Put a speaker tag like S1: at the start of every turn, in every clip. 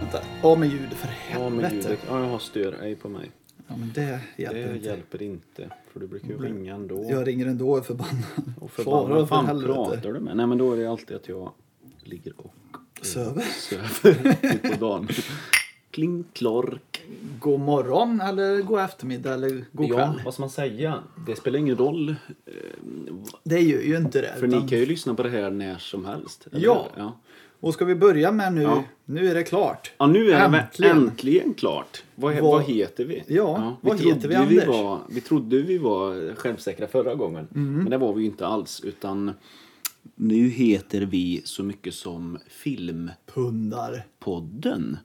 S1: Vänta, av med ljudet för helvete.
S2: Ja, med ljudet. Ja, jag har stör-ej på mig.
S1: Ja, men det hjälper
S2: Det
S1: inte.
S2: hjälper inte. För du brukar ju
S1: Blir-
S2: ringa ändå.
S1: Jag ringer ändå och är förbannad.
S2: Och
S1: Farao,
S2: förbannat.
S1: för
S2: fan
S1: helvete.
S2: pratar du med? Nej, men då är det alltid att jag ligger och
S1: Söver.
S2: söver mitt på dagen. Kling, klork.
S1: God morgon eller god eftermiddag eller god
S2: Ja,
S1: kväll.
S2: vad ska man säga? Det spelar ingen roll. eh,
S1: Det gör ju inte det.
S2: För
S1: utan-
S2: ni kan ju lyssna på det här när som helst. eller
S1: Ja.
S2: hur? ja.
S1: Och ska vi börja med nu?
S2: Ja.
S1: Nu är det klart.
S2: Ja, nu är äntligen.
S1: Äntligen.
S2: det äntligen klart. Vad, he-
S1: Vad-
S2: vad heter vi?
S1: vad
S2: trodde
S1: heter vi, Anders?
S2: var, vi trodde vi var självsäkra förra gången,
S1: Mm.
S2: men det var vi ju inte alls. Utan nu heter vi så mycket som
S1: Pundar
S2: Filmpodden.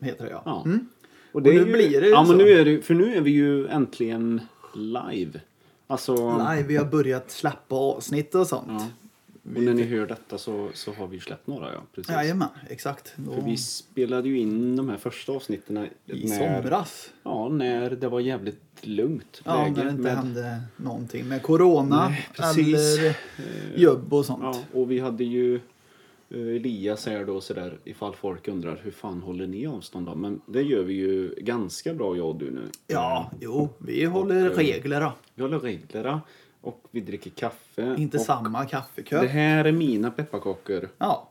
S1: heter det ja.
S2: Ja.
S1: Mm. Och nu blir det ju
S2: ja,
S1: så.
S2: men nu är det, För nu är vi ju äntligen live. Alltså,
S1: Nej, vi har börjat släppa avsnitt och sånt.
S2: Ja. Och när ni hör detta så, så har vi släppt några, ja. Precis.
S1: Jajamän, exakt. Då,
S2: För vi spelade ju in de här första avsnitten
S1: I somras.
S2: Ja, när det var jävligt lugnt
S1: Ja, när det inte hände någonting med corona
S2: Nej, precis. Eh,
S1: eller jobb och sånt.
S2: Ja, och vi hade ju eh, Elias här då sådär ifall folk undrar hur fan håller ni avstånd då? Men det gör vi ju ganska bra jag och du nu.
S1: Ja, jo, vi håller
S2: Mm. Och, eh,
S1: regler då.
S2: Vi håller reglerna och vi dricker kaffe.
S1: Inte
S2: och
S1: samma kaffeköp.
S2: Det här är mina pepparkakor
S1: Ja,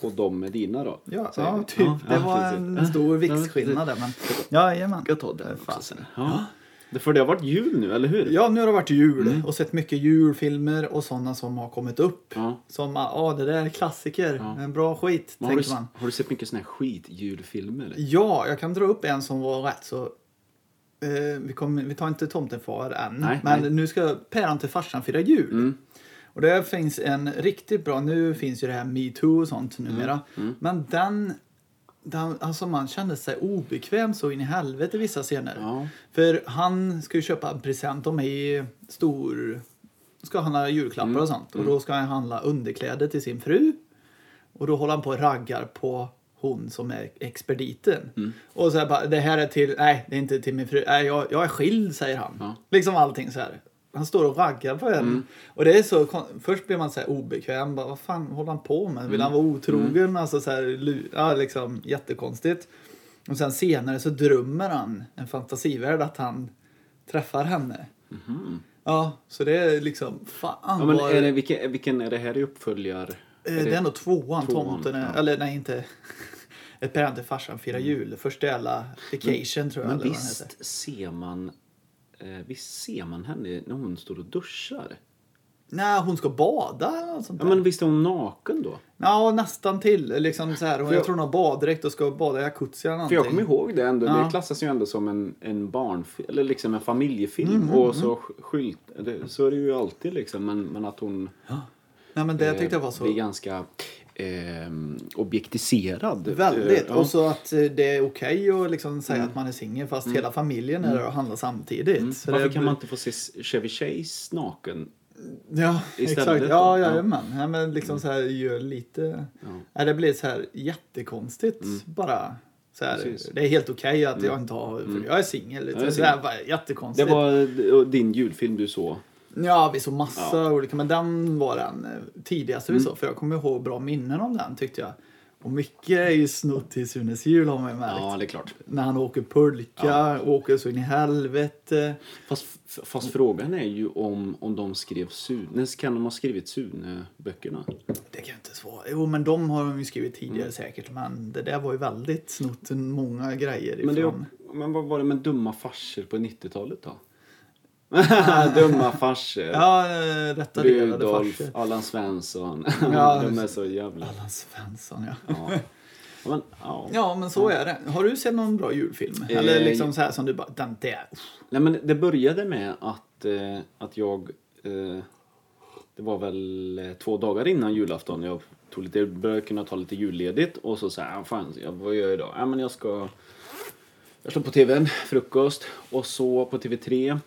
S1: och,
S2: och de är dina då.
S1: ja,
S2: säger vi.
S1: ja, typ. det
S2: ja,
S1: var
S2: precis.
S1: en
S2: Ja,
S1: stor
S2: ja,
S1: viktskillnad där. Men, ja, jajamän.
S2: Jag tar den också
S1: Fan.
S2: sen. Ja. Det- För det har varit jul nu, eller hur?
S1: Ja, nu har det varit jul
S2: Mm.
S1: och sett mycket julfilmer och sådana som har kommit upp.
S2: Ja.
S1: Som, ja ah, det där är klassiker, en bra skit,
S2: Men Har du,
S1: tänker man.
S2: har du sett mycket såna här skitjulfilmer?
S1: Ja, jag kan dra upp en som var rätt så... Eh, vi, kommer- vi tar inte tomtefar än,
S2: Nej,
S1: men
S2: nej. Mm.
S1: nu ska päron till farsan fira jul. Och det finns en riktigt bra, nu finns ju det här metoo och sånt
S2: Mm,
S1: numera, men den, den... Alltså man kände sig obekväm så in i helvete i vissa scener.
S2: Ja.
S1: För han ska ju köpa en present, de är ju stor... Ska han ha julklappar
S2: Mm,
S1: och sånt och då ska han handla underkläder till sin fru. Och då håller han på och raggar på hon som är expediten.
S2: Mm.
S1: Och så här bara, det här är till, nej det är inte till min fru, nej jag, jag är skild säger han.
S2: Ja. Mm.
S1: Liksom allting så här. Han står och raggar på en. Och det är så, kon- först blir man så här obekväm, bara, vad fan håller han på med? Vill han
S2: Mm.
S1: vara otrogen? Alltså så här, lu- ja, liksom jättekonstigt. Och sen senare så drömmer han en fantasivärld att han träffar henne. Ja, så det är liksom, fan
S2: Mhm. Ja, men
S1: vad-
S2: är det, vilken, vilken är det här i uppföljar?
S1: Eh, Det är nog tvåan,
S2: Tvåan,
S1: tomten är,
S2: ja. Mm.
S1: eller nej inte. Ett päron till farsan firar jul. Första jävla vacation tror jag.
S2: Men
S1: eller vad den heter.
S2: visst ser man eh, visst ser man henne när hon står och duschar?
S1: Nej, hon ska bada eller något sånt
S2: Ja,
S1: där.
S2: men visst är hon naken då?
S1: Ja, nästan till. Liksom så här. Hon,
S2: För
S1: jag,
S2: jag-
S1: tror hon har baddräkt och ska bada i jacuzzi eller
S2: För
S1: någonting.
S2: jag kommer ihåg det ändå.
S1: Ja.
S2: Det klassas ju ändå som en, en barnfilm, eller liksom en familjefilm.
S1: Mm-hmm,
S2: och så sk- skylt, det, så är det ju alltid liksom. Men, men att hon
S1: Nej, men det
S2: eh,
S1: tyckte jag var så.
S2: blir ganska eh, objektiserad.
S1: Väldigt.
S2: Eh, ja. Mm.
S1: Och så att eh, det är okej att liksom säga att man är singel fast hela familjen är där och handlar samtidigt. Så
S2: Varför
S1: det,
S2: kan man inte få se Chevy Chase naken?
S1: Ja,
S2: istället
S1: exakt.
S2: då?
S1: Ja,
S2: Ja. Mm.
S1: jajamän. Ja. men liksom så här gör lite... Ja. Det blir så här jättekonstigt bara. Så här,
S2: Mm. Precis. Mm.
S1: det är helt okej att jag inte har... För Jag är singel.
S2: jag är
S1: Liksom.
S2: singel.
S1: det var
S2: Det
S1: jättekonstigt.
S2: var din julfilm du såg.
S1: Ja, vi såg massa olika. Men den var den eh, tidigaste
S2: Mm.
S1: vi såg. För jag kommer ihåg bra minnen om den tyckte jag. Och mycket är ju snott till Sunes jul har man ju märkt.
S2: Ja, det är klart.
S1: När han åker pulka, åker så in i helvete.
S2: Fast, fast frågan är ju om, om de skrev Sune. Kan de ha skrivit Sune-böckerna?
S1: Det kan jag inte svara. Jo, men de har de ju skrivit tidigare
S2: Mm.
S1: säkert. Men det där var ju väldigt snott många grejer ifrån.
S2: Men, det, men vad var det med dumma farser på 90-talet då? dumma farser.
S1: Ja, eh, rätta delade
S2: Rudolf,
S1: farser.
S2: Allan Svensson.
S1: Ja.
S2: de är så jävla...
S1: Allan Svensson, ja.
S2: Ja. Ja, Men, ja.
S1: Ja, men så är det. Har du sett någon bra julfilm? Eller
S2: Mm. Eh,
S1: liksom så här som du bara, den där. uff.
S2: Nej, men det började med att, eh, att jag... Eh, det var väl eh, två dagar innan julafton. Jag tog lite, började kunna ta lite julledigt och så sa jag, "Ah, fan, jag- vad gör jag idag? Ja, men jag ska... Jag slår på tvn, frukost och så på TV3.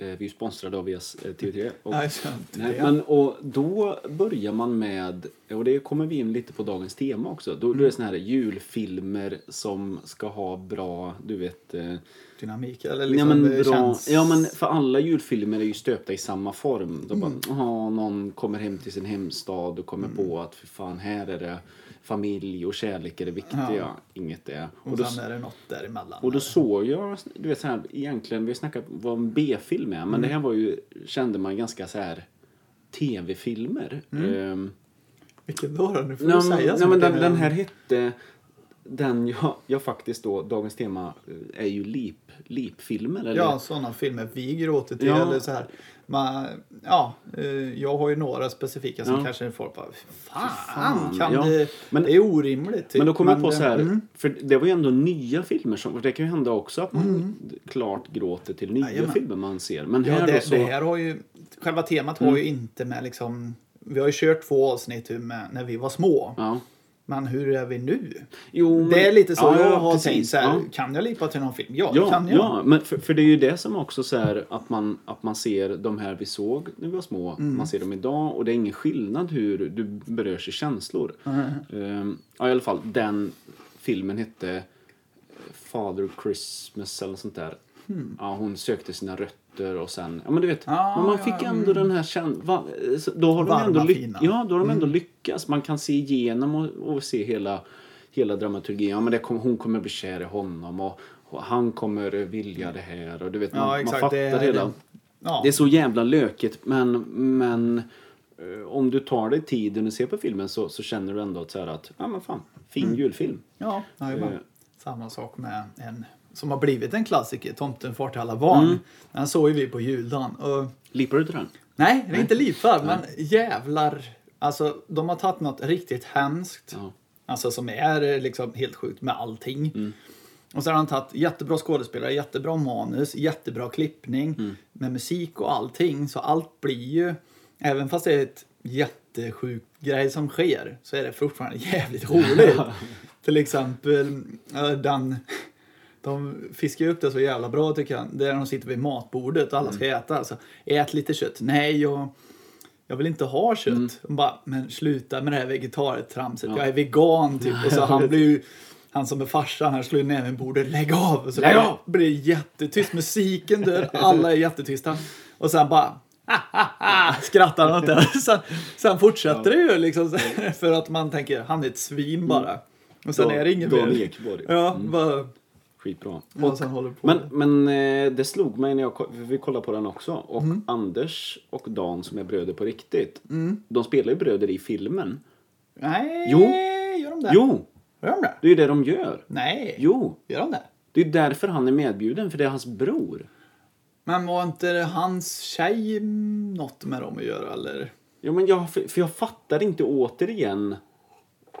S2: Eh, vi är ju sponsrade av VS, eh, TV3. Och,
S1: Nej, så inte
S2: Nej,
S1: det.
S2: men och då börjar man med, och det kommer vi in lite på dagens tema också, då, då är det såna här julfilmer som ska ha bra, du vet, eh,
S1: Dynamik, eller
S2: ja,
S1: liksom
S2: men
S1: det
S2: bra,
S1: känns...
S2: ja men för alla julfilmer är ju stöpta i samma
S1: Mm.
S2: form. Då bara, aha, någon kommer hem till sin hemstad och kommer på att för fan här är det familj och kärlek är det viktiga.
S1: Ja.
S2: Inget är. Och,
S1: Och
S2: då,
S1: sen är det något däremellan.
S2: och då
S1: eller?
S2: såg jag, du vet så här, egentligen, vi snackade vad en B-film är, men det
S1: Mm.
S2: här var ju, kände man ganska så här tv-filmer. Ehm,
S1: Vilken då? då? Nu Mm. får
S2: Nej,
S1: du säga
S2: men-
S1: så
S2: nej, men
S1: mycket
S2: den,
S1: nu.
S2: den här hette... Den jag, jag faktiskt då, dagens tema eh, är ju lip, lipfilmer. Eller?
S1: Ja, sådana filmer vi gråter till.
S2: Ja.
S1: Eller så här. Man, ja, eh, jag har ju några specifika som
S2: Ja.
S1: kanske folk bara, fan,
S2: Fan,
S1: kan
S2: ja.
S1: det,
S2: Men-
S1: det är orimligt. Typ.
S2: Men då kom jag på
S1: det-
S2: så här,
S1: mm,
S2: för det var ju ändå nya filmer. Som, för det kan ju hända också att man klart gråter till nya
S1: Mm. Jajamän.
S2: filmer man ser. Men
S1: ja,
S2: här
S1: det,
S2: då så... Mm.
S1: det här har ju, själva temat har ju inte med liksom, vi har ju kört två avsnitt hur med, när vi var små.
S2: Ja.
S1: Men hur är vi nu?
S2: Jo, men-
S1: Det är lite så
S2: ja,
S1: jag
S2: ja,
S1: har
S2: precis,
S1: tänkt så här,
S2: ja.
S1: kan jag lipa till någon film? Ja, det
S2: Ja,
S1: kan jag.
S2: ja men för, för det är ju det som också så här att man, att man ser de här vi såg när vi var små,
S1: Mm.
S2: man ser dem idag och det är ingen skillnad hur du berörs i känslor. Ehm, ja, i alla fall den filmen hette Father Christmas eller sånt där. Ja, hon sökte sina rötter och sen, ja men du vet,
S1: Hmm. Ah,
S2: men man
S1: ja,
S2: fick ändå den här känslan. Då har de
S1: Varma,
S2: ändå, lyck-
S1: fina. Mm.
S2: ja, då har de ändå lyckats. Man kan se igenom och, och se hela, hela dramaturgin. Ja, men det kom, hon kommer bli kär i honom och, och han kommer vilja det här. Och du vet, man,
S1: Ja, exakt.
S2: man fattar
S1: det, är-
S2: hela.
S1: det- ja.
S2: Det är så jävla lökigt men, men eh, om du tar dig tiden och ser på filmen så, så känner du ändå att, så här att ja, men fan, fin
S1: Mm.
S2: julfilm.
S1: Ja, jajamän.
S2: Eh.
S1: samma sak med en som har blivit en klassiker, Tomten far till alla barn. Den såg ju vi på juldagen. Och,
S2: Lipar du till den?
S1: nej, det är inte livfall, men jävlar. Alltså, de har tagit något riktigt hemskt.
S2: Ja.
S1: Alltså som är eh, liksom helt sjukt med allting. Och sen har han tagit jättebra skådespelare, jättebra manus, jättebra klippning med musik och allting. Så allt blir ju, även fast det är ett jättesjukt grej som sker, så är det fortfarande jävligt roligt. Till exempel eh, den, de fiskar ju upp det så jävla bra tycker jag, där de sitter vid matbordet och alla ska
S2: Mm.
S1: äta. Så, ät lite kött. Nej, jag, jag vill inte ha kött.
S2: Mm.
S1: Hon bara, men sluta med det här vegetartramset. Jag är vegan typ. Och så han blir ju, han som är farsan, han slår ju näven i bordet. Lägg av! Och så
S2: Lägg
S1: bara
S2: av!
S1: blir det jättetyst. Musiken dör, alla är jättetysta. Och sen bara skrattar han åt det. Sen, sen fortsätter det ju liksom. så här, För att man tänker, han är ett svin
S2: Mm.
S1: bara. Och sen
S2: Dan-
S1: är det inget
S2: Dan
S1: mer.
S2: Ekborg. Mm.
S1: Ja, bara,
S2: Skitbra.
S1: och sen Alltså, håller på.
S2: Men, men eh, det slog mig när jag ko- för vi kollade på den också. Och
S1: Mm.
S2: Anders och Dan som är bröder på riktigt. De spelar ju bröder i filmen.
S1: Nej,
S2: Jo.
S1: gör de det?
S2: Jo!
S1: Gör de det?
S2: Det är ju det de gör.
S1: Nej,
S2: Jo!
S1: gör de det?
S2: Det är därför han är medbjuden, för det är hans bror.
S1: Men var inte hans tjej något med dem att göra eller?
S2: Ja, men jag, för, för jag fattar inte återigen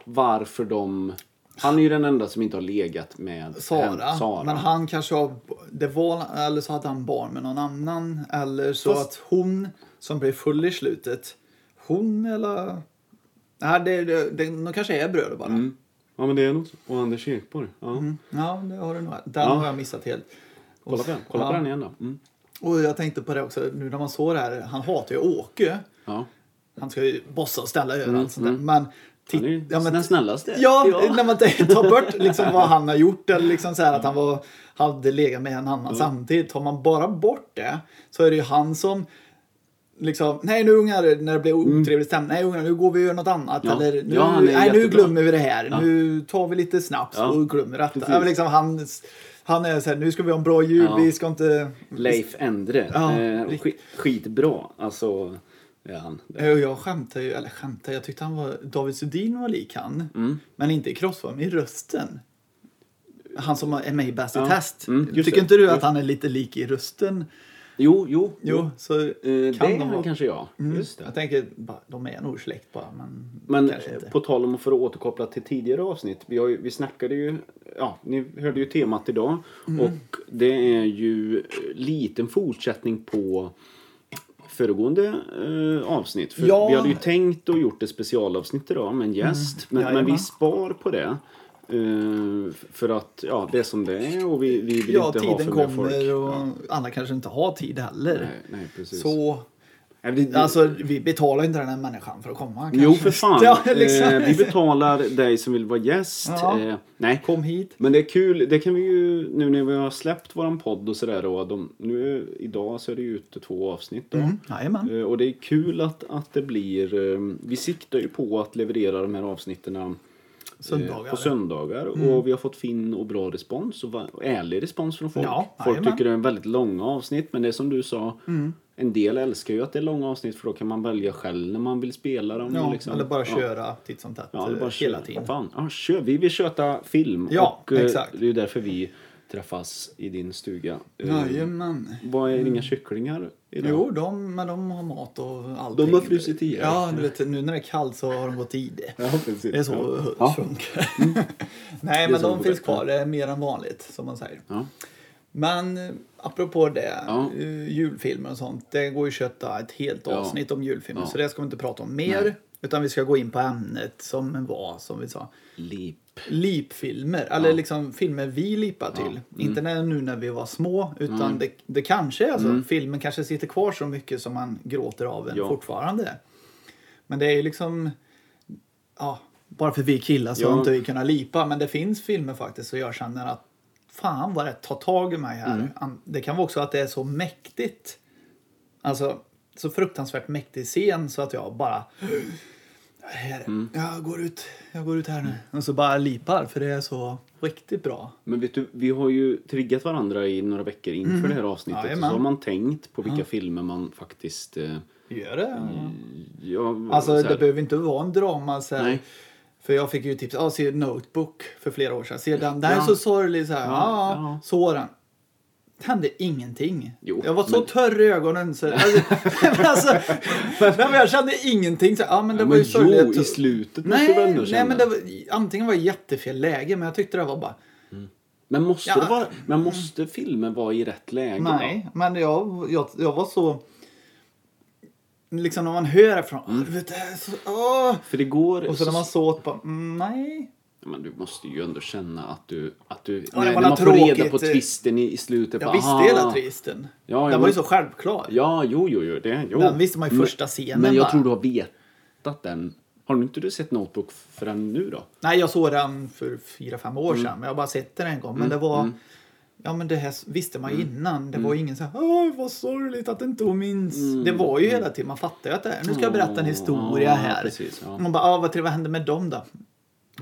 S2: varför de... Han är ju den enda som inte har legat med
S1: Sara.
S2: hem- Sara.
S1: Men han kanske har, det var, eller så hade han barn med någon annan. Eller så
S2: Fast-
S1: att hon som blev full i slutet, hon eller? Nej, det, det, det, de kanske är bröder bara.
S2: Mm. Ja, men det är nog så. Och Anders Ekborg. Ja.
S1: Ja, det har du nog. Den
S2: Ja.
S1: har jag missat helt. Och
S2: Kolla på
S1: s-
S2: den, Kolla
S1: ja.
S2: på den igen då. Mm.
S1: Och jag tänkte på det också, nu när man såg det här, han hatar ju Åke.
S2: Ja.
S1: Han ska ju bossa och ställa överallt sånt där. Men,
S2: Mm, Han är ju
S1: titt- ja, men
S2: den snällaste.
S1: Ja, när man t- tar bort liksom vad han har gjort eller liksom så här att han var, hade legat med en annan samtidigt. Tar man bara bort det så är det ju han som liksom, nej nu ungar, när det blir otrevlig stämning, nej ungar nu går vi och gör något annat.
S2: Mm. Ja.
S1: Eller nu,
S2: Ja, han är
S1: nej, nu
S2: jättebra.
S1: glömmer vi det här, nu tar vi lite snaps
S2: Ja.
S1: och glömmer detta.
S2: Precis.
S1: Ja, men liksom, han, han är så här, nu ska vi ha en bra jul,
S2: Ja.
S1: vi ska inte...
S2: Leif Endre.
S1: Ja,
S2: eh,
S1: riktigt.
S2: skit, skitbra. Alltså, är han.
S1: Eh, och Jag skämtar ju, eller skämtar, jag tyckte han var, David Sundin var lik han.
S2: Mm.
S1: Men inte i kroppsform, i rösten. Han som är med i Bäst i
S2: Ja.
S1: test.
S2: Mm, just
S1: Tycker
S2: det.
S1: inte du att
S2: Just-
S1: han är lite lik i rösten?
S2: Jo, jo.
S1: Jo, så
S2: Eh,
S1: kan
S2: det
S1: de
S2: är
S1: vara. Mm.
S2: han kanske jag. Just
S1: Jag
S2: det.
S1: tänker, bara, de är nog släkt bara, men,
S2: Men
S1: kanske inte.
S2: eh, på tal om för att återkoppla till tidigare avsnitt. Vi, har ju, vi snackade ju, ja, ni hörde ju temat idag.
S1: Mm.
S2: Och det är ju eh, liten fortsättning på föregående eh, avsnitt. För
S1: Ja. Mm.
S2: Vi hade ju tänkt och gjort ett specialavsnitt idag med en gäst. Men, men vi
S1: Jajamän.
S2: spar på det. eh, för att ja, det är som det är och vi, vi vill
S1: Ja,
S2: inte ha för
S1: tiden
S2: mycket folk.
S1: kommer och alla kanske inte har tid heller.
S2: Nej, nej, precis.
S1: så,
S2: Nej, det- det-
S1: alltså vi betalar inte den här människan för att komma. Kanske.
S2: Jo, för fan.
S1: Ja, liksom.
S2: eh, vi betalar dig som vill vara gäst.
S1: Ja.
S2: Eh, nej.
S1: Kom hit.
S2: Men det är kul, det kan vi ju nu när vi har släppt våran podd och sådär och de, nu idag så är det ju ute två avsnitt då.
S1: Mm, jajamän.
S2: Eh, Och det är kul att, att det blir, eh, vi siktar ju på att leverera de här avsnitten
S1: Söndagar. Mm.
S2: på söndagar. Och vi har fått fin och bra respons och, va- och ärlig respons från folk.
S1: Ja,
S2: folk
S1: jajamän. Mm.
S2: tycker det är en väldigt långa avsnitt men det är som du sa. En del älskar ju att det är långa avsnitt för då kan man välja själv när man vill spela dem.
S1: ja,
S2: och liksom,
S1: eller bara
S2: ja.
S1: köra titt som tätt
S2: Ja, eller bara
S1: eh, hela
S2: köra.
S1: tiden.
S2: Fan, ja, kör. Vi vill köta film
S1: Ja,
S2: och eh,
S1: exakt.
S2: det är ju därför vi träffas i din stuga. Eh,
S1: Jajamän.
S2: Vad är det inga kycklingar idag?
S1: Jo, de, men de har mat och allting.
S2: De har frusit ihjäl.
S1: Ja, du vet, nu när det är kallt så har de gått i det.
S2: Ja, precis.
S1: Det är så det
S2: Ja. Mm.
S1: funkar. Nej,
S2: Det är
S1: men
S2: så
S1: de
S2: det
S1: finns
S2: funkar.
S1: kvar. Det är mer än vanligt, som man säger.
S2: Ja.
S1: Men eh, apropå det,
S2: Ja.
S1: eh, julfilmer och sånt. Det går ju att köta ett helt
S2: Ja.
S1: avsnitt om julfilmer,
S2: Ja.
S1: så det ska vi inte prata om mer.
S2: Nej.
S1: Utan vi ska gå in på ämnet som var, som vi sa.
S2: Lip.
S1: Lipfilmer, eller liksom filmer vi lipar till. Inte när, nu när vi var små, utan det, det kanske är så. Filmen kanske sitter kvar så mycket som man gråter av en
S2: Ja.
S1: fortfarande. Men det är ju liksom... Ja, bara för vi killar så
S2: Ja.
S1: har inte vi kunnat lipa, men det finns filmer faktiskt så jag känner att fan vad det tar tag i mig här. An- Det kan vara också att det är så mäktigt. Alltså, så fruktansvärt mäktig scen så att jag bara... Här, Jag, går ut, jag går ut här nu. Och så bara lipar för det är så riktigt bra.
S2: Men vet du, vi har ju triggat varandra i några veckor inför det här avsnittet. och så
S1: Mhm. Jajamän.
S2: har man tänkt på vilka filmer man faktiskt... Eh,
S1: Gör det?
S2: ja,
S1: Alltså
S2: så
S1: det
S2: här-
S1: behöver inte vara en drama så här.
S2: Nej.
S1: För jag fick ju tips, ah, se Notebook för flera år sedan. Se den, den är
S2: Ja.
S1: så sorglig så här. Ja, ah,
S2: ja.
S1: så den. Det hände ingenting.
S2: Jo,
S1: jag var så
S2: men-
S1: törr i ögonen. Så, alltså, men alltså, nej, men jag kände ingenting. Så, ah, men det
S2: Ja,
S1: var
S2: men
S1: ju sorgligt.
S2: jo, i slutet måste du
S1: nej,
S2: ändå
S1: nej,
S2: känna.
S1: men det var, antingen var det jättefel läge, men jag tyckte det var bara
S2: Men måste,
S1: Ja.
S2: det vara, men måste filmen vara i rätt läge?
S1: Nej, men jag, jag, jag var så... Liksom när man hör det från...
S2: Mm.
S1: "Åh, du vet, det här är så, åh!
S2: För det går...
S1: Och så när man så åt bara, mm, nej.
S2: Men du måste ju ändå känna att du... Att du
S1: var
S2: när,
S1: något
S2: när man får reda
S1: tråkigt,
S2: på
S1: eh,
S2: twisten i, i slutet.
S1: Jag
S2: bara,
S1: visste
S2: aha.
S1: hela twisten.
S2: Ja,
S1: den
S2: ja,
S1: var ju
S2: men-
S1: så självklar.
S2: Ja, jo, jo, jo. Det, jo.
S1: Den visste man ju
S2: Men-
S1: första scenen
S2: Men jag
S1: bara.
S2: tror du har vetat den. Har du inte du sett Notebook förrän nu då?
S1: Nej, jag såg den för fyra fem
S2: Mm.
S1: år sedan. Men jag har bara sett den en gång. Men det var... Ja, men det här visste man ju
S2: Mm.
S1: innan. Det var ju ingen så här, åh vad sorgligt att inte hon minns. Det var ju hela tiden, man fattar ju att det är, nu ska jag berätta en historia
S2: Mm. Ja,
S1: här.
S2: precis, ja.
S1: Man bara, ah, vad, trevligt, vad hände med dem då?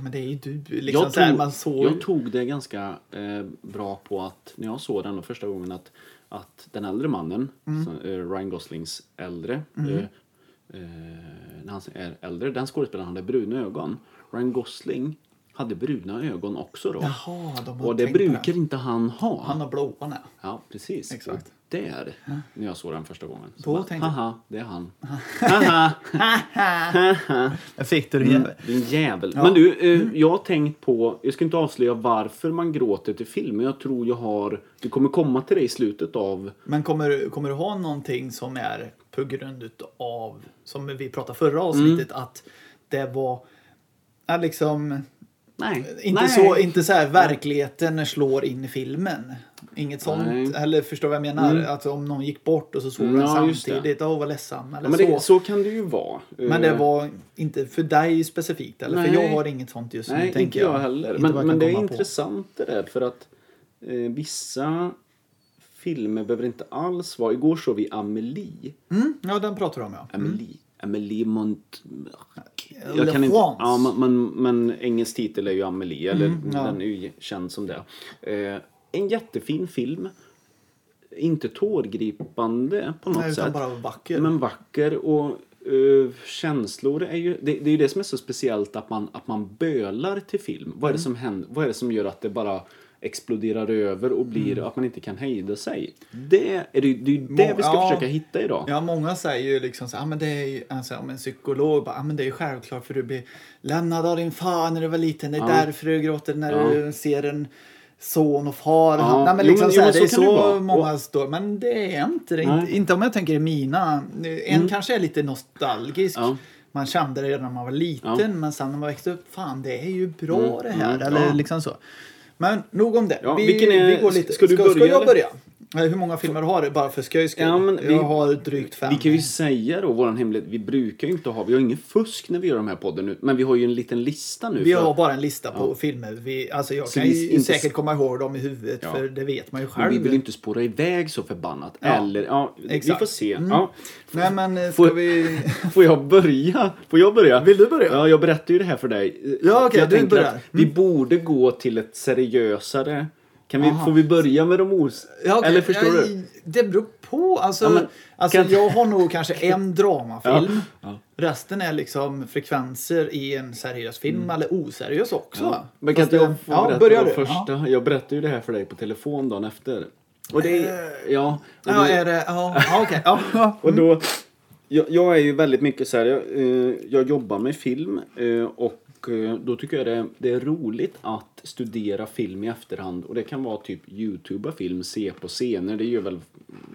S1: Men det är ju du, liksom
S2: jag,
S1: så här,
S2: tog,
S1: man såg ju-
S2: jag tog det ganska eh, bra på att när jag såg den då första gången att, att den äldre mannen,
S1: Mm.
S2: så, eh, Ryan Goslings äldre, eh, eh, när han är äldre, den skådespelaren hade bruna ögon. Ryan Gosling hade bruna ögon också då.
S1: Jaha, de har
S2: Och det
S1: tänkt på
S2: brukar inte han ha.
S1: Han har blåa nu.
S2: Ja, precis.
S1: Exakt.
S2: Och Där, när jag såg den första gången. Så
S1: Då
S2: bara,
S1: tänkte jag-
S2: Haha, det är han. Haha,
S1: Jag fick du det mm.
S2: din jävel. Men du, eh, jag har tänkt på, jag ska inte avslöja varför man gråter till film, men jag tror jag har, det kommer komma till det i slutet av,
S1: Men kommer, du- kommer du ha någonting som är på grund av, som vi pratade
S2: Mm.
S1: förra avsnittet, att det var ja, liksom
S2: nej.
S1: Inte
S2: nej.
S1: så, inte så här verkligheten slår in i filmen. Inget sånt.
S2: Nej. Mm.
S1: Eller förstår vad jag menar? Att om någon gick bort och så såg den
S2: Ja, just det.
S1: samtidigt. Åh vad ledsam. Eller
S2: Ja, men
S1: så.
S2: det, så kan det ju vara. Eh,
S1: Men det var inte för dig specifikt. Eller? För
S2: Nej.
S1: jag har inget sånt just nu.
S2: Eh, Nej, inte
S1: tänker
S2: jag, heller.
S1: Inte
S2: Men,
S1: vad jag
S2: men det
S1: kan
S2: är
S1: komma på.
S2: intressant det där för att eh, vissa filmer behöver inte alls vara, igår såg vi Amelie.
S1: Mm, ja, den pratar du om ja.
S2: Amelie. Amelie Mont... Jag
S1: Mm. Le
S2: kan inte...
S1: France. Mm,
S2: Ja, men, men, men engelsk titel är ju Amelie, eller
S1: ja.
S2: den är ju känd som det. Eh, en jättefin film. Inte tårgripande på något
S1: Nej, utan
S2: sätt.
S1: bara vacker.
S2: Men vacker och eh, känslor är ju... Det, det är ju det som är så speciellt att man, att man bölar till film. Vad är
S1: Mm.
S2: det som händer? Vad är det som gör att det bara exploderar över och
S1: Mm.
S2: blir att man inte kan hejda sig. Det är det, ju- det, är ju det vi ska
S1: Ja.
S2: försöka hitta idag.
S1: Ja, många säger ju liksom så här, ah, men det är ju, alltså, om en psykolog bara, ah, men det är ju självklart för du blir lämnad av din far när du var liten. Det är därför du gråter när du ser en son och far. Han, nej, men
S2: Jo,
S1: liksom
S2: men-
S1: så här,
S2: jo, men
S1: det är
S2: så kan det
S1: så
S2: vara.
S1: många står, men det är inte det. Inte, inte om jag tänker i mina. En kanske är lite nostalgisk.
S2: Mm. Ja.
S1: Man kände det redan när man var liten,
S2: Ja.
S1: men sen när man växte upp, fan det är ju bra det här.
S2: mm,
S1: eller
S2: ja.
S1: liksom så. Men nog om det.
S2: Ja, vilken är-
S1: vi går lite.
S2: ska du
S1: ska,
S2: börja
S1: jag
S2: eller?
S1: börja? Nej, Hur många filmer har du bara för skojs skull?
S2: Ja, men vi-
S1: Jag har drygt fem.
S2: Vi kan ju säga då, våran hemlighet, vi brukar ju inte ha, vi har ingen fusk när vi gör de här podden nu, men vi har ju en liten lista nu.
S1: Vi
S2: för-
S1: har bara en lista på filmer. Vi, alltså jag
S2: Så
S1: kan
S2: vi
S1: ju
S2: inte-
S1: säkert komma ihåg dem i huvudet
S2: Ja.
S1: för det vet man ju
S2: men
S1: själv.
S2: vi vill inte spåra iväg så förbannat.
S1: Ja.
S2: Eller, ja, vi
S1: Exakt.
S2: får se. Ja.
S1: Nej men eh,
S2: Får-
S1: ska vi...
S2: Får jag börja? Får jag börja?
S1: Vill du börja?
S2: Ja, jag berättar ju det här för dig.
S1: Ja, okej,
S2: Jag
S1: du
S2: tänker
S1: börjar. Mm.
S2: att Vi borde gå till ett seriösare... Kan vi, får vi börja med de os...
S1: Ja, okej.
S2: Eller förstår
S1: Ja,
S2: du?
S1: Det beror på. Alltså,
S2: Ja, men-
S1: alltså
S2: kan-
S1: jag har nog kanske en dramafilm.
S2: Ja. Ja.
S1: Resten är liksom frekvenser i en seriös film eller oseriös också.
S2: Mm. Men kan
S1: Fast
S2: inte
S1: det-
S2: jag få
S1: ja,
S2: berätta
S1: börja
S2: då
S1: du.
S2: första?
S1: Ja.
S2: Jag berättade ju det här för dig på telefon dagen efter. Och det är... Ja. Och
S1: Eh. Ja,
S2: det-
S1: är det... Ja, ja okej. Ja.
S2: Och då, jag, jag är ju väldigt mycket så här, jag, eh, jag jobbar med film eh, och eh, då tycker jag det, det är roligt att studera film i efterhand och det kan vara typ youtuba film, se på scener, det gör väl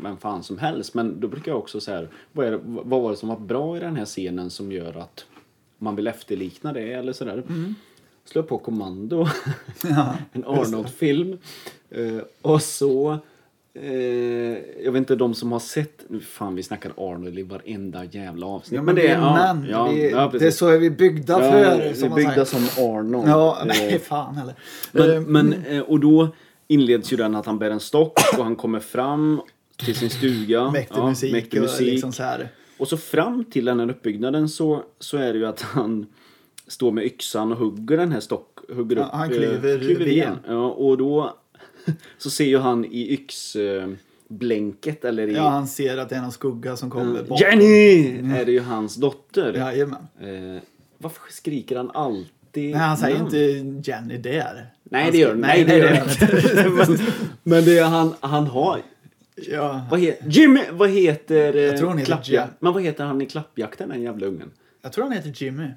S2: vem fan som helst men då brukar jag också så här, vad, är, det- vad var det som var bra i den här scenen som gör att man vill efterlikna det eller sådär.
S1: Mm.
S2: Slå på kommando. en Arnold-film. Eh, och så... Eh, jag vet inte, de som har sett... nu Fan, vi snackar Arnold i varenda jävla avsnitt.
S1: Ja, men det är män.
S2: Ja,
S1: vi,
S2: ja,
S1: det är
S2: precis.
S1: så är vi byggda
S2: Ja,
S1: för.
S2: vi
S1: som
S2: är
S1: man
S2: byggda
S1: säger.
S2: som Arnold.
S1: Ja,
S2: Eh,
S1: nej fan heller.
S2: men, men, eh, och då inleds ju den att han bär en stock och han kommer fram till sin stuga.
S1: Mäktig
S2: Ja,
S1: musik
S2: mäktig
S1: och
S2: musik.
S1: liksom så här.
S2: Och så fram till den här uppbyggnaden så, så är det ju att han står med yxan och hugger den här stock... Hugger
S1: Ja,
S2: upp,
S1: han
S2: eh,
S1: klyver ben.
S2: Ja, och då så ser ju han i yxblänket eller i...
S1: Ja, han ser att det är någon skugga som kommer bakom.
S2: Jenny! Är det ju hans dotter.
S1: Jajamän.
S2: Eh, varför skriker han alltid
S1: Nej, han säger
S2: namn?
S1: inte Jenny där.
S2: Nej
S1: Han
S2: det gör
S1: ska-
S2: han Nej det gör han
S1: han inte.
S2: inte. men, men det är han, han har...
S1: Ja,
S2: Vad heter... Jimmy! Vad heter... eh,
S1: Jag tror han heter
S2: klappjak-
S1: Jim.
S2: Men vad heter han i klappjakten den jävla ungen?
S1: jag tror han heter Jimmy.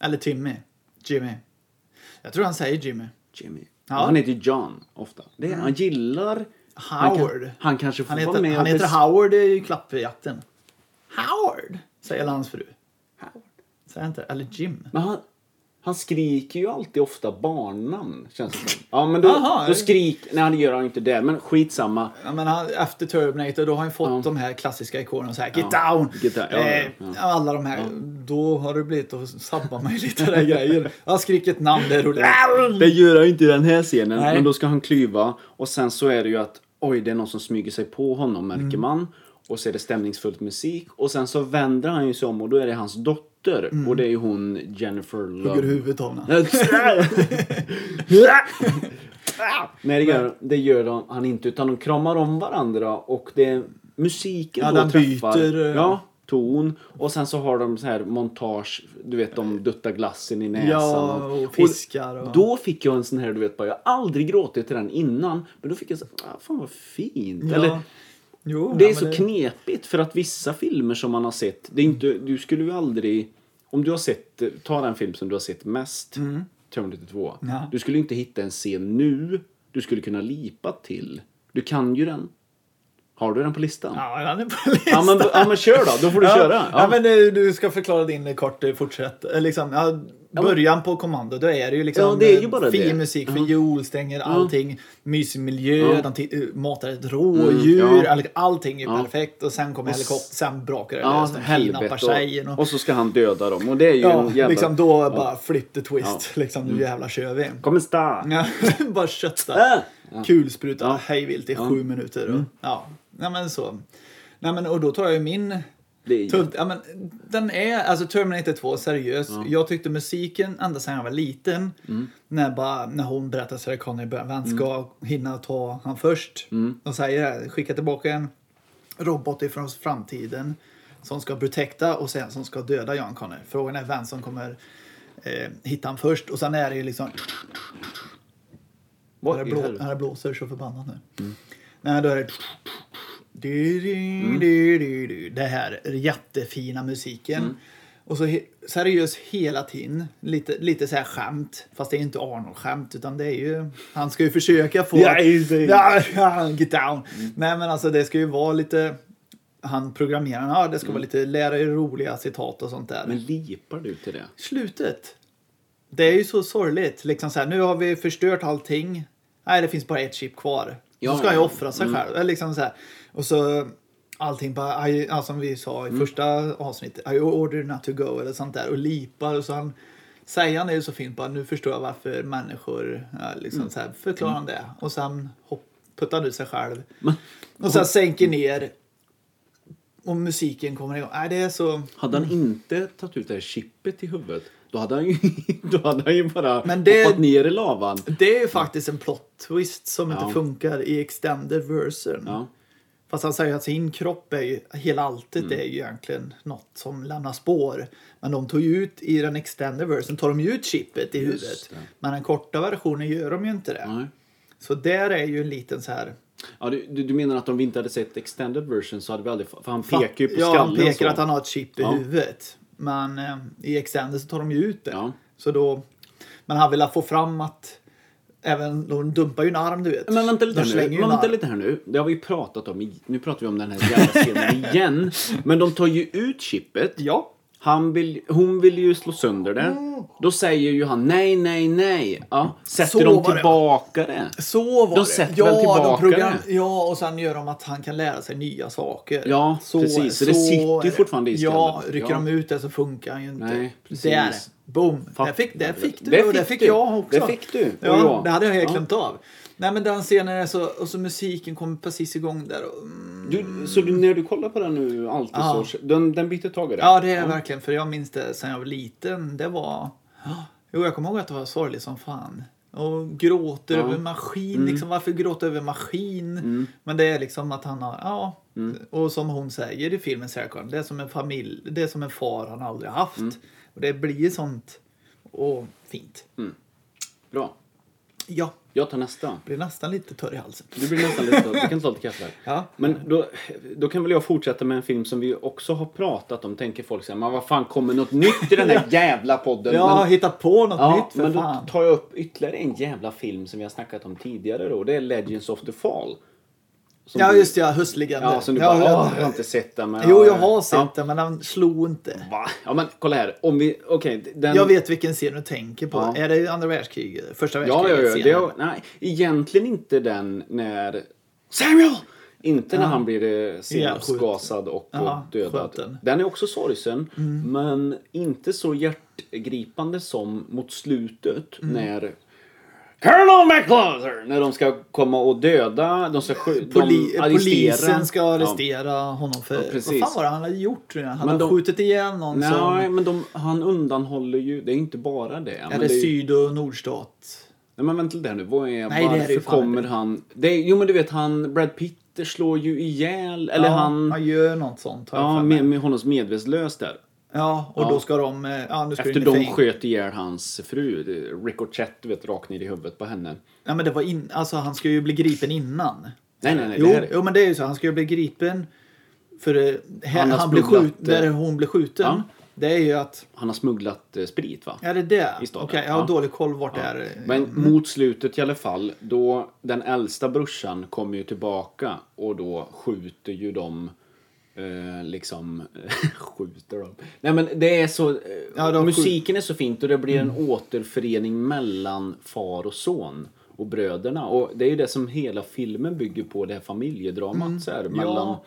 S1: Eller Timmy. Jimmy. Jag tror han säger Jimmy.
S2: Jimmy.
S1: Ja. Mm.
S2: Han heter John ofta. Det är, Han gillar... Han,
S1: Howard.
S2: kan, han kanske får
S1: Han
S2: vara
S1: heter,
S2: med
S1: han
S2: och
S1: heter
S2: bes-
S1: Howard i klappjakten. Howard! Säger hans fru.
S2: Howard.
S1: Säger han inte? Eller Jim.
S2: Men han, han skriker ju alltid ofta barnnamn, känns det som. Ja, men då,
S1: Aha.
S2: då skrik... Nej, det gör han ju inte där, men skitsamma.
S1: Ja, men han, efter Terminator då har han fått de här klassiska ikonerna så här Get down!
S2: Get down, ja,
S1: eh,
S2: ja,
S1: Alla de här. Då har det blivit att sabba mig lite där grejer. Han skriker ett namn där och
S2: Det gör han ju inte i den här scenen,
S1: Nej.
S2: men då ska han klyva. Och sen så är det ju att oj, det är någon som smyger sig på honom, märker
S1: Mm.
S2: man. Och så är det stämningsfullt musik. Och sen så vänder han ju sig om och då är det hans dotter. Och det är ju hon Jennifer
S1: Mm. hugger
S2: Love
S1: huvudet av honom.
S2: Nej, det gör, det gör de, han inte. Utan de kramar om varandra och det är musiken
S1: Ja,
S2: då
S1: den
S2: träffar.
S1: byter, eh.
S2: Ja, ton. Och sen så har de så här montage. Du vet, de duttar glassen i näsan.
S1: Ja, och fiskar och-
S2: Då fick jag en sån här, du vet, bara, jag har aldrig gråtit till den innan. Men då fick jag så ah, fan vad fint. Eller,
S1: Ja. Jo,
S2: det
S1: ja,
S2: är
S1: men
S2: så knepigt för att vissa filmer som man har sett, det är inte, du skulle ju aldrig... Om du har sett, ta den film som du har sett mest, Terminator 2.
S1: Mm. Ja.
S2: Du skulle inte hitta en scen nu du skulle kunna lipa till. Du kan ju den. Har du den på listan?
S1: Ja, han är på listan.
S2: Ja, men, ja, men kör då, då får du köra. Ja.
S1: Ja. men eh, du ska förklara din eh, kort eh, fortsätt. eh, Liksom, ja, början på kommando, då är det ju liksom
S2: Ja, det är ju
S1: eh,
S2: bara
S1: fin
S2: det.
S1: musik, fiolstänger, allting. Mysig miljö,
S2: Ja. Mm,
S1: de ti- eh, matar ett rådjur,
S2: ja.
S1: all- allting är ju perfekt. Och sen kommer helikoptern, sen brakar det
S2: Ja,
S1: lös, de
S2: helvete.
S1: kidnappar tjejen.
S2: Och,
S1: Och,
S2: och så ska han döda dem. Och det är ju
S1: ja,
S2: en jävla... Mm.
S1: liksom då bara flip the twist. Liksom, nu jävlar kör vi.
S2: Kommer sta!
S1: Ja, bara kötta.
S2: Äh!
S1: Kulspruta hej vilt i sju minuter. Och,
S2: Mm.
S1: Ja, nej men så. Nej men och då tar jag ju min.
S2: Det är ju-
S1: Tunt, ja, men, den är, alltså Terminator 2, seriös. Jag tyckte musiken, ända sedan jag var liten,
S2: Mm.
S1: när, bara, när hon berättar för Conny i början, vem ska hinna ta han först?
S2: Mm.
S1: De säger det, här, skicka tillbaka en robot ifrån framtiden som ska protekta och sen som ska döda John Connor. Frågan är vem som kommer eh, hitta han först och sen är det ju liksom
S2: Vad
S1: när, det
S2: i
S1: blå,
S2: helvete? Mm.
S1: när det blåser så förbannat nu. Nej, då är det... Du, du,
S2: Mm.
S1: du, du, du. Det här jättefina musiken.
S2: Mm.
S1: Och så he- seriös hela tiden. Lite, lite så här skämt. Fast det är inte Arnold-skämt utan det är ju... Han ska ju försöka få...
S2: Ja, Mm. just det.
S1: Ja, ja, Get down! Nej men alltså det ska ju vara lite... Han programmeraren, ja det ska vara lite lära er roliga citat och sånt där
S2: Mm. Men lipar du till det?
S1: slutet. Det är ju så sorgligt. Liksom så här, nu har vi förstört allting. Nej, det finns bara ett chip kvar. Så ska han ju offra sig själv. Eller liksom så här. Och så allting bara, I, ja, som vi sa i första avsnittet, I order not to go eller sånt där och lipar och så han Säger han det ju så fint bara, nu förstår jag varför människor, ja, liksom så här, förklarar han det. Och sen hopp, puttar han ut sig själv.
S2: Mm.
S1: och sen sänker ner och musiken kommer igång. Nej, det är så...
S2: Hade han
S1: Mm.
S2: inte tagit ut det här chippet i huvudet då hade han ju, då hade han ju bara
S1: Men det-
S2: hoppat ner i lavan.
S1: Det är ju faktiskt en plot twist som
S2: Ja.
S1: inte funkar i extended version.
S2: Ja.
S1: Fast han säger att sin kropp är ju, hela alltet
S2: Mm.
S1: är ju egentligen något som lämnar spår. Men de tog ju ut, i den extended version tar de ju ut chippet i
S2: Just
S1: huvudet.
S2: det.
S1: Men den korta versionen gör de ju inte det.
S2: Nej.
S1: Så där är ju en liten så här...
S2: Ja, du, du du menar att om vi inte hade sett extended version så hade vi aldrig... För han
S1: Fatt-
S2: pekar ju på
S1: ja,
S2: skallen
S1: han pekar
S2: så.
S1: att han har ett chip i
S2: Ja.
S1: huvudet. Men eh, i Extended så tar de ju ut det.
S2: Ja.
S1: Så då, men han vill ha få fram att även, de dumpar ju en arm du vet.
S2: Men vänta
S1: de
S2: lite, här
S1: slänger
S2: nu.
S1: ju en
S2: Men vänta
S1: arm.
S2: lite här nu. Det har vi ju pratat om. i- Nu pratar vi om den här jävla scenen igen. Men de tar ju ut chippet.
S1: Ja. Mm.
S2: Han vill, hon vill ju slå sönder det. Då säger ju han nej, nej, nej. Ja, sätter
S1: Så
S2: de
S1: var det.
S2: tillbaka det.
S1: Så var
S2: De
S1: det.
S2: sätter väl tillbaka det?
S1: Ja, och sen gör de att han kan lära sig nya saker.
S2: Ja, precis. Så det sitter ju fortfarande i
S1: Ja,
S2: skallen.
S1: rycker
S2: Ja.
S1: de ut det så funkar han ju inte.
S2: Nej, precis.
S1: Där, boom.
S2: Fatt-
S1: Där fick, där fick du
S2: Där
S1: och där
S2: fick
S1: fick
S2: du.
S1: jag också.
S2: Där fick du och
S1: Ja,
S2: jag.
S1: det hade jag helt
S2: Ja.
S1: glömt av. Nej, men den scenen är så, och så musiken kommer precis igång där. Och, mm,
S2: Du, så du, när du kollar på den nu, alltid
S1: Ja.
S2: så... Den, den byter tag i det?
S1: Ja, det är verkligen. För jag minns det sen jag var liten. Det var... Jo, jag kommer ihåg att det var sorgligt som fan. Och gråter
S2: Ja. Mm.
S1: över maskin. Liksom, varför gråta över maskin? Men det är liksom att han har... Ja.
S2: Mm.
S1: Och som hon säger i filmen, Sarah Connor, det är som en familj. Det är som en far han aldrig haft.
S2: Mm.
S1: Och det blir sånt. Och fint.
S2: Mm. Bra.
S1: Ja,
S2: Jag tar nästa.
S1: blir nästan lite törr i halsen.
S2: Du blir nästan lite... Du kan ta lite kaffe här.
S1: Ja.
S2: Men då, då kan väl jag fortsätta med en film som vi också har pratat om. Tänker folk så här, men vad fan kommer något nytt i den här jävla podden?
S1: Jag har
S2: men,
S1: hittat på något
S2: ja,
S1: nytt för
S2: men då
S1: fan.
S2: tar jag upp ytterligare en jävla film som vi har snackat om tidigare då. Det är Legends of the Fall. Som
S1: Ja,
S2: du-
S1: just det. Ja, höstlegender.
S2: Ja, som du
S1: Ja,
S2: bara,
S1: jag-
S2: "Åh, jag har inte sett den. Men,
S1: Jo, jag har sett
S2: ja.
S1: den, men den slog inte.
S2: Va? Ja, men kolla här. Om vi... Okej, den...
S1: Jag vet vilken scen du tänker på.
S2: Ja.
S1: Är det andra världskriget? Första
S2: Ja, ja,
S1: världskriget?
S2: ja. Det är, nej, egentligen inte den när... Samuel! Inte när han blir eh, senapsgasad och, och
S1: Ja,
S2: dödad.
S1: skjuten. Mm.
S2: Den är också sorgsen, men inte så hjärtgripande som mot slutet
S1: Mm.
S2: när... Colonel McCluster! När de ska komma och döda, de ska
S1: Poli-
S2: skjuta,
S1: eh,
S2: de arrestera.
S1: polisen ska
S2: Ja.
S1: arrestera honom för...
S2: precis.
S1: vad fan var det han hade gjort? tror jag? Han hade
S2: de-
S1: skjutit igen någon
S2: Nej,
S1: som...
S2: men de, han undanhåller ju, det är inte bara det. men
S1: Är det
S2: är ju-
S1: syd och nordstat?
S2: Nej men vänta lite här nu. Vad är,
S1: Nej, det är
S2: varför
S1: det ju fan
S2: kommer
S1: inte.
S2: han... Det är, jo men du vet han, Brad Pitt slår ju ihjäl, eller
S1: ja,
S2: han...
S1: Han gör något sånt. har jag
S2: ja,
S1: för mig.
S2: med, med honom medvetslös där.
S1: ja, och
S2: Ja.
S1: då ska de... eh, Ja, nu ska
S2: Efter
S1: in i
S2: de
S1: fäng-
S2: sköt ihjäl hans fru, eh, Ricochet, du vet, rakt ner i huvudet på henne.
S1: Ja, men det var in... Alltså, han ska ju bli gripen innan.
S2: Nej, nej, nej.
S1: Jo,
S2: det här är...
S1: jo, men det är ju så. Han ska ju bli gripen för... eh, Här,
S2: Han har
S1: han blir
S2: smugglat,
S1: skjut... Där
S2: eh,
S1: hon blir skjuten.
S2: ja.
S1: Det är ju att...
S2: Han har smugglat eh, sprit va?
S1: Är det det?
S2: I
S1: Okej,
S2: staden,
S1: jag har
S2: ja.
S1: dålig koll vart det är. eh,
S2: Men mot slutet i alla fall, då den äldsta brorsan kommer ju tillbaka och då skjuter ju de eh, liksom skjuter de. Nej men det är så eh,
S1: Ja, de skjut-
S2: musiken är så fint och det blir en återförening mellan far och son och bröderna och det är ju det som hela filmen bygger på det här familjedramat så här mellan
S1: Mm. Ja.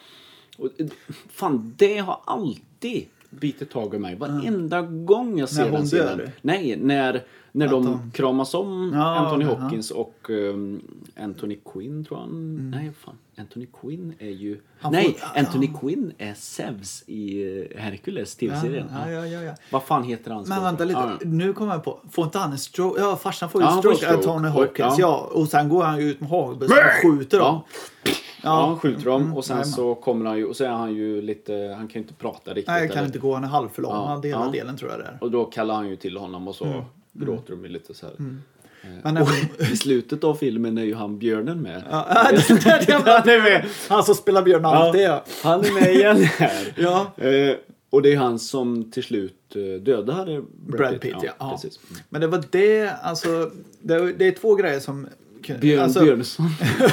S2: och, eh, fan det har alltid bitit tag i mig varenda gång jag ser
S1: Mm. hon
S2: den scenen.
S1: dör?
S2: Nej, när, när de, kramas om
S1: Ja,
S2: Anthony
S1: ja.
S2: Hopkins och um, Anthony Quinn tror han. Nej, fan. Anthony Quinn är ju...
S1: Mm. Han
S2: nej,
S1: får- ja,
S2: Anthony Quinn är Zeus i eh, Hercules, tv-serien.
S1: Ja, ja, ja, ja.
S2: Vad fan heter han?
S1: Men vänta lite,
S2: Ja, ja.
S1: nu kommer jag på. Får inte han en stroke? Ja, farsan får ju
S2: Ja, han får
S1: stroke.
S2: stroke.
S1: Tony
S2: Och-
S1: Hopkins, ja. Och sen går han ju ut med hagelbössan och skjuter dem.
S2: Ja, ja,
S1: Ja. Mm.
S2: han skjuter dem och sen
S1: jajamän.
S2: så kommer han ju och så är han ju lite, han kan ju inte prata riktigt.
S1: Nej, jag kan
S2: eller-
S1: inte gå. Han är halvförlamad
S2: Ja,
S1: hela
S2: ja.
S1: delen tror jag det är.
S2: Och då kallar han ju till honom och så
S1: Mm.
S2: gråter de ju lite så här.
S1: Men när hon...
S2: I slutet av filmen är ju han björnen med.
S1: ja, det där jävla...
S2: Han är med!
S1: Han som spelar Björn alltid ja.
S2: Han är med igen här.
S1: Ja.
S2: Eh, och det är han som till slut eh, dödar Brad,
S1: Brad Pitt, ja. ja.
S2: Precis. Mm.
S1: Men det var det, alltså. Det, det är två grejer som...
S2: Björn
S1: alltså,
S2: Björnsson.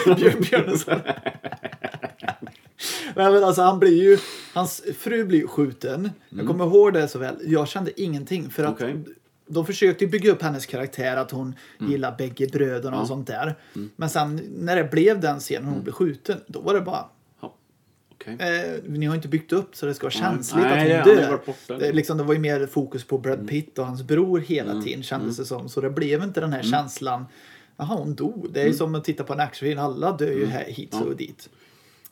S1: Björn Björnsson. Nej, men alltså, han blir ju, hans fru blir skjuten. Jag kommer ihåg det så väl. Jag kände ingenting. För att
S2: Okej.
S1: de försökte ju bygga upp hennes karaktär, att hon gillar bägge bröderna och sånt där. Men sen när det blev den scenen hon blev skjuten, då var det bara
S2: Ja. Okej.
S1: Eh, ni har inte byggt upp så det ska vara
S2: Nej.
S1: känsligt
S2: Nej, det-
S1: att
S2: han
S1: hon
S2: har
S1: dör.
S2: varit borta. Mm.
S1: Det, är liksom, det var ju mer fokus på Brad Pitt och hans bror hela tiden kändes det som. Så det blev inte den här
S2: Mm.
S1: känslan. Jaha, hon dog. Det är ju som att titta på en actionfilm. Alla dör
S2: Mm.
S1: ju här, hit så och dit.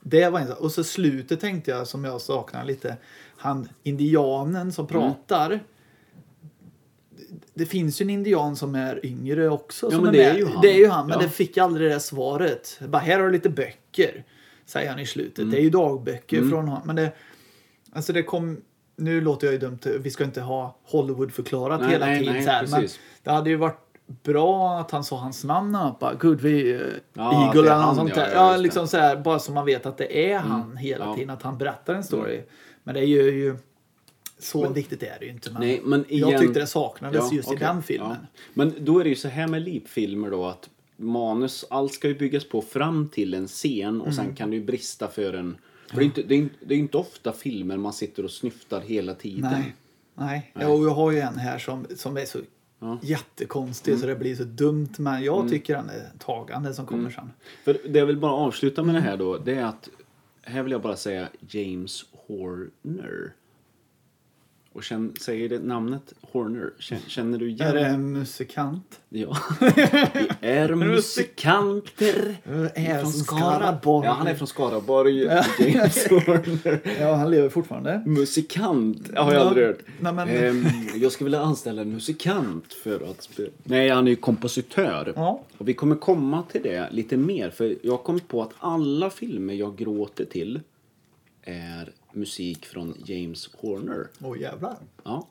S1: Det var en sak. Och så slutet tänkte jag som jag saknar lite. Han indianen som
S2: Mm.
S1: pratar. Det finns ju en indian som är yngre också.
S2: Ja,
S1: som
S2: men
S1: är
S2: det är
S1: med.
S2: ju han.
S1: Det är ju han, men
S2: Ja.
S1: det fick aldrig det där svaret. Bara, här har du lite böcker, säger han i slutet.
S2: Mm.
S1: Det är ju dagböcker från honom. Men det, alltså det kom, nu låter jag ju dumt, vi ska inte ha Hollywood-förklarat
S2: Nej,
S1: hela
S2: nej,
S1: tiden.
S2: nej,
S1: så här, men
S2: precis.
S1: det hade ju varit bra att han sa hans namn när han bara, gud vi eh,
S2: Ja, att det är
S1: Eagle eller något
S2: han,
S1: sånt
S2: ja,
S1: där.
S2: ja,
S1: Ja,
S2: just det. Mm,
S1: liksom så här, bara så man vet att det är han hela
S2: ja. Mm.
S1: tiden, att han berättar en story. Men det är ju, ju så viktigt är det ju inte. Men
S2: Nej, men igen...
S1: Jag tyckte det saknades just i
S2: okej.
S1: den filmen.
S2: Ja. Men då är det ju så här med lipfilmer då att manus, allt ska ju byggas på fram till en scen och
S1: Mm.
S2: sen kan det ju brista för en... För det, är inte, det, är inte, det är inte ofta filmer man sitter och snyftar hela tiden.
S1: Nej. Nej. Jo, jag har ju en här som, som är så jättekonstig så
S2: Mm.
S1: det blir så dumt. Men jag tycker den är tagande som kommer sen.
S2: För det jag vill bara avsluta med det här då, det är att här vill jag bara säga James Horner. Och känn, säger det namnet Horner, känner, känner du igen
S1: Är det en musikant?
S2: Ja. Vi är musikanter.
S1: Vi är
S2: Från
S1: som Skaraborg.
S2: Skaraborg. Ja, han är från Skaraborg. James Horner.
S1: Ja, han lever fortfarande.
S2: Musikant har jag
S1: Ja,
S2: aldrig hört.
S1: nej, men-
S2: Ehm, jag skulle vilja anställa en musikant för att spela. Nej, han är ju kompositör.
S1: Ja.
S2: Och vi kommer komma till det lite mer. För jag har kommit på att alla filmer jag gråter till är musik från James Horner.
S1: Åh jävlar.
S2: Ja.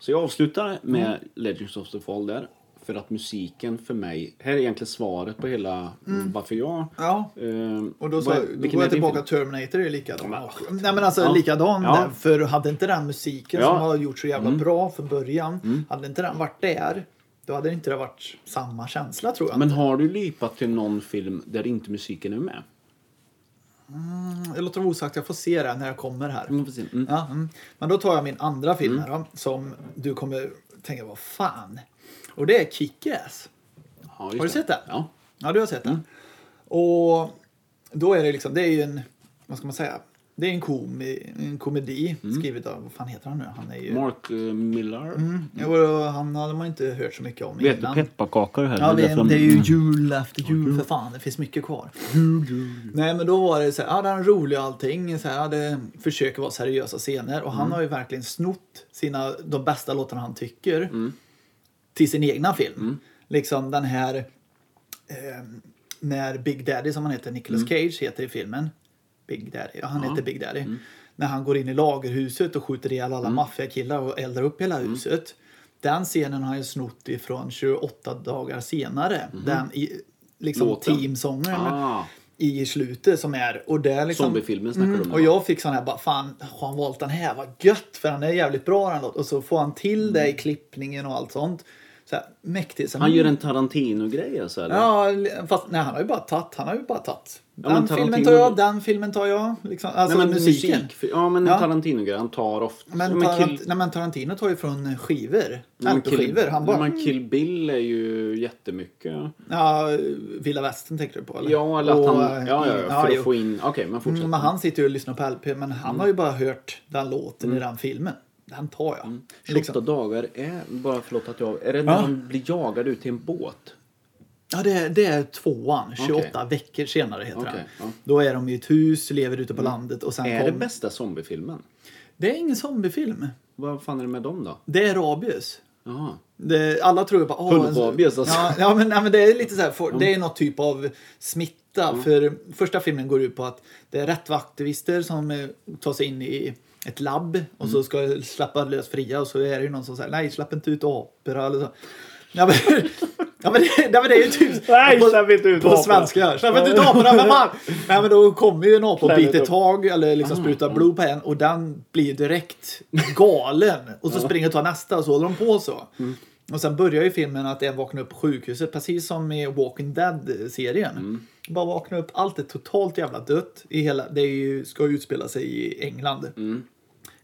S2: Så jag avslutar med
S1: Mm.
S2: Legends of the Fall där. För att musiken för mig, här är egentligen svaret på hela varför jag...
S1: Ja.
S2: ehm,
S1: Mm. Och då, sa,
S2: vad-
S1: då
S2: vilken
S1: går
S2: är din
S1: jag tillbaka
S2: film?
S1: till Terminator är likadan.
S2: Men-
S1: Nej men alltså
S2: Ja.
S1: likadan
S2: Ja.
S1: där. För hade inte den musiken
S2: Ja. Mm.
S1: som har gjort så jävla bra från början. Hade inte den varit där. Då hade inte det varit samma känsla tror jag.
S2: Men har du lipat till någon film där inte musiken är med?
S1: Jag låter det osagt, jag får se det när jag kommer här.
S2: Vi får se. Mm.
S1: Ja, mm. Men då tar jag min andra film här då, som du kommer tänka, vad fan. Och det är Kick-Ass.
S2: Ja, just
S1: Har du sett den?
S2: Ja.
S1: Ja, du har sett den.
S2: Mm.
S1: Och då är det liksom, det är ju en, vad ska man säga, det är en, komi, en komedi
S2: Mm.
S1: skrivet av, vad fan heter han nu? Han är ju...
S2: Mark eh, Millar.
S1: Jo, då, han hade man inte hört så mycket om
S2: Vet du
S1: innan.
S2: pepparkakor här?
S1: Ja,
S2: är
S1: det,
S2: därför
S1: det är
S2: de- Mm.
S1: ju jul efter jul för fan. Det finns mycket kvar. Nej, men då var det så här, ja, den är rolig och allting. Så här, ja, det försöker vara seriösa scener. Och han
S2: Mm.
S1: har ju verkligen snott sina, de bästa låtarna han tycker
S2: Mm.
S1: till sin egna film. Liksom den här, eh, när Big Daddy som han heter, Nicolas Cage heter i filmen. Big Daddy, ja han heter Big Daddy. När han går in i lagerhuset och skjuter ihjäl alla maffiakillar och eldar upp hela huset. Den scenen har han ju snott ifrån 28 dagar senare. Den i, liksom
S2: Låten.
S1: teamsången
S2: Ah,
S1: i slutet som är... Och det är liksom,
S2: Zombiefilmen snackar du om,
S1: Och
S2: ja.
S1: jag fick sån här bara, fan har han valt den här? Vad gött! För han är jävligt bra den låt. Och så får han till det i klippningen och allt sånt. Så här, mäktigt. Så
S2: Mm. han gör en Tarantino-grej alltså? Eller?
S1: Ja, li- fast nej, han har ju bara tagit. Han har ju bara tagit.
S2: men
S1: Den filmen
S2: Tarantino-
S1: tar jag, den filmen tar jag. Liksom, alltså
S2: Nej, men
S1: musiken.
S2: musik. för- Ja, men en
S1: Ja.
S2: Tarantino-grej. Han tar ofta...
S1: Men,
S2: Ja,
S1: Tarant-
S2: Kill-
S1: nej, men Tarantino tar ju från skivor.
S2: Nej, men
S1: LP-skivor. Han bara,
S2: Nej, men Kill Bill är ju jättemycket.
S1: ja, Villa Västern tänker du på eller?
S2: Ja, eller att
S1: Och,
S2: han... Ja, ja,
S1: eh,
S2: ja, för
S1: jo.
S2: att få in... Okej, men fortsätt.
S1: Mm, Men han sitter ju och lyssnar på LP, men
S2: Mm.
S1: han har ju bara hört den låten i den filmen. Den tar jag.
S2: 28
S1: Liksom.
S2: dagar är... Bara förlåt att jag... Är det när
S1: Ja.
S2: han blir jagad ut till en båt?
S1: Ja, det, är- det är tvåan. 28
S2: Okej.
S1: veckor senare heter
S2: Okej,
S1: den.
S2: ja. Mm.
S1: Då är de i ett hus, lever ute på landet och sen
S2: Är
S1: kom...
S2: det bästa zombiefilmen?
S1: Det är ingen zombiefilm.
S2: Vad fan är det med dem då?
S1: Det är rabies.
S2: Jaha.
S1: Det, alla tror ju bara... åh,
S2: Hundrabies, alltså.
S1: Ja, ja men, nej, men det är lite så här, for, det är något typ av smitta. För första filmen går ut på att det är rättvaktivister som eh, tar sig in i ett labb och så ska släppa lös fria och så är det ju någon som säger nej släpp inte ut apor eller så. Ja men, ja, men, det, nej, men det är ju typ...
S2: Nej,
S1: på,
S2: släpp inte ut
S1: På
S2: aporna.
S1: svenska. Släpp inte ut aporna för fan! Nej men då kommer ju en apa och
S2: Planet
S1: biter
S2: Up.
S1: tag eller liksom sprutar blod på en och den blir direkt galen. Och så springer och tar nästa och så håller de på så. Och sen börjar ju filmen att en vaknar upp på sjukhuset precis som i Walking Dead-serien. Bara vaknar upp, allt är totalt jävla dött. I Mm. hela, det är ju, ska ju utspela sig i England.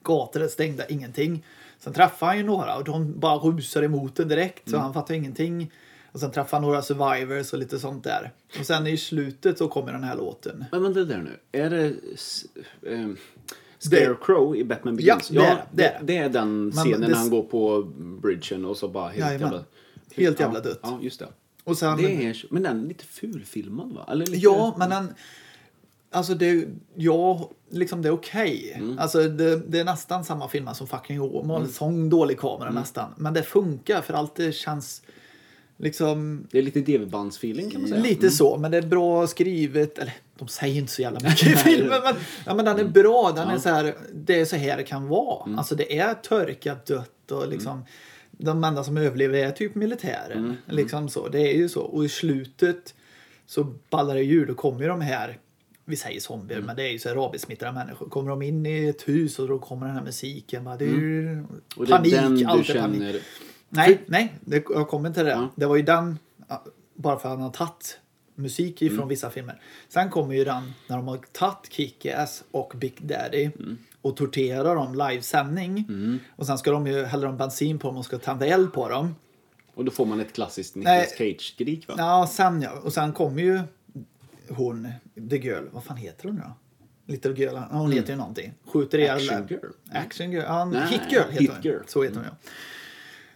S1: Gator är stängda, ingenting. Sen träffade han ju några och de bara rusar emot den direkt så
S2: Mm.
S1: han fattar ingenting. Och sen träffar han några survivors och lite sånt där. Och sen i slutet så kommer den här låten.
S2: Men vänta där nu. Är det s- ehm, Scarecrow i Batman Begins?
S1: Ja, det är det. Det är det.
S2: det är den scenen
S1: det-
S2: när han går på bridgen och så bara helt
S1: Jajamän.
S2: jävla...
S1: Helt jävla
S2: Ja,
S1: dött.
S2: Ja, just det.
S1: Och sen,
S2: det är, men den är lite fulfilmad va? Eller lite,
S1: Ja, men den... Alltså det, ja, liksom det är okej.
S2: Mm.
S1: Alltså det, det är nästan samma filmer som Fucking Åmål. Sång, dålig kamera
S2: Mm.
S1: nästan. Men det funkar för allt det känns liksom
S2: Det är lite DV-bandsfeeling kan man säga.
S1: Mm.
S2: Mm.
S1: lite så. Men det är bra skrivet. Eller de säger inte så jävla mycket i filmen. Men, ja, men den är bra. Den är så här, det är så här det kan vara.
S2: Mm.
S1: Alltså det är törkat, dött och liksom de enda som överlever är typ
S2: Mm.
S1: militären. Liksom så. Det är ju så. Och i slutet så ballar det ur. Då kommer ju de här, vi säger zombier,
S2: Mm.
S1: men det är ju så här rabiessmittade människor. Kommer de in i ett hus och då kommer den här musiken. Bara, det är ju
S2: Mm. Och det är
S1: panik,
S2: den du
S1: allt är panik.
S2: känner...
S1: Nej, nej, det, jag kommer inte till det.
S2: Ja.
S1: Det var ju den, ja, bara för att han har tagit musik ifrån vissa filmer. Sen kommer ju den när de har tagit Kick-Ass och Big Daddy och torterar dem livesändning. Och sen ska de ju, häller de bensin på dem och ska tända eld på dem.
S2: Och då får man ett klassiskt Nicolas Cage-skrik va?
S1: Ja, sen ja. Och sen kommer ju hon, The Girl, vad fan heter hon nu då? Little Girl, ja, hon heter ju någonting. Skjuter ihjäl...
S2: Mm. Action Girl.
S1: Action Girl, ja,
S2: Nej,
S1: Hit Girl heter
S2: Hit
S1: hon.
S2: Girl.
S1: Så heter hon ja.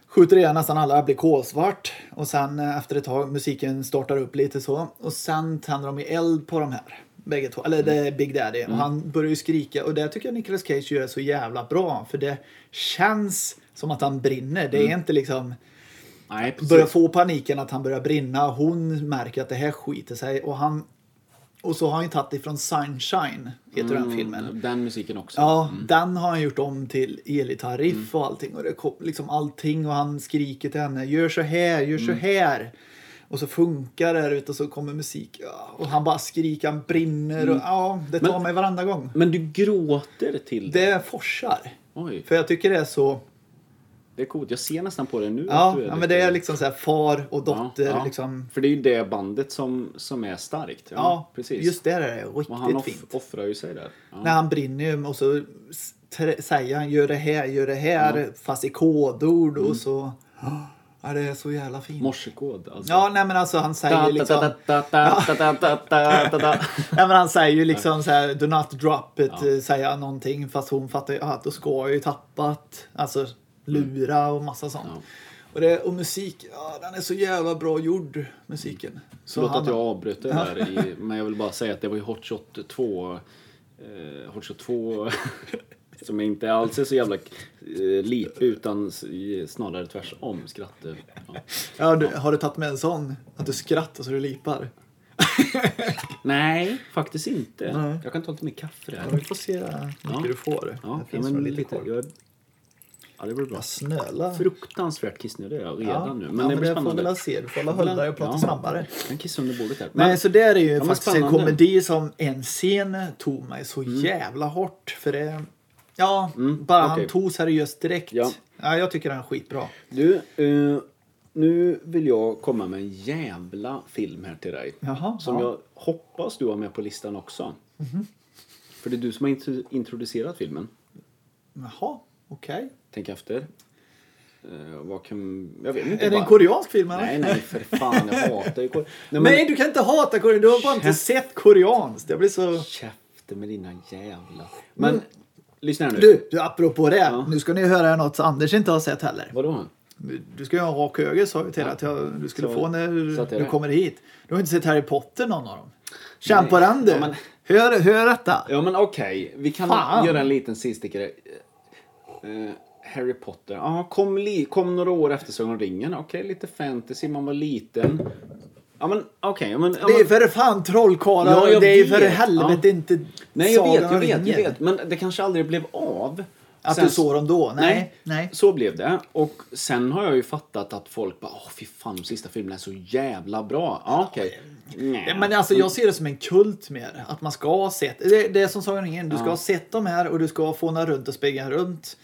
S1: Skjuter ihjäl nästan alla, blir kolsvart. Och sen eh, efter ett tag, musiken startar upp lite så. Och sen tänder de ju eld på de här. Bägge två, eller
S2: Mm.
S1: det är Big Daddy. Och han börjar ju skrika. Och det tycker jag Nicolas Cage gör så jävla bra. För det känns som att han brinner. Det är
S2: Mm.
S1: inte liksom
S2: Nej, precis.
S1: börjar få paniken att han börjar brinna. Hon märker att det här skiter sig och han och så har han ju tagit ifrån Sunshine, heter
S2: Mm.
S1: den filmen.
S2: Den musiken också.
S1: Ja, den har han gjort om till elgitarriff
S2: Mm.
S1: och allting. Och det kom, liksom allting och han skriker till henne, gör så här, gör
S2: Mm.
S1: så här. Och så funkar det här ute och så kommer musik. Ja, Och han bara skriker, han brinner. Och, ja, det tar
S2: Mm. Men-
S1: mig varenda gång.
S2: Men du gråter till det.
S1: Det forsar.
S2: Oj,
S1: För jag tycker det är så...
S2: det är coolt. Jag ser nästan på det nu. att
S1: Ja,
S2: du
S1: ja
S2: lite-
S1: men det är liksom så här far och
S2: Ja,
S1: dotter.
S2: ja.
S1: Liksom,
S2: För det är ju det bandet som, som är starkt. Ja,
S1: Ja,
S2: precis.
S1: just det är det. Riktigt
S2: och han off,
S1: fint.
S2: offrar ju sig där. Ja.
S1: När han brinner ju och så s- trä- säger han gör det här, gör det här fast i kodord
S2: Mm.
S1: och så. Ja, det är så jävla fint.
S2: Morsekod alltså.
S1: ja, nej men alltså han säger liksom.
S2: Ta-ta-ta-ta-ta-ta-ta-ta-ta.
S1: Nej men han säger ju liksom så här do not drop it, eh, säger han någonting fast hon fattar ju att då ska jag ju tappat. Alltså lura och massa sånt.
S2: Mm. Ja.
S1: Och, det, och musik, ja den är så jävla bra gjord musiken. Så
S2: Mm. Förlåt att
S1: han-
S2: jag avbröt det där, i, men jag vill bara säga att det var ju Hot Shot 2. Eh, Hot Shot 2 som inte alls är så jävla eh, lik utan s- i- snarare tvärsom. Skratt. eh, Ja.
S1: Ja, du, har du tagit med en sån? Att du skrattar så du lipar?
S2: Nej, faktiskt inte.
S1: Nej.
S2: Jag kan ta lite mer kaffe
S1: Ja,
S2: där.
S1: vi får se hur mycket
S2: Ja.
S1: du får.
S2: Ja,
S1: det
S2: ja,
S1: finns
S2: men
S1: nog
S2: lite,
S1: lite kvar.
S2: jag, ja, det blir bra.
S1: Jag snölar.
S2: Fruktansvärt kissnödig är jag redan
S1: ja.
S2: nu.
S1: Men
S2: Men
S1: ja,
S2: det
S1: men
S2: blir
S1: jag får
S2: spännande.
S1: väl se. Du får hålla hålla dig och prata
S2: Ja.
S1: snabbare.
S2: Jag kan kissa under bordet här.
S1: Nej,
S2: Men-
S1: så där är ju
S2: men
S1: faktiskt en
S2: spännande. Mm.
S1: komedi som en scen tog mig så jävla hårt. För det... Ja, bara
S2: okej.
S1: han tog seriöst direkt. Ja.
S2: Ja.
S1: jag tycker den är skitbra.
S2: Du, eh, nu vill jag komma med en jävla film här till dig.
S1: Jaha,
S2: som
S1: ja. Mhm.
S2: jag hoppas du har med på listan också. För det är du som har intro- introducerat filmen.
S1: Jaha, okej.
S2: Tänk efter. Eh, vad kan... Jag vet inte.
S1: Är det en
S2: bara-
S1: koreansk film eller?
S2: Nej, nej, för fan. Jag hatar ju kor... Nej, men...
S1: Nej, du kan inte hata korean. Du har bara inte sett koreanskt. Jag blir så...
S2: Käften med dina jävla... Men, lyssna här nu.
S1: Mm. Du, du, apropå det. Nu ska ni höra något som Anders inte har sett heller.
S2: Vadå?
S1: Du ska ju ha en rak höger sa jag till dig att jag, du skulle
S2: Så-
S1: få när
S2: så att det är
S1: du
S2: det.
S1: kommer hit. Du har inte sett Harry Potter någon av dem. Känn
S2: Nej.
S1: på den du.
S2: Ja, men-
S1: hör, hör detta.
S2: Ja, men okej. Vi kan
S1: Fan.
S2: göra en liten stickare. Eh, Harry Potter. Ja, kom, li- kom några år efter Sagan om ringen. Okej, lite fantasy. Man var liten. Ja, men okej. ja, men, ja,
S1: Det är
S2: men-
S1: för fan trollkarlar
S2: Ja,
S1: och
S2: jag
S1: det är för
S2: vet.
S1: helvete
S2: Ja.
S1: inte
S2: Nej, jag
S1: Sagan
S2: vet, jag
S1: om
S2: vet, jag
S1: ringen.
S2: vet. Men det kanske aldrig blev av.
S1: Att du såg dem då? Nej. nej.
S2: Så blev det. Och sen har jag ju fattat att folk bara, åh fy fan, de sista filmerna är så jävla bra. Ja, okej. Nej.
S1: Men alltså jag ser det som en kult mer. Att man ska ha sett. Det, det är som Sagan om ringen. Du ska ha sett de här och du ska fåna runt och springa runt.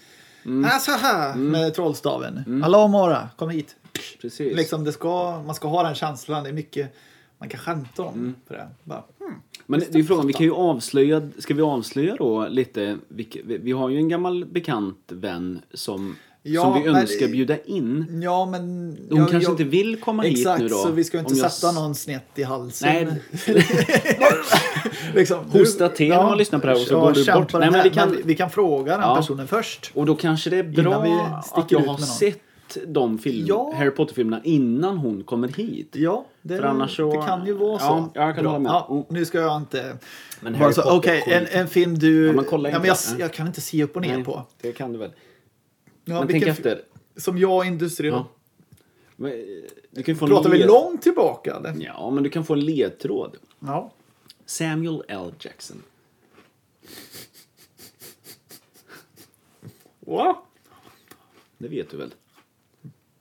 S2: Mm.
S1: Alltså här med trollstaven. Hallå Mora, kom hit.
S2: Precis.
S1: Liksom det ska, man ska ha den känslan. Det är mycket man kan skämta om.
S2: Mm.
S1: För det. Bara, hmm.
S2: Men det är ju frågan, vi kan ju avslöja, ska vi avslöja då lite, vilk- vi, vi har ju en gammal bekant vän som
S1: Ja,
S2: som vi
S1: men-
S2: önskar bjuda in.
S1: Ja, men...
S2: De
S1: jag-
S2: kanske
S1: jag-
S2: inte vill komma
S1: Exakt,
S2: hit nu då.
S1: så vi ska inte
S2: om jag
S1: sätta någon snett i halsen.
S2: Nej.
S1: liksom,
S2: Hosta till när man lyssnar på det här och så går du
S1: kämpa
S2: bort.
S1: den
S2: Nej, men
S1: här.
S2: vi kan-
S1: vi kan fråga den
S2: Ja.
S1: personen först.
S2: Och då kanske det är bra
S1: Innan vi
S2: att
S1: sticker
S2: jag
S1: ut
S2: har
S1: med någon.
S2: sett de film,
S1: Ja.
S2: Harry Potter-filmerna innan hon kommer hit.
S1: Ja, det,
S2: För annars så-
S1: det kan ju vara så.
S2: Ja, jag kan
S1: Bra.
S2: hålla med. Oh.
S1: Ja, nu ska jag inte...
S2: Men
S1: Bara så, Okej, en, en film du...
S2: Ja, men kolla
S1: ja,
S2: inte.
S1: men jag,
S2: Nej.
S1: jag kan inte se upp och ner
S2: Nej,
S1: på.
S2: Det kan du väl.
S1: Ja,
S2: Men
S1: vilken
S2: tänk
S1: fi-
S2: efter.
S1: Som jag industrin.
S2: Ja. Men, eh, Du kan ju få en
S1: Pratar vi
S2: led-
S1: långt tillbaka eller?
S2: Ja, men du kan få en ledtråd.
S1: Ja.
S2: Samuel L. Jackson.
S1: Va?
S2: Det vet du väl?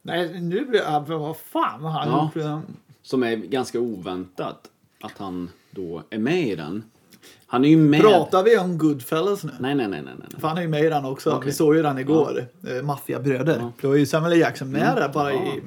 S1: Nej, nu blir jag... men Vad fan vad han
S2: Ja.
S1: gjort? redan?
S2: Som är ganska oväntat att han då är med i den. Han är ju med...
S1: Pratar vi om Goodfellas nu?
S2: Nej, nej, nej, nej. nej. nej.
S1: För han är ju med i den också.
S2: Okej.
S1: Vi såg ju den igår. Ja. Maffiabröder. Då är ju Samuel L. Jackson
S2: Mm.
S1: med där bara i...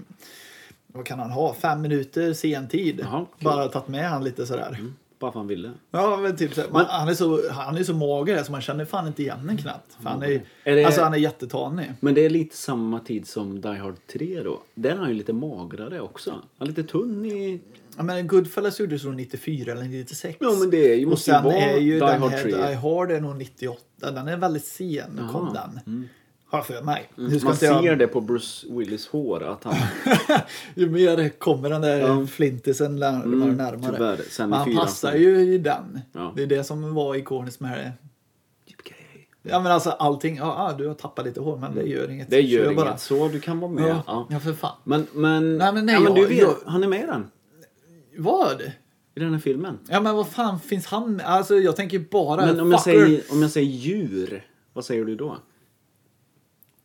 S1: Vad kan han ha? Fem minuter sen tid.
S2: Jaha, okej. Mm.
S1: Bara tagit med han lite sådär.
S2: Bara för han ville.
S1: Ja, men typ så här,
S2: Mm.
S1: man, han, är så, han är så mager här, så man känner fan inte igen honom knappt. För han är,
S2: Är det-
S1: Alltså han är jättetanig.
S2: Men det är lite samma tid som Die Hard 3 då. Där är han ju lite magrare också. Han är lite tunn i...
S1: Ja, men Goodfellas gjordes nog 94 eller 96.
S2: Ja men det är ju,
S1: Och
S2: måste ju
S1: sen
S2: vara
S1: är ju
S2: Die
S1: den
S2: Hard
S1: här
S2: 3.
S1: Die Hard är nog 98. Den är väldigt sen kom den. Har jag för mig. Nu ska
S2: Mm. Man
S1: inte jag-
S2: ser det på Bruce Willis hår att han...
S1: ju mer kommer den där flintisen lär-
S2: Mm,
S1: närmare.
S2: tyvärr. Sen i
S1: Men han
S2: fyran.
S1: passar ju i den.
S2: Ja.
S1: Det är det som var ikoniskt med det.
S2: Typ
S1: Ja men alltså allting. Ja, ah, du har tappat lite hår men det gör inget.
S2: Mm. Det
S1: Kör
S2: gör
S1: bara.
S2: inget. Så du kan vara med.
S1: Ja.
S2: Ja.
S1: ja för fan.
S2: Men, men...
S1: Nej, men nej,
S2: ja, men du
S1: jag-
S2: vet,
S1: jag-
S2: han är med i den.
S1: Vad?
S2: I den här filmen.
S1: Ja men vad fan finns han med? Alltså jag tänker ju bara
S2: Men om jag,
S1: fucker.
S2: säger, om jag säger djur, vad säger du då?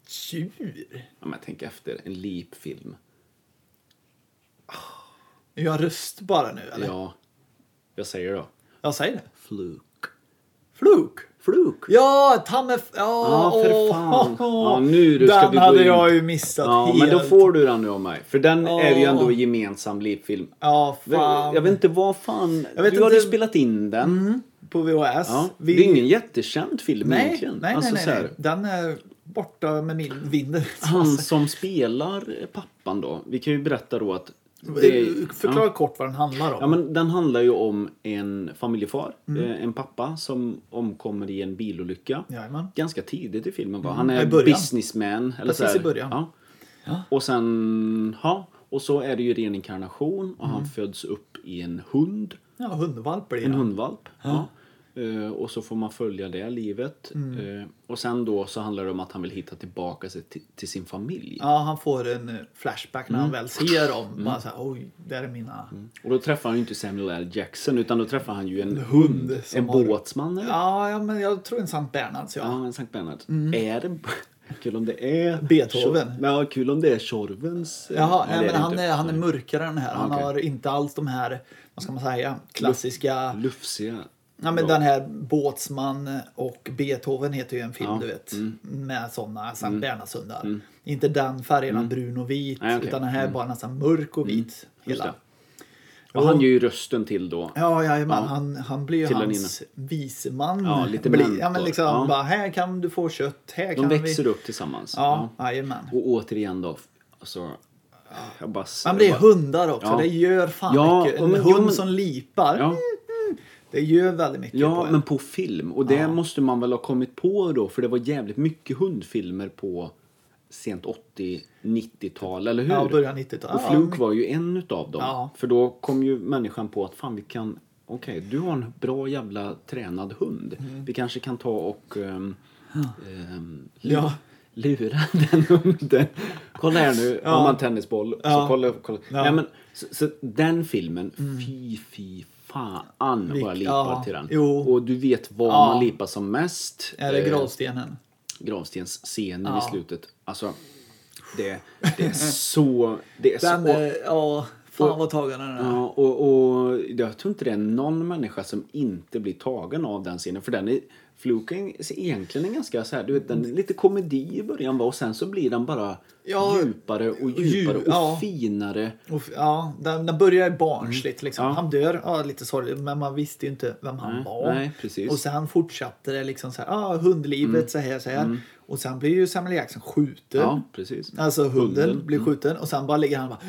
S1: Tjur?
S2: Ja, men tänk efter, en leap-film.
S1: Är jag röst bara nu eller?
S2: Ja, jag säger då.
S1: Jag säger det.
S2: Fluke.
S1: Fluk?
S2: Fluke?
S1: Ja, ta med... Ja,
S2: Ja, för
S1: åh,
S2: fan.
S1: åh,
S2: Ja, nu du ska
S1: den
S2: vi gå
S1: hade
S2: in.
S1: jag ju missat
S2: Ja,
S1: helt.
S2: men då får du den nu av mig. För den är ju
S1: Åh.
S2: ändå en gemensam leap-film.
S1: Ja, fan.
S2: Jag vet inte vad fan...
S1: Jag vet
S2: du har ju
S1: inte-
S2: spelat in den.
S1: På VHS.
S2: Ja.
S1: Vi-
S2: Det är ingen jättekänd film
S1: Nej, nej,
S2: egentligen.
S1: nej,
S2: Alltså,
S1: nej,
S2: så här,
S1: nej. Alltså- Den är borta med min vinden.
S2: Han som spelar pappan då. Vi kan ju berätta då att... det är-
S1: Förklara kort vad den handlar om.
S2: Ja, men den handlar ju om en familjefar,
S1: Mm.
S2: eh, en pappa som omkommer i en bilolycka.
S1: Jajamän. Mm.
S2: Ganska tidigt i filmen va? Han
S1: Ja, i
S2: är
S1: början.
S2: businessman. Eller
S1: Precis
S2: så här.
S1: i början.
S2: Ja.
S1: Ja.
S2: Och sen, ja. Och så är det ju ren inkarnation och han föds upp i en hund.
S1: Mm. Ja, hundvalp blir
S2: En
S1: det.
S2: hundvalp. Ja. Eh, och så får man följa det livet.
S1: Mm.
S2: Eh, och sen då så handlar det om att han vill hitta tillbaka sig till, till sin familj.
S1: Ja, han får en eh, flashback när han
S2: Mm.
S1: väl ser dem. Bara så här, oj, där är mina...
S2: Och då träffar han ju inte Samuel L. Jackson utan då träffar han ju en
S1: hund
S2: hund.
S1: som
S2: En
S1: har-
S2: båtsman eller?
S1: Ja, ja, men jag tror en Sankt Bernhards, ja.
S2: Ja, en Sankt Bernhard. Är det... Kul om det är...
S1: Mm. Beethoven.
S2: Tjor- Ja, kul om det är Tjorvens... eh,
S1: Jaha, nej,
S2: det
S1: men
S2: det
S1: han,
S2: inte.
S1: är, han är mörkare än den här. Han
S2: okej.
S1: har inte alls de här, vad ska man säga, klassiska...
S2: Lufsiga.
S1: Ja, men
S2: drag.
S1: den här Båtsman och Beethoven heter ju en film, du vet.
S2: Mm.
S1: Med sådana Sankt Bernhardshundar. Inte den färgen, brun och vit.
S2: Mm. Nej, okej. Mm.
S1: Utan den här är bara nästan mörk och vit.
S2: Just
S1: Hela.
S2: det. Och han gör ju rösten till då.
S1: Ja, ja, men Han, han blir ju
S2: Till den
S1: hans viceman.
S2: Ja, lite
S1: blir,
S2: mentor.
S1: ja, men liksom,
S2: Ja.
S1: bara, här kan du få kött, här
S2: De
S1: kan
S2: växer
S1: vi...
S2: upp tillsammans.
S1: Ja, jajamän.
S2: Och återigen då, alltså... Jag bara...
S1: Ja, men det är
S2: jag bara-
S1: hundar också.
S2: Ja.
S1: Det gör fan
S2: Ja,
S1: mycket. En
S2: och men-
S1: hund
S2: jo, men-
S1: som lipar.
S2: Ja,
S1: Det gör väldigt mycket på
S2: ja
S1: en.
S2: men på film. Och det måste man väl ha kommit på då, för det var jävligt mycket hundfilmer på sent 80-90-tal, eller hur?
S1: Ja, början 90-talet.
S2: Och
S1: Ja,
S2: Fluke
S1: men-
S2: var ju en utav dem.
S1: Ja.
S2: För då kom ju människan på att fan vi kan, okej du har en bra jävla tränad hund.
S1: Mm.
S2: Vi kanske kan ta och ehm, ehm, lu-
S1: Ja.
S2: lura den hunden. Kolla här nu, har man tennisboll.
S1: Ja.
S2: Så kolla, kolla.
S1: Ja. Mm.
S2: Nej, men, så, så den filmen, fy fy fan vad jag
S1: Vilk-
S2: lipar
S1: ja,
S2: till den.
S1: jo.
S2: Och du vet vad
S1: Ja.
S2: man lipar som mest.
S1: Är det
S2: Eh,
S1: gravstenen?
S2: gravstensscenen
S1: Ja.
S2: i slutet. Alltså, det, det är så... Det är
S1: Den,
S2: så
S1: eh, ja, Fan vad tagen den är.
S2: Ja, och, och jag tror inte det är någon människa som inte blir tagen av den scenen. För den är, Fluken är egentligen en ganska så här, du vet, den är lite komedi i början va? och sen så blir den bara
S1: Ja,
S2: djupare och djupare och
S1: ja.
S2: finare.
S1: Och, f- ja, den, den börjar ju barnsligt liksom.
S2: Mm. Ja.
S1: Han dör, ja, lite sorgligt, men man visste ju inte vem han
S2: Nej,
S1: var.
S2: nej, precis. Mm.
S1: Och sen fortsatte det liksom så här, ah, hundlivet så här, så här. Och sen blir ju Samuel Jackson skjuten.
S2: Ja, precis.
S1: Alltså hunden, blir skjuten och sen bara ligger han bara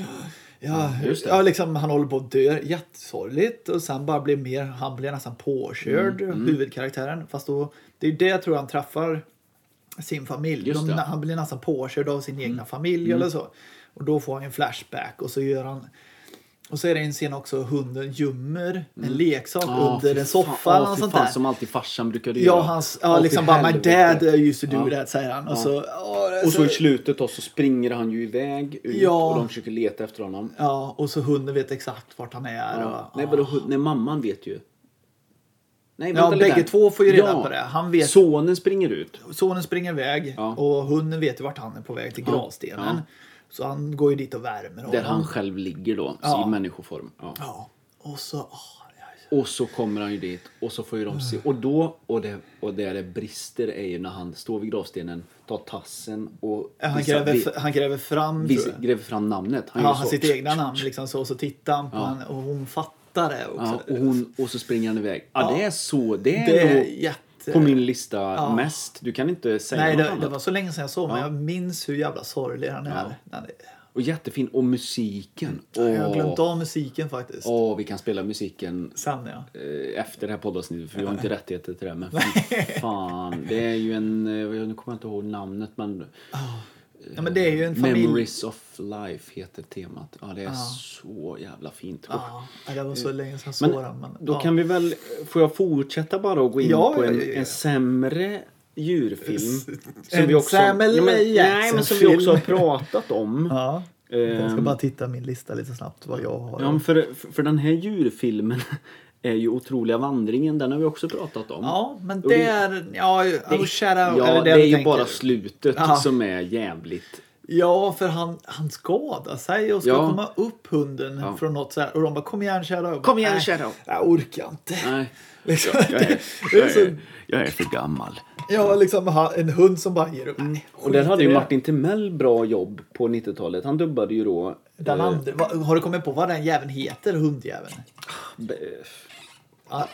S1: Ja,
S2: Mm. just det.
S1: ja liksom, han håller på att dö jättesorgligt och sen bara blir mer, han blir nästan påkörd,
S2: Mm.
S1: huvudkaraktären. Fast då, det är ju det jag tror han träffar sin familj.
S2: Just
S1: De,
S2: det. Mm.
S1: han blir nästan påkörd av sin egna familj eller så. Och då får han en flashback och så gör han och så är det en scen också hunden gömmer en leksak
S2: Ja,
S1: under
S2: Mm. Ah, fy
S1: en
S2: fan,
S1: soffa
S2: ja,
S1: eller något
S2: fy
S1: sånt
S2: fan,
S1: där.
S2: Som alltid farsan brukade göra.
S1: Ja, hans, ja
S2: Åh,
S1: liksom
S2: fy
S1: bara my
S2: helvete."
S1: dad used to do
S2: Ja.
S1: that säger han. Och så, ja, det är
S2: Och så
S1: så-
S2: i slutet då så springer han ju iväg ut
S1: Alltså- Ja.
S2: och de försöker leta efter honom.
S1: Ja, och så hunden vet exakt vart han är.
S2: Ja.
S1: Och,
S2: Nej, vadå, hund- nej, mamman vet ju. Nej,
S1: Ja,
S2: vänta lite
S1: bägge
S2: här.
S1: två får ju reda på det. Han vet-
S2: Sonen springer ut.
S1: Sonen springer iväg
S2: Ja.
S1: och hunden vet ju vart han är på väg till
S2: Ja,
S1: gravstenen.
S2: ja.
S1: Så han går ju dit och värmer honom.
S2: Där han själv ligger då,
S1: Ja.
S2: i människoform. Ja.
S1: Ja, och så... åh, ja, ja.
S2: Och så kommer han ju dit och så får ju de se. Och då, och, det, och där det brister är ju när han står vid gravstenen, tar tassen och
S1: Ja, Han
S2: visar-
S1: gräver,
S2: vi-
S1: han gräver fram,
S2: vi-
S1: tror jag.
S2: gräver fram namnet. Han
S1: Ja,
S2: gör
S1: han
S2: så.
S1: sitt egna namn liksom så, och så tittar han på han och hon fattar det
S2: Ja,
S1: också.
S2: och, hon, och så springer han iväg. Ja, det är så. Det är,
S1: det är
S2: nog
S1: jätte...
S2: på min lista mest. Du kan inte säga
S1: Nej,
S2: något
S1: det,
S2: annat.
S1: det var så länge sedan jag såg men jag minns hur jävla sorglig han är. Ja.
S2: Och jättefin. Och musiken.
S1: Jag har glömt
S2: Åh,
S1: av musiken faktiskt.
S2: åh, vi kan spela musiken
S1: Sen ja.
S2: eh, efter det här poddavsnittet för vi har inte rättigheter till det. Men fy fan. Det är ju en, eh, nu kommer jag inte ihåg namnet men
S1: ja men det är ju en familj...
S2: Memories of Life heter temat. Ja, det är så jävla fint.
S1: Ja, det var så länge sedan jag såg den.
S2: Eh, Men
S1: Men,
S2: då
S1: ja.
S2: kan vi väl, får jag fortsätta bara och gå in
S1: Ja,
S2: på en,
S1: ja, ja, ja.
S2: en sämre djurfilm?
S1: S-
S2: som
S1: en
S2: vi också,
S1: Samuel
S2: Ja, men- Nej, men som vi också har
S1: Jackson-film.
S2: pratat om.
S1: Ja. Jag ska
S2: Ehm,
S1: bara titta min lista lite snabbt vad jag har.
S2: Ja, men för, för den här djurfilmen är ju Otroliga vandringen, den har vi också pratat om.
S1: Ja, men
S2: Och det-
S1: det är... Ja, oh, shout out,
S2: ja,
S1: eller
S2: det
S1: jag
S2: är ju
S1: tänker.
S2: bara slutet
S1: Ja.
S2: som är jävligt.
S1: Ja, för han, han skadar sig och ska
S2: Ja.
S1: komma upp hunden
S2: Ja.
S1: från något så här. Och de bara kom igen Shadow.
S2: Kom igen,
S1: Nej,
S2: Shadow.
S1: Jag orkar inte.
S2: Nej,
S1: Liksom,
S2: jag är,
S1: det
S2: jag
S1: är så,
S2: är, jag är för gammal.
S1: ja, liksom ha- en hund som bara ger upp. Nej,
S2: Mm. Och där
S1: skit
S2: hade
S1: i
S2: ju
S1: det.
S2: Martin Timell bra jobb på 90-talet. Han dubbade ju då...
S1: Den
S2: eh,
S1: andra, vad- har du kommit på vad den jäveln heter, hundjäveln?
S2: b-
S1: Ja,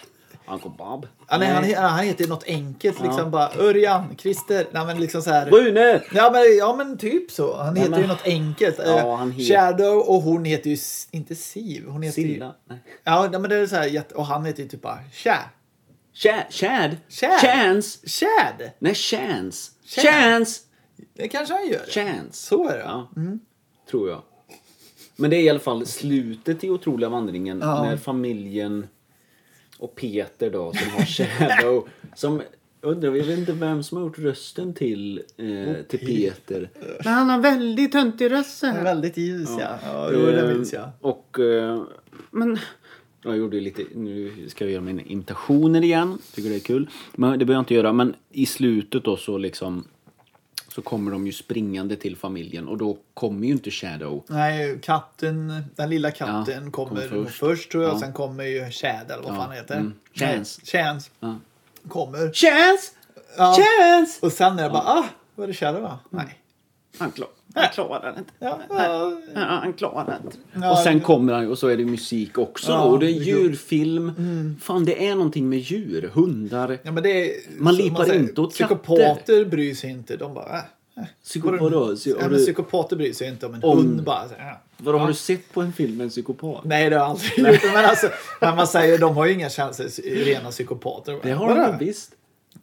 S2: Uncle Bob.
S1: Ja, ah, nej, han, he- han heter något enkelt. Liksom bara Örjan, Christer. Nej, men liksom så här.
S2: Rune!
S1: Ja men, ja men typ så. Han heter
S2: men-
S1: ju något enkelt.
S2: Ja,
S1: Eh,
S2: han heter-
S1: Shadow och hon heter ju S- inte Siv. Hon heter ju...
S2: Silla. Nej.
S1: Ja nej, men det är så här jätte... Och han heter ju typ bara Tja.
S2: Cha- Chad?
S1: Chad.
S2: Chance?
S1: Chad.
S2: Nej, Chance.
S1: Chad.
S2: Chance!
S1: Det kanske han gör.
S2: Chance.
S1: Så är det.
S2: Ja, tror jag. Men det är i alla fall slutet i Otroliga vandringen
S1: Ja.
S2: när familjen och Peter då som har Shadow som undrar, jag vet inte vem som har gjort rösten till, eh, till Peter. Men han har väldigt töntig röst så
S1: Han är
S2: här.
S1: Väldigt ljus ja. ja jo, det
S2: Eh,
S1: minns jag.
S2: Och... eh, Men... Jag gjorde ju lite... Nu ska jag göra mina imitationer igen. Tycker det är kul. Men det behöver jag inte göra. Men i slutet då så liksom... Så kommer de ju springande till familjen och då kommer ju inte Shadow.
S1: Nej, katten, den lilla katten
S2: Ja,
S1: kommer,
S2: kommer först.
S1: först. tror jag.
S2: Ja.
S1: Sen kommer ju Tjäder eller vad
S2: Ja,
S1: fan han heter.
S2: mm.
S1: Nej,
S2: Chance.
S1: Chance.
S2: Ja.
S1: Kommer.
S2: Chance!
S1: Ja.
S2: Chance!
S1: Och sen är det bara, ah, var det Shadow va?
S2: Mm.
S1: Nej.
S2: Han, klar, han klarar inte.
S1: Ja, ja,
S2: Ja, han klarar inte.
S1: Ja,
S2: och sen
S1: det-
S2: kommer han ju och så är det musik också.
S1: Ja, Mm.
S2: då, och det är
S1: det-
S2: djurfilm. Fan, det är någonting med djur. Hundar.
S1: Ja, men det är,
S2: Man
S1: så-
S2: lipar inte åt
S1: Psykopater
S2: katter.
S1: bryr sig inte. De bara... Äh.
S2: Psykopat.
S1: Ja, men psykopater bryr sig inte om en
S2: Om-
S1: hund bara... Så, äh.
S2: Vadå, har du sett på en film med en psykopat?
S1: Nej, det har jag aldrig gjort. Men alltså, när man säger de har ju inga känslor, s- rena psykopater.
S2: Det har
S1: Vadå?
S2: de visst.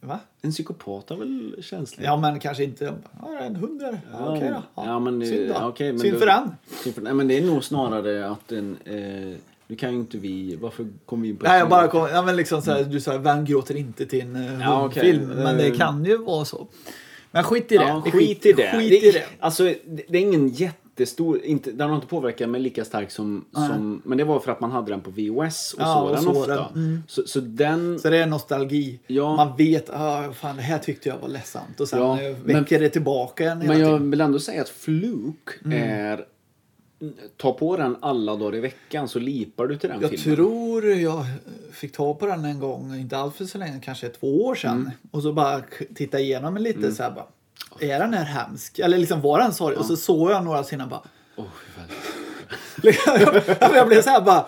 S1: Va?
S2: En psykopat har väl känslor?
S1: Ja, men kanske inte. De bara, Ja, det är en hund där. Ja, Okej då. Ja,
S2: Ja, men, eh,
S1: Synd då.
S2: okej, men
S1: Synd
S2: då-
S1: för den.
S2: Synd för- Nej, men det är nog snarare att en... Eh, nu kan ju inte vi... Varför kom vi in på
S1: Nej, jag bara
S2: kom...
S1: kom, ja, men liksom så här, du sa vem gråter inte till en eh,
S2: Mm. Ja, okej.
S1: hundfilm? Men det
S2: Eh.
S1: kan ju vara så. Men skit i det.
S2: Ja, skit i det.
S1: Skit i det.
S2: Alltså, det, det är ingen jättestor... Inte, den har inte påverkat mig lika starkt som, som... Men det var för att man hade den på VOS och
S1: Ja,
S2: såg
S1: och
S2: den
S1: såg
S2: ofta.
S1: den. Mm.
S2: Så, så den...
S1: Så det är nostalgi.
S2: Ja.
S1: Man vet ah, fan det här tyckte jag var ledsamt och sen
S2: Ja,
S1: eh,
S2: men-
S1: väcker det tillbaka en hela
S2: Men jag
S1: tiden.
S2: vill ändå säga att Fluke är ta på den alla dagar i veckan så lipar du till den
S1: Jag
S2: filmen.
S1: tror jag fick ta på den en gång, inte alls för så länge, kanske två år sedan.
S2: Mm.
S1: Och så bara k- titta igenom den lite så här bara. Är den här hemsk? Eller liksom var den sorglig? Och så såg jag några scener bara.
S2: Åh, fy fan.
S1: Liksom, jag, jag blev så här bara.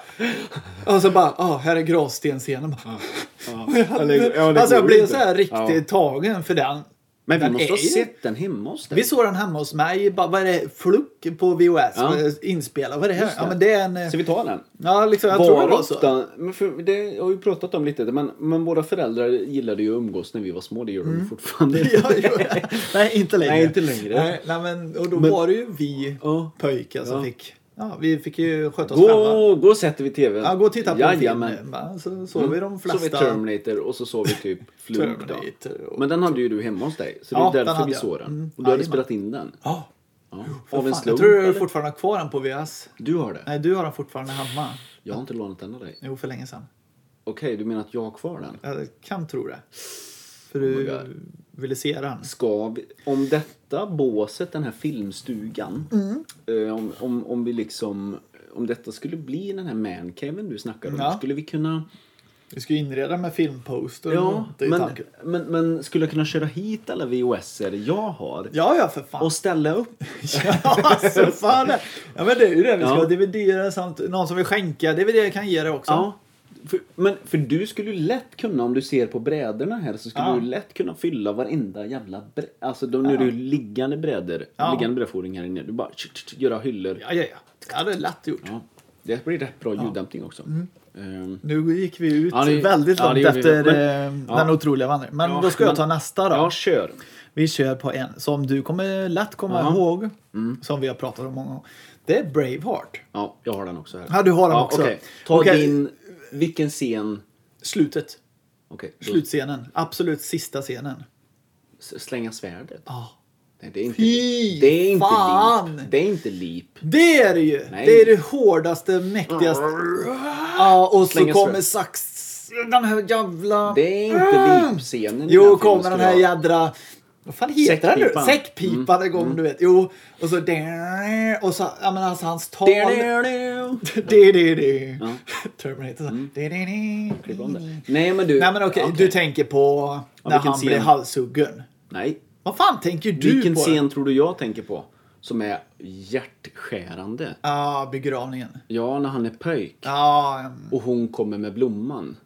S1: Och så bara, ja här är gravstensscenen. Bara,
S2: Ja, det- ja, det
S1: alltså jag
S2: går
S1: blev
S2: inte.
S1: så här riktigt
S2: Ja.
S1: tagen för den.
S2: Men vi
S1: Den
S2: måste
S1: är
S2: ha
S1: ju-
S2: sett den hemma hos dig.
S1: Vi såg den hemma hos mig, bara, vad är det, fluck på VHS,
S2: Ja.
S1: inspelad, vad är det här?
S2: Just det.
S1: Ja men det är en... eh,
S2: Ska vi ta den?
S1: Ja liksom, jag
S2: Var
S1: tror det var så.
S2: ofta, men för, det har vi pratat om lite, men, men våra föräldrar gillade ju att umgås när vi var små, det gör de ju fortfarande.
S1: Mm. ja, ja. Nej, inte längre.
S2: Nej, inte längre.
S1: Nej, nej, men, och då
S2: Men-
S1: var det ju vi
S2: Ja.
S1: pojkar som
S2: Ja.
S1: fick... Ja, vi fick ju sköta oss själva.
S2: Gå, gå och sätter vi tv.
S1: Ja, gå och titta på
S2: Jajamän. Mm.
S1: film. va? Så såg vi de
S2: Så vi
S1: flesta...
S2: Terminator och så såg vi typ Flug. då.
S1: Terminator och-
S2: Men den hade ju du hemma hos dig, så det är
S1: Ja, den
S2: därför
S1: hade
S2: vi
S1: jag.
S2: såg den.
S1: Mm.
S2: Och du hade
S1: Jajamän.
S2: spelat in den.
S1: Ja,
S2: Ja.
S1: för
S2: Av en
S1: fan.
S2: slump.
S1: Jag tror du
S2: eller?
S1: fortfarande har kvar den på VHS.
S2: Du har det?
S1: Nej, du har den fortfarande hemma.
S2: Jag har inte lånat den av dig.
S1: Jo, för länge sedan.
S2: Okej, du menar att jag har kvar den?
S1: Jag kan tro det. För
S2: Oh my
S1: du
S2: God.
S1: ville se den.
S2: Ska vi, om detta båset, den här filmstugan,
S1: Mm.
S2: eh, om, om, om vi liksom, om detta skulle bli den här mancaven du snackar om,
S1: Ja.
S2: skulle vi kunna,
S1: Vi ska ju inreda med filmposter.
S2: ja,
S1: det är
S2: men,
S1: tanken.
S2: men, men skulle jag kunna köra hit alla VHSer jag har
S1: Ja, ja, för fan.
S2: och ställa upp?
S1: Ja, alltså, fan. Ja, men det är ju det. Vi ska
S2: Ja.
S1: ha DVD-er samt någon som vill skänka. DVD kan ge det också.
S2: Ja. För, men för du skulle ju lätt kunna, om du ser på brädorna här, så skulle
S1: Ja.
S2: du lätt kunna fylla varenda jävla brä- Alltså de, nu är det ju liggande brädor,
S1: Ja.
S2: liggande brädfodring här inne. Du bara tsk, tsk, tsk, göra hyllor.
S1: ja, ja. ja. Ja, det är lätt gjort.
S2: Ja, det blir rätt bra ljuddämpning också.
S1: Mm.
S2: Ehm,
S1: Nu gick vi ut
S2: Ja, det-
S1: väldigt
S2: ja, det
S1: långt
S2: gjorde vi.
S1: efter
S2: Men-
S1: eh,
S2: ja.
S1: den otroliga vandringen. Men
S2: Ja,
S1: då ska jag
S2: men-
S1: ta nästa då.
S2: ja, kör.
S1: Vi kör på en som du kommer lätt komma
S2: Ja. Mm.
S1: ihåg. Som vi har pratat om många gånger. Det är Braveheart.
S2: Ja, jag har den också här.
S1: Ja, du har den också.
S2: okej. Ta
S1: Okej.
S2: din... Vilken scen...
S1: Slutet.
S2: Okej, då
S1: Slutscenen. Absolut sista scenen.
S2: s- slänga svärdet.
S1: Ja.
S2: Nej, det är inte,
S1: Fy
S2: det är inte
S1: fan!
S2: lip. Det är inte lip.
S1: Det är det ju!
S2: Nej. Mm.
S1: Det är det hårdaste, mäktigaste. Ja, och så
S2: Slänga
S1: kommer
S2: svärd.
S1: sax... Den här jävla...
S2: Det är inte lip-scenen. i den
S1: Mm. Jo,
S2: filmen,
S1: kommer den
S2: skulle
S1: här
S2: jag-
S1: jädra... Vad fan heter den nu?
S2: Säckpipan. Mm.
S1: Säckpipan igång, du vet. Jo, och så... Och så, ja men alltså hans tal... Det, det, det.
S2: Ja. Mm.
S1: Terminator. så. Det, det,
S2: Klipp om
S1: det.
S2: det. Nej, men du...
S1: Nej men okej, du tänker på när
S2: vilken
S1: han blir
S2: scen?
S1: halshuggen.
S2: Nej.
S1: Vad fan tänker du
S2: Vilken
S1: på?
S2: scen tror du jag tänker på? Som är hjärtskärande.
S1: Ja, begravningen.
S2: Ja, när han är pöjk.
S1: Ja,
S2: Och hon kommer med blomman.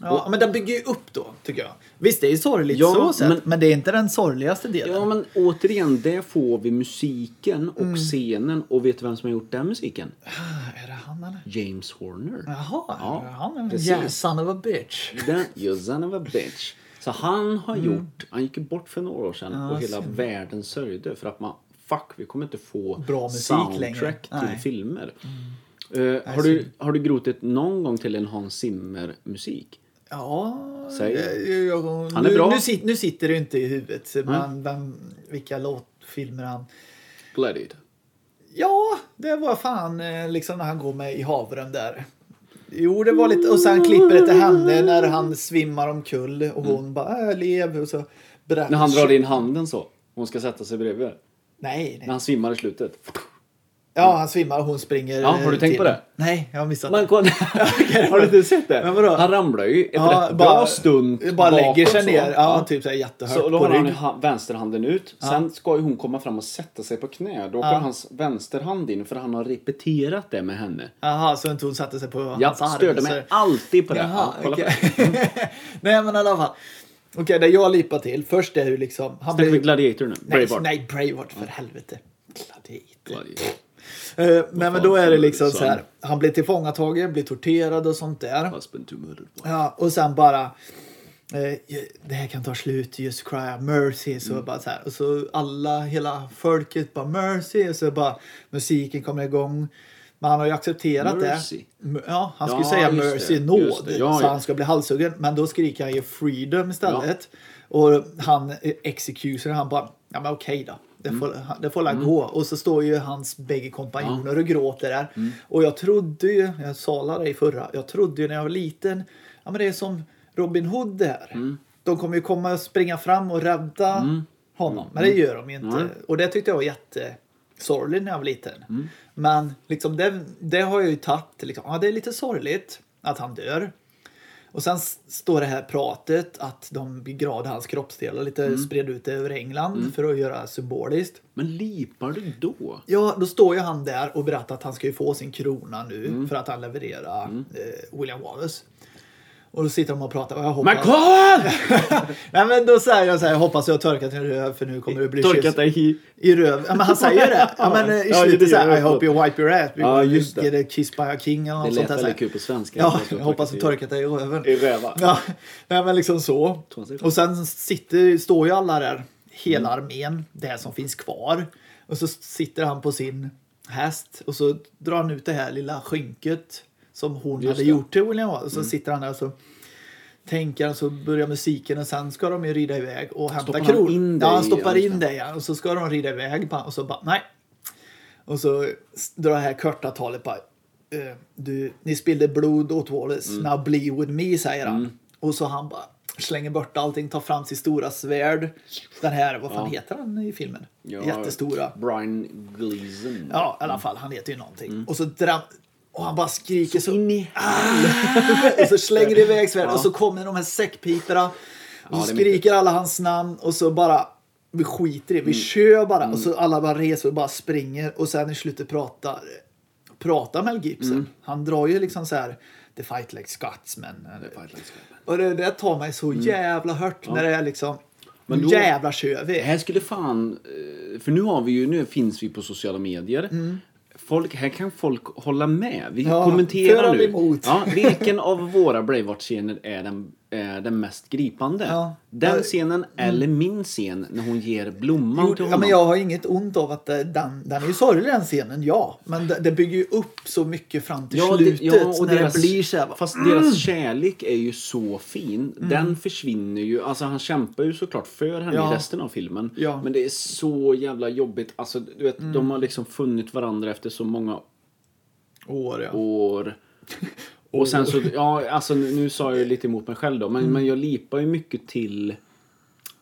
S1: ja, men den bygger ju upp då, tycker jag. Visst, det är sorgligt
S2: Ja,
S1: så sett, men...
S2: men-
S1: det är inte den sorgligaste delen.
S2: Ja men återigen, där får vi musiken och
S1: Mm.
S2: scenen. Och vet du vem som har gjort den musiken?
S1: Ah, Är det han eller?
S2: James Horner.
S1: Jaha,
S2: Ja,
S1: ja, han är en
S2: precis.
S1: jävla son of a bitch.
S2: Den, you son of a bitch. Så han har
S1: Mm.
S2: gjort, han gick ju bort för några år sedan och hela världen sörjde för att man, fuck vi kommer inte få
S1: Bra musik längre.
S2: soundtrack till
S1: Nej. Mm.
S2: filmer. Eh, har, du, har du grotit någon gång till en Hans Zimmer musik?
S1: Ja,
S2: Säg.
S1: eh, jag-
S2: Han är
S1: nu,
S2: bra.
S1: Nu, sit, nu sitter det inte i huvudet men vem, vilka låtfilmer han...
S2: Bloodied.
S1: Ja, det var fan eh, liksom när han går med i havren där. Jo, det var lite... Och sen klipper det till henne när han svimmar omkull och hon bara äh, lev och så... Bränner.
S2: Mm. När han drar in handen så. Hon ska sätta sig bredvid.
S1: Nej, nej.
S2: När han svimmar i slutet.
S1: Ja, han svimmar och hon springer.
S2: Ja, har du
S1: eh,
S2: tänkt
S1: till
S2: på det?
S1: Nej, jag har missat
S2: Man
S1: det.
S2: kom... har du inte sett det?
S1: Men vadå?
S2: Han ramlar ju ett
S1: Ja,
S2: rätt bra stund
S1: bara
S2: bakåt
S1: lägger sig
S2: så.
S1: ner. Ja, typ så här jättehögt
S2: Så då
S1: på
S2: har han
S1: rygg.
S2: ju ha- vänsterhanden ut. Sen ska ju hon komma fram och sätta sig på knä. Då åker hans vänsterhand in för han har repeterat det med henne.
S1: Jaha, så inte hon satte sig på
S2: Jag
S1: hans arm.
S2: störde
S1: så-
S2: mig alltid på det.
S1: Jaha,
S2: Ja, kolla på
S1: okej.
S2: det.
S1: Nej men i alla fall. Okej, det jag lipar till. Först är ju liksom... Han
S2: Snackar vi
S1: blir,
S2: Gladiator nu?
S1: nej,
S2: Braveheart.
S1: nej, Braveheart för helvete. Gladiator.
S2: Gladiator.
S1: Eh, nej men då
S2: fan
S1: är det
S2: tror du,
S1: liksom så
S2: son?
S1: här. Han blir tillfångatagen, blir torterad och sånt där.
S2: Husband to murder.
S1: Ja, och sen bara... Eh, det här kan ta slut, just cry out mercy. Så
S2: Mm.
S1: bara så här. Och så alla, hela folket bara mercy. Och så bara musiken kommer igång. Men han har ju accepterat
S2: Mercy.
S1: det. M- Ja, han skulle
S2: Ja,
S1: säga
S2: just
S1: mercy,
S2: det, just
S1: nåd.
S2: det. Ja,
S1: så
S2: ja.
S1: han ska bli halshuggen. Men då skriker han ju freedom istället. Och han, eh, executor, han bara, ja men okej då. Det får, han- det får la gå. Och så står ju hans bägge kompanjoner och gråter där. Och jag trodde ju, jag salade i förra, jag trodde ju när jag var liten, ja men det är som Robin Hood där. De kommer ju komma och springa fram och rädda honom. Men det gör de ju inte. Och det tyckte jag var jätte sorglig när jag var liten. Men liksom det, det har jag ju tagit, liksom, ja, det är lite sorgligt att han dör. Och sen s- står det här pratet att de begravde hans kroppsdelar lite
S2: Mm.
S1: spred ut det över England för att göra symboliskt.
S2: Men lipar du då?
S1: Ja, då står ju han där och berättar att han ska ju få sin krona nu
S2: Mm.
S1: för att han levererar eh, William Wallace. Och då sitter de och pratar. och Jag hoppas...
S2: Men Karl!
S1: Nej men då säger jag så här, jag hoppas jag har torkat din röv för nu kommer du bli
S2: Torkat
S1: kysst
S2: dig i...
S1: i röv. Ja men han säger det. Ja men eh, i
S2: Ja, det
S1: slutet så
S2: gör jag.
S1: här, I hope you wipe your ass.
S2: Ja, just det.
S1: Get a kiss by a king eller
S2: Det
S1: något sånt
S2: lät
S1: där. så här.
S2: väldigt kul på svenska.
S1: Ja, jag hoppas du torkat dig i röven.
S2: I röva.
S1: Ja, nej men liksom så.
S2: Två sekunder.
S1: Och sen sitter, står ju alla där, hela
S2: Mm.
S1: armén, det här som finns kvar. Och så sitter han på sin häst och så drar han ut det här lilla skynket som hon
S2: Just
S1: hade
S2: det. Mm.
S1: gjort till William Wallace. Och så sitter han där och så tänker han så börjar musiken och sen ska de ju rida iväg och hämta
S2: Stoppar han
S1: kron.
S2: in
S1: ja,
S2: dig
S1: han
S2: i-
S1: stoppar
S2: ja, just
S1: in det ja. Och så ska de rida iväg bara- och så bara nej. Och så s- drar det här korta talet bara. eh, Du, ni spillde blod åt Wallace.
S2: Mm.
S1: Now bleed with me, säger han. Och så han bara slänger bort allting, tar fram sitt stora svärd. Den här, vad fan
S2: Ja.
S1: heter han i filmen? Jättestora.
S2: Brian Gleason.
S1: Ja, i alla fall, han heter ju någonting.
S2: Mm.
S1: Och så dram- och han bara skriker så, Ah.
S2: In i...
S1: och så slänger det iväg svärdet
S2: Ja.
S1: och så kommer de här säckpiporna. Och
S2: Ja,
S1: så
S2: det är
S1: skriker alla hans namn och så bara vi skiter i
S2: Mm.
S1: det. vi kör bara. Och så alla bara reser och bara springer och sen i slutet pratar, pratar Mel Gibson.
S2: Mm.
S1: Han drar ju liksom så här The Fight Like Scotsman. Eller, och det, det tar mig så jävla hört när det är liksom
S2: Mm. Men
S1: nu
S2: då-
S1: jävlar kör
S2: Det
S1: vi.
S2: här skulle fan... eh, För nu, har vi ju, nu finns vi på sociala medier. Folk, här kan folk hålla med. Vi
S1: Mm. Ja, för
S2: kommenterar
S1: eller
S2: nu.
S1: emot.
S2: Ja, vilken av våra Braveheart-scener är den, är den mest gripande?
S1: Ja. Ja. Mm.
S2: Den scenen eller min scen när hon ger blomman till
S1: Ja,
S2: honom?
S1: men jag har inget ont av att eh, den, den är ju sorglig den scenen, ja. Men det, det bygger ju upp så mycket fram till
S2: Ja, det-
S1: slutet.
S2: ja, och
S1: när
S2: deras-
S1: det blir så här, va- Mm.
S2: Fast deras kärlek är ju så fin. Den försvinner ju. Alltså han kämpar ju såklart för henne
S1: Ja.
S2: i resten av filmen.
S1: Ja. Mm.
S2: Men det är så jävla jobbigt. Alltså du vet, de har liksom funnit varandra efter så många
S1: År, ja.
S2: år. Och sen så, ja alltså nu, nu sa jag ju lite emot mig själv då. Men,
S1: Mm.
S2: men jag lipar ju mycket till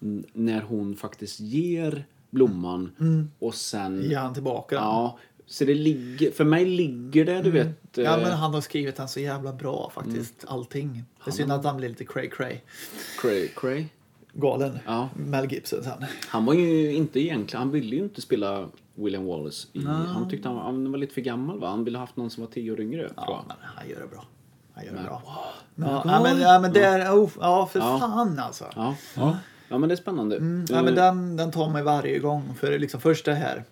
S2: n- när hon faktiskt ger blomman
S1: Mm.
S2: och sen...
S1: Ge han tillbaka den.
S2: ja, så det ligger, för mig ligger det Mm. du vet...
S1: Mm. Ja,
S2: eh,
S1: men han har skrivit den så jävla bra faktiskt. Allting. Det är synd att han blir lite cray cray.
S2: Cray, cray.
S1: Galen.
S2: Ja.
S1: Mel Gibson sen.
S2: Han var ju inte egentligen, han ville ju inte spela William Wallace. I, han tyckte han var, han var lite för gammal va? Han ville haft någon som var tio år yngre. tror
S1: Ja,
S2: jag.
S1: men han gör det bra. Han gör det bra.
S2: Ja,
S1: Ja, ja, men, ja, men det är... Oh, ja, för
S2: Ja.
S1: fan alltså.
S2: Ja. Ja. ja, men det är spännande.
S1: Mm. Ja, men
S2: Eh,
S1: den, den tar mig varje gång. För liksom först det här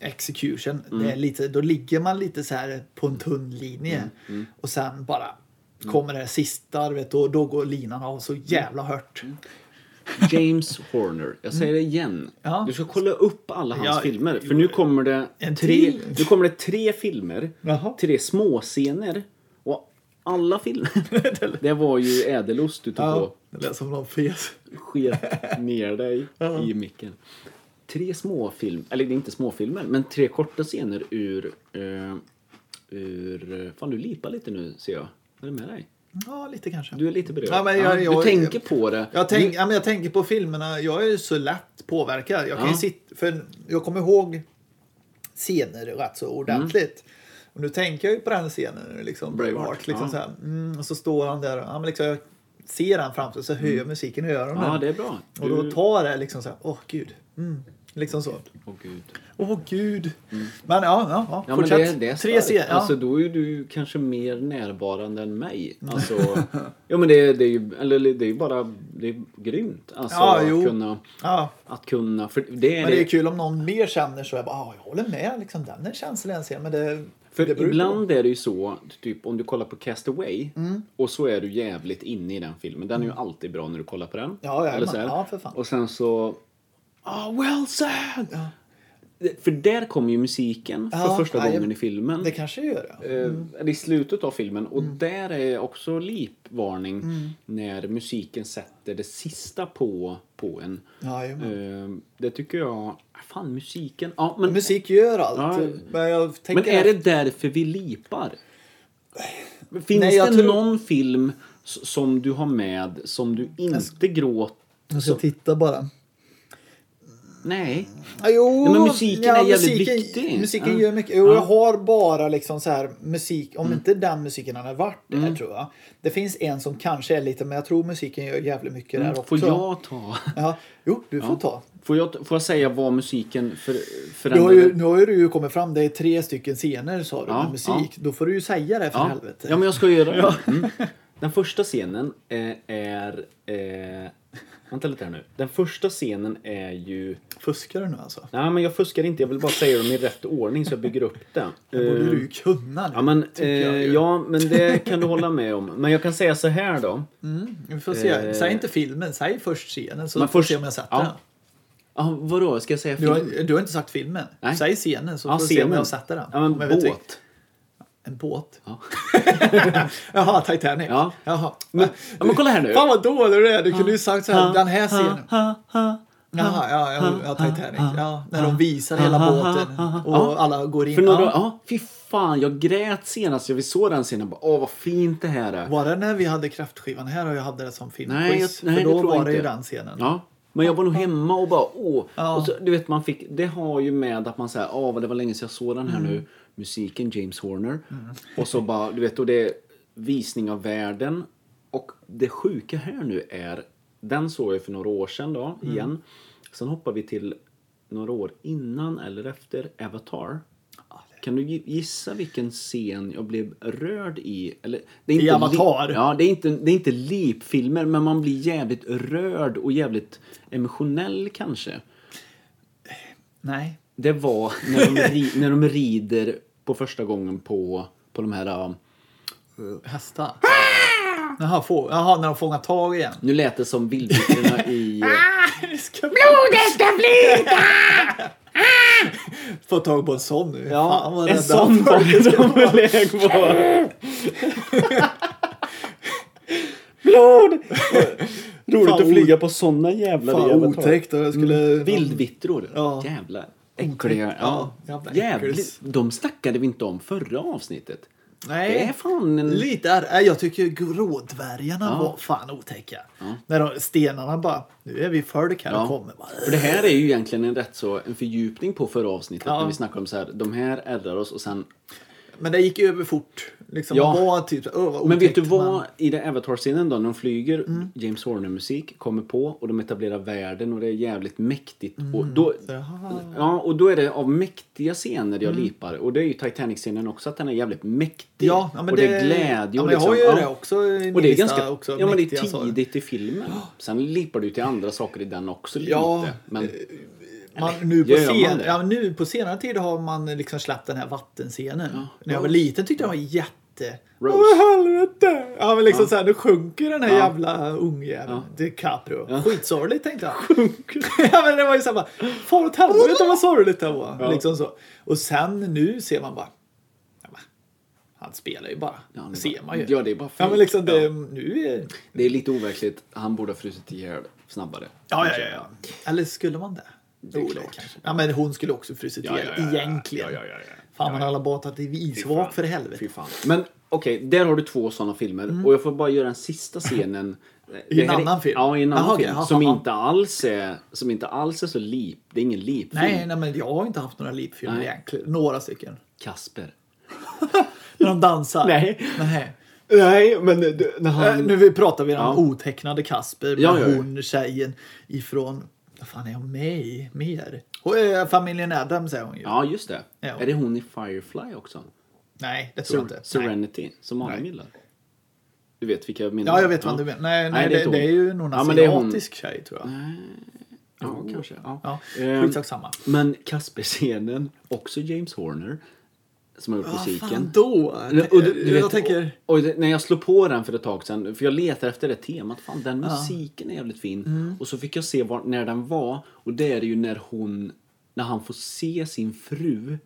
S1: execution. Det
S2: Mm.
S1: är lite, då ligger man lite så här på en tunn linje.
S2: mm.
S1: Och sen bara kommer det sista, du vet, då, då går linan av så jävla hört.
S2: Mm. James Horner. Jag säger det igen.
S1: Mm. Ja.
S2: Du ska kolla upp alla hans
S1: Ja,
S2: filmer. För nu kommer det
S1: En
S2: tre,
S1: till.
S2: nu kommer det tre filmer.
S1: Jaha.
S2: Tre småscener. Och alla filmer. det var ju ädelost du tog
S1: Ja,
S2: på.
S1: det lät som någon fes.
S2: sket ner dig i micken. Tre småfilm, eller det är inte småfilmer, men tre korta scener ur... eh, ur eh, fan, du lipar lite nu ser jag. Vad är det med dig?
S1: Ja, lite kanske.
S2: Du är lite berörd.
S1: Ja, men jag-
S2: du
S1: jag-
S2: tänker på det.
S1: Jag, tänk, ja, men jag tänker på filmerna, jag är ju så lätt påverkad. Jag, kan ju
S2: Ja.
S1: sitta, för jag kommer ihåg scener rätt så ordentligt. Och nu tänker jag ju på den scenen. nu, Liksom,
S2: Mm. Braveheart,
S1: Braveheart, liksom,
S2: ja.
S1: så här. Mm, och så står han där. Ja, men liksom, jag ser han framför sig så hör jag musiken i öronen.
S2: Mm. ja, det är bra.
S1: Och då tar det liksom så här, åh gud. Mm. Liksom så.
S2: Åh, gud.
S1: Åh gud. Men ja, ja, ja.
S2: Mm. Ja, men
S1: fortsätt.
S2: det, det är
S1: Tre
S2: starkt.
S1: scener. Ja. Mm.
S2: Alltså, då är du kanske mer närvarande än mig. Alltså, ja, men det, det är ju eller, det är ju bara det är grymt. Alltså,
S1: Ja, jo.
S2: att, kunna,
S1: ja.
S2: att kunna... För det är
S1: Men det
S2: det-
S1: är kul om någon mer känner så. Jag bara, ah, jag håller med. Liksom, den är känslig den scenen. Men det, det
S2: För
S1: beror ju på.
S2: ibland är det ju så, typ om du kollar på Castaway och så är du jävligt inne i den filmen. Den är ju alltid bra när du kollar på den.
S1: Mm. Ja, jajamän.
S2: så här.
S1: Ja, för fan.
S2: Och sen så... Ah, Wilson! Det- För där kommer ju musiken för
S1: Ja,
S2: första
S1: ja, jag-
S2: gången i filmen.
S1: Det Mm. kanske jag gör det.
S2: Eh, eller I slutet av filmen. Och där är också lipvarning
S1: Mm.
S2: när musiken sätter det sista på, på en.
S1: Ja, jajamän.
S2: Eh, det tycker jag... Fan, musiken. Ja, men,
S1: Musik gör allt.
S2: Ja.
S1: Men jag tänker...
S2: Men är det därför vi lipar? Finns
S1: Nej, jag
S2: det
S1: tror-
S2: någon film s- som du har med som du inte gråter?
S1: Jag ska titta bara.
S2: Nej.
S1: Ja, Jo,
S2: Nej, men musiken är jävligt viktig.
S1: Musiken
S2: Ja.
S1: gör mycket. Jo,
S2: Ja. Mm.
S1: jag har bara liksom så här musik, om inte den musiken hade varit där tror jag. Det finns en som kanske är lite, men jag tror musiken gör jävligt mycket där också.
S2: Mm. Får jag ta?
S1: Ja, jo, du får ta.
S2: Får jag, får jag säga vad musiken för,
S1: Du har
S2: förändrade?
S1: ju, nu har ju du ju kommit fram, det är tre stycken scener sa du
S2: Ja,
S1: med musik. Då får du ju säga det för
S2: ja.
S1: helvete.
S2: ja, men jag ska göra det. Mm. Den första scenen eh, är... Eh, vänta lite här nu. Den första scenen är ju...
S1: Fuskar du nu alltså?
S2: Nej, men jag fuskar inte. Jag vill bara säga dem i rätt ordning så jag bygger upp det.
S1: Det borde
S2: Eh,
S1: du ju kunna nu,
S2: Ja men,
S1: tycker jag
S2: eh,
S1: ju.
S2: ja, men det kan du hålla med om. Men jag kan säga så här då.
S1: Vi får se.
S2: eh,
S1: Säg inte filmen, säg först scenen så
S2: Men
S1: får vi
S2: först-
S1: se om jag sätter
S2: ja.
S1: den.
S2: Ja, vadå? Ska jag säga
S1: Du
S2: film?
S1: har, du har inte sagt filmen.
S2: Nej.
S1: Säg scenen så
S2: Ja,
S1: får vi se om
S2: scenen.
S1: jag sätter den.
S2: Ja,
S1: Om jag
S2: men
S1: vet vilken-
S2: båt.
S1: En båt?
S2: Ja.
S1: Jaha, Titanic.
S2: Ja.
S1: Jaha.
S2: Men, ja, men kolla här nu.
S1: Fan vad dålig du är. Du kunde ju sagt så här, den här scenen.
S2: Ha, ha,
S1: Jaha, ja, ja, ja, Titanic. Ja, när de visar hela båten och alla går in.
S2: För några,
S1: ja.
S2: ja, fy fan, jag grät senast jag vi såg den scenen. Bara, Åh, vad fint det här är.
S1: Var det när vi hade kraftskivan här och jag hade det som
S2: Nej, jag-
S1: filmquiz?
S2: nej,
S1: För
S2: det
S1: då
S2: tror jag
S1: var det ju
S2: inte.
S1: den scenen.
S2: Ja. Men jag var nog hemma och bara åh.
S1: Ja.
S2: Och så, du vet, man fick, det har ju med att man säger åh vad det var länge sedan jag såg den här
S1: Mm.
S2: nu. Musiken, James Horner. Och så bara, du vet, och det är visning av världen. Och det sjuka här nu är, den såg jag för några år sedan då,
S1: Mm.
S2: igen. Sen hoppar vi till några år innan eller efter Avatar. Kan du gi- gissa vilken scen jag blev rörd i? Eller, det är
S1: I Avatar?
S2: Li- ja, det är inte, det är inte lipfilmer, men man blir jävligt rörd och jävligt emotionell kanske.
S1: Nej.
S2: Det var när de, ri, när de rider på första gången på, på de här... um,
S1: Hästar. Jaha, få, jaha, när de fångar tag igen.
S2: Nu lät det som vildbitarna i... eh,
S1: Blodet ska flyta! Få tag på en sån nu. Fan, vad
S2: en
S1: rädda
S2: sån
S1: folk
S2: var
S1: ska
S2: de
S1: vara.
S2: på väg på. Blod! Roligt
S1: Fan,
S2: att flyga på såna jävla
S1: Fan
S2: jävla Mm. tag.
S1: otäckt. och Jag skulle...
S2: Vildvittror.
S1: Ja.
S2: Jävlar. Äckliga. Ja.
S1: Ja, jävla äckels.
S2: Jävligt. De snackade vi inte om förra avsnittet.
S1: Nej.
S2: Det är fan en...
S1: Lite är, nej, Jag tycker grådvärgarna
S2: Ja.
S1: var fan otäcka. När de, stenarna bara, nu är vi folk här och kommer. Bara,
S2: För det här är ju egentligen en rätt så en fördjupning på förra avsnittet
S1: Ja.
S2: när vi snackade om så här, de här ärrar oss och sen...
S1: men det gick ju över fort. Liksom,
S2: Ja.
S1: Man var typ, så, "Åh, vad
S2: Men vet
S1: otäckt", Mm.
S2: du vad? I den Avatar-scenen då när de flyger, James Horner-musik kommer på och de etablerar världen och det är jävligt mäktigt. Och, då,
S1: Mm. Jaha. Mm.
S2: ja, och då är det av mäktiga scener jag lipar. Och det är ju Titanic-scenen också, att den är jävligt mäktig.
S1: Ja, ja, men
S2: och det, är glädje.
S1: Ja,
S2: och
S1: men jag har
S2: liksom,
S1: ju
S2: ja.
S1: det också i
S2: Och det är
S1: min lista
S2: ganska
S1: också,
S2: ja, men det
S1: mäktiga
S2: är
S1: saker.
S2: tidigt i filmen. Sen lipar du till andra saker i den också lite.
S1: Ja, eh,
S2: men,
S1: Man, nu, på
S2: Gör man
S1: sen,
S2: det?
S1: ja, men nu på senare tid har man liksom släppt den här vattenscenen. När jag var liten tyckte jag den var jätte...
S2: Rose.
S1: Åh helvete! Ja men liksom såhär, nu sjunker den här
S2: Ja.
S1: jävla ungjäveln. DiCaprio. Skitsorgligt tänkte jag. ja men det var ju såhär Far åt helvete vad sorgligt det var. Liksom så. Och sen nu ser man bara... Ja, men, han spelar ju bara.
S2: Ja, det är
S1: det ser
S2: bara-
S1: man ju.
S2: ja, det är bara
S1: Ja
S2: fake.
S1: men liksom det,
S2: Ja.
S1: nu är...
S2: det är lite overkligt. Han borde ha frusit ihjäl snabbare.
S1: Ja, ja, ja, ja. Eller skulle man det? Det
S2: är
S1: jo,
S2: klart.
S1: kanske. Ja, men hon skulle också frusit
S2: Ja,
S1: ihjäl,
S2: ja, ja, ja.
S1: egentligen.
S2: Ja, ja, ja, ja.
S1: Fan, man har alla batat i
S2: Fy fan.
S1: isvak för helvete.
S2: Fy fan. Men okej, där har du två sådana filmer. Och jag får bara göra den sista scenen. Det
S1: Mm. en
S2: här är-
S1: annan film?
S2: Ja, i en annan
S1: Jaha, okej.
S2: film.
S1: Ja,
S2: som,
S1: ja, ja.
S2: inte alls är, som inte alls är så lip. Det är ingen lipfilm.
S1: Nej, nej, men jag har inte haft några lipfilmer
S2: Nej.
S1: egentligen. Några stycken.
S2: Kasper.
S1: När de dansar.
S2: Nej.
S1: Nej.
S2: Nej, men du, när
S1: Äh, nu vi pratar vi om
S2: Ja.
S1: otecknade Kasper med
S2: Ja, ja, ja.
S1: hon tjejen ifrån... Vad fan är hon med i mer? Och, äh, familjen Adams är hon ju.
S2: Ja, just det.
S1: Ja.
S2: Är det hon i Firefly också?
S1: Nej, det tror jag inte. Nej.
S2: Serenity, som Adam gillar. Du vet vilka jag menar?
S1: Ja, jag vet vad du menar. Nej, nej,
S2: Nej, det är
S1: det,
S2: inte
S1: det är
S2: hon.
S1: ju någon
S2: Ja, men det är hon.
S1: asiatisk tjej tror jag.
S2: Ja, kanske. Ja.
S1: Ja,
S2: Ehm,
S1: skitsamma.
S2: Men Kasper-scenen, också James Horner, som har gjort
S1: Vad Ah, fan
S2: musiken.
S1: då?
S2: Och du, du vet,
S1: jag tänker...
S2: och, och det- när jag slog på den för ett tag sedan, för jag letar efter det temat, fan den musiken är jävligt fin.
S1: Mm.
S2: Och så fick jag se var, när den var, och det är ju när hon, när han får se sin fru,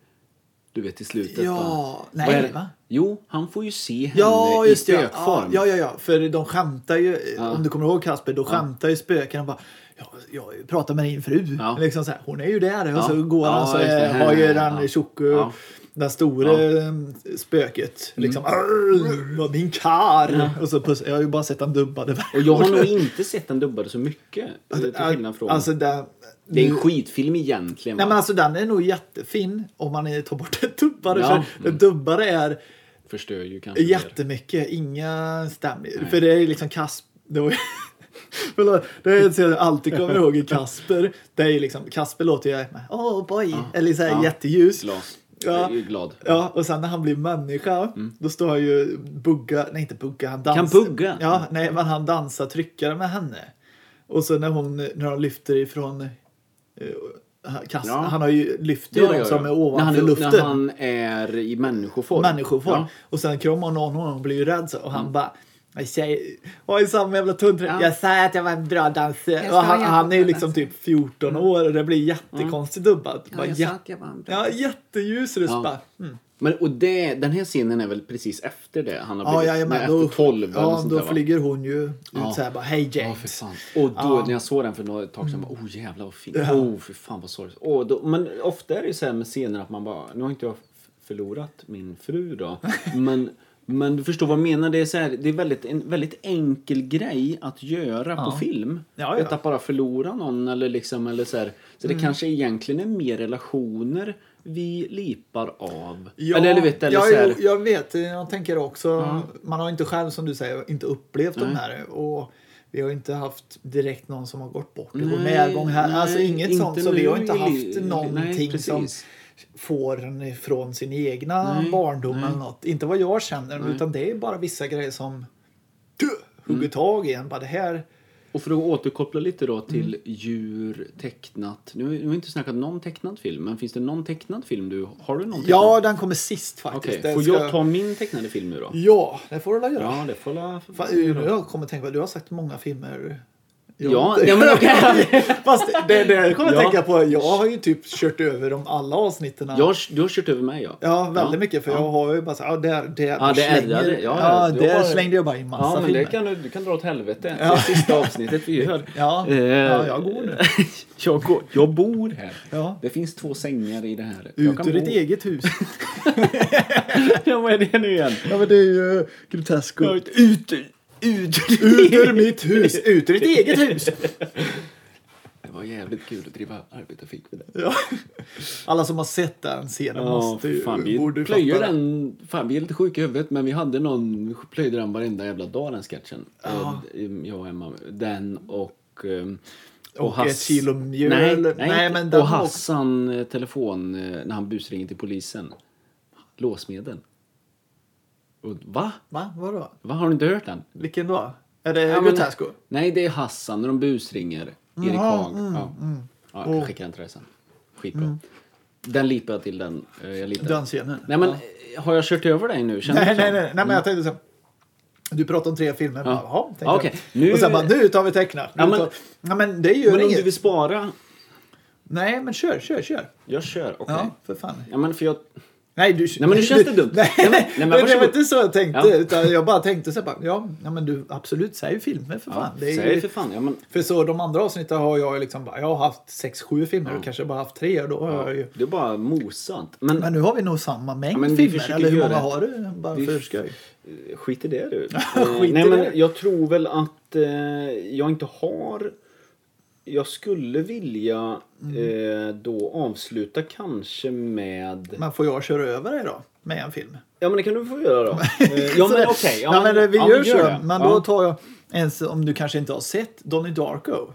S2: du vet i slutet.
S1: Ja,
S2: va?
S1: nej,
S2: Vad är det?
S1: va?
S2: Jo, han får ju se henne
S1: Ja, just
S2: i
S1: det. Ja,
S2: spökform.
S1: ja, ja, ja. För de skämtar ju, om du kommer ihåg Kasper, då skämtar ju spöken. bara, ja, jag pratar med din fru.
S2: Ja.
S1: Liksom så här, hon är ju där. Och
S2: Ja.
S1: så går han
S2: Ja,
S1: och så
S2: just det.
S1: eh, har ju den
S2: Ja.
S1: tjock...
S2: Ja. Mm.
S1: Den store mm, spöket. Liksom, "Arr, vad min kar! Och så puss, jag har ju bara sett den dubbade
S2: Och jag har nog inte sett den dubbade så mycket. eh, Till skillnad från...
S1: Alltså, den,
S2: det är en skitfilm egentligen.
S1: Nej
S2: va?
S1: men alltså den är nog jättefin om man eh, tar bort den dubbade.
S2: Ja.
S1: För den dubbade är
S2: Förstör ju kanske mer.
S1: jättemycket, inga stämmer. För det är liksom Kasper. Det var ju- Förlåt, det är en scen jag alltid kommer ihåg i Kasper. Det är ju liksom, Kasper låter ju oh boy, eller så här
S2: Ja.
S1: jätteljus.
S2: Glad.
S1: Ja.
S2: Jag är ju glad.
S1: Ja, och sen när han blir människa, då står han ju bugga, nej inte bugga, han dansar.
S2: Mm. Kan bugga?
S1: Ja, nej men han dansar tryckare med henne. Och så när hon, när de lyfter ifrån eh, kass,
S2: Ja.
S1: han har ju lyft ju de Typ som är
S2: när, han,
S1: ovanför
S2: är-
S1: luften.
S2: när han är i människoform.
S1: Människoform.
S2: Ja.
S1: Och sen kramar hon honom och hon blir ju rädd så, och han
S3: Mm.
S1: bara "Men Tjej, oj samma jävla tunnträ.
S2: Ja.
S1: Jag sa att jag var en bra dansare.
S3: ska
S1: Och han,
S3: vara
S1: han är ju
S3: jättebra
S1: liksom typ 14 år och det blir jättekonstigt dubbat.
S3: Mm. Ja,
S1: Bara
S3: jag
S1: jä-
S3: sa att jag var en bra
S1: ja, jätteljus röst
S2: Ja.
S1: bara. Mm.
S2: Men, och det, den här scenen är väl precis efter det? Han har
S1: Ja,
S2: blivit,
S1: jajamän.
S2: nej,
S1: Då,
S2: efter 12 eller
S1: ja,
S2: sånt
S1: då
S2: där, va?
S1: flyger hon ju ut
S2: Ja.
S1: så här bara, hej
S2: Ja,
S1: James.
S2: för fan. Och då när jag såg den för några tag sedan, bara, oh jävlar vad fint. Oh, för fan vad sorgligt. Åh, då- men ofta är det ju så här med scener att man bara, nu har inte jag f- förlorat min fru då. Men, men du förstår vad jag menar, det är, så här, det är väldigt, en väldigt enkel grej att göra på film.
S1: Ja, Mm. ja.
S2: Att att bara förlora någon eller liksom, eller så här. Så det kanske egentligen är mer relationer vi lipar av.
S1: Ja,
S2: eller, eller vet, eller
S1: ja,
S2: så här,
S1: jo, jag vet, jag tänker också. Man har inte själv, som du säger, inte upplevt de här. Och vi har inte haft direkt någon som har gått bort i vår
S2: Nej,
S1: närgång här.
S2: nej,
S1: alltså inget
S2: inte
S1: sånt. Så vi har
S2: nu
S1: inte
S2: i
S1: haft
S2: li-
S1: någonting
S2: nej,
S1: som
S2: precis.
S1: får en från sin egna
S2: Nej,
S1: barndom eller något. Inte vad jag känner, utan det är bara vissa grejer som tö, hugger
S2: Mm.
S1: tag i en. Bara det här.
S2: Och för att återkoppla lite då till
S1: Mm.
S2: djur, tecknat. Nu, nu har vi inte snackat någon tecknad film, men finns det någon tecknad film du har? du någon tecknad?
S1: Ja, den kommer sist faktiskt.
S2: Okej,
S1: Den
S2: får
S1: ska-
S2: jag ta min tecknade film nu då?
S1: Ja, det får du väl göra.
S2: Ja, det får jag...
S1: Fan, nu har jag kommer tänka på, du har sagt många filmer.
S2: Ja, ja, men okej.
S1: Fast det, det jag kommer
S2: Ja.
S1: tänka på, jag har ju typ kört över de alla avsnitten.
S2: Jag har- Du har kört över mig ja.
S1: Ja, väldigt mycket. För jag har ju bara så, ja, där, där, där
S2: det
S1: slänger-
S2: ärrade. Ja,
S1: ja,
S2: du
S1: där
S2: har-
S1: slängde jag bara in massa
S2: Ja, men
S1: filmer.
S2: det kan du, du kan dra åt helvete. Det är sista avsnittet vi gör.
S1: Ja,
S2: Eh,
S1: ja, jag går nu.
S2: jag, går, jag bor här.
S1: Ja.
S2: Det finns två sängar i det här. Jag
S1: Ut
S2: kan
S1: ur ditt
S2: bo-
S1: eget hus.
S2: Ja, vad är det nu igen?
S1: ja, men det är ju grotesko.
S2: Ut, ut, ut
S1: Ut ur mitt hus! Ut ur ditt eget hus!
S2: Det var jävligt kul att driva arbetarfik med det.
S1: Ja. Alla som har sett den scenen
S2: Ja,
S1: måste ju...
S2: fan, vi
S1: borde ju
S2: plöjer
S1: fatta det.
S2: den. Fan, vi är lite sjuka i huvudet, men vi hade någon, vi plöjde den varenda jävla dag den sketchen. Eh, Jag och Emma. Den och... ehm, Och,
S1: Och ett kilo mjöl.
S2: Nej,
S1: Nej,
S2: nej,
S1: men
S2: inte-
S1: den
S2: och
S1: var-
S2: Hassan eh, telefon eh, när han busringer till polisen. Låsmedel. Och, va?
S1: Va? Vadå?
S2: Va, har du inte hört den?
S1: Vilken då? Är det
S2: Ja, men-
S1: grotesko?
S2: Nej, det är Hassan när de busringer.
S1: Mm,
S2: Erik Haag. ja. ja, jag skickar den till dig sen. Skitbra. Den lipar jag till den. eh, Jag lipar.
S1: Mm. Den scenen?
S2: Nej men, eh, har jag kört över dig nu? Känner
S1: Nej,
S2: du så? Mm.
S1: nej, nej, nej, men jag tänkte så. här, Du pratade om tre filmer. Bara, Jaha, tänkte jag.
S2: Okej, nu-
S1: Och sen bara, nu tar vi tecknat. Nu
S2: Ja, men-
S1: tar... ja, men det gör
S2: Men om
S1: inget.
S2: du vill spara?
S1: Nej, men kör, kör, kör.
S2: Jag kör, okej.
S1: Ja, för fan.
S2: Ja, men för jag...
S1: Nej, du...
S2: Nej, men nu känns det dumt.
S1: Nej,
S2: Nej, men-
S1: men,
S2: nej, men
S1: det var
S2: varsågod.
S1: inte så jag tänkte.
S2: Ja.
S1: Utan jag bara tänkte så här, bara, ja, ja, men du, absolut, säg filmer för fan. det är
S2: Säg
S1: ju...
S2: för fan. Ja, men,
S1: För så de andra avsnitten har jag ju liksom bara, jag har haft sex, sju filmer och kanske bara haft tre. Och då har jag ju...
S2: det är bara mosat. Men,
S1: Men nu har vi nog samma mängd
S2: Ja, men vi
S1: filmer.
S2: försöker
S1: Eller hur
S2: göra
S1: många
S2: det.
S1: har du? Bara
S2: Vi-
S1: för skoj.
S2: eh, skit i det du. Eh,
S1: Skit i
S2: nej,
S1: det.
S2: men jag tror väl att eh, jag inte har... Jag skulle vilja
S1: Mm.
S2: eh, då avsluta kanske med...
S1: Men får jag köra över dig då? Med en film?
S2: Ja men det kan du få göra då. Eh, ja
S1: Så
S2: men
S1: det-
S2: okej.
S1: ja, men eh, vi
S2: ja,
S1: gör så.
S2: det.
S1: Men
S2: Ja.
S1: då tar jag, ens om du kanske inte har sett Donnie Darko.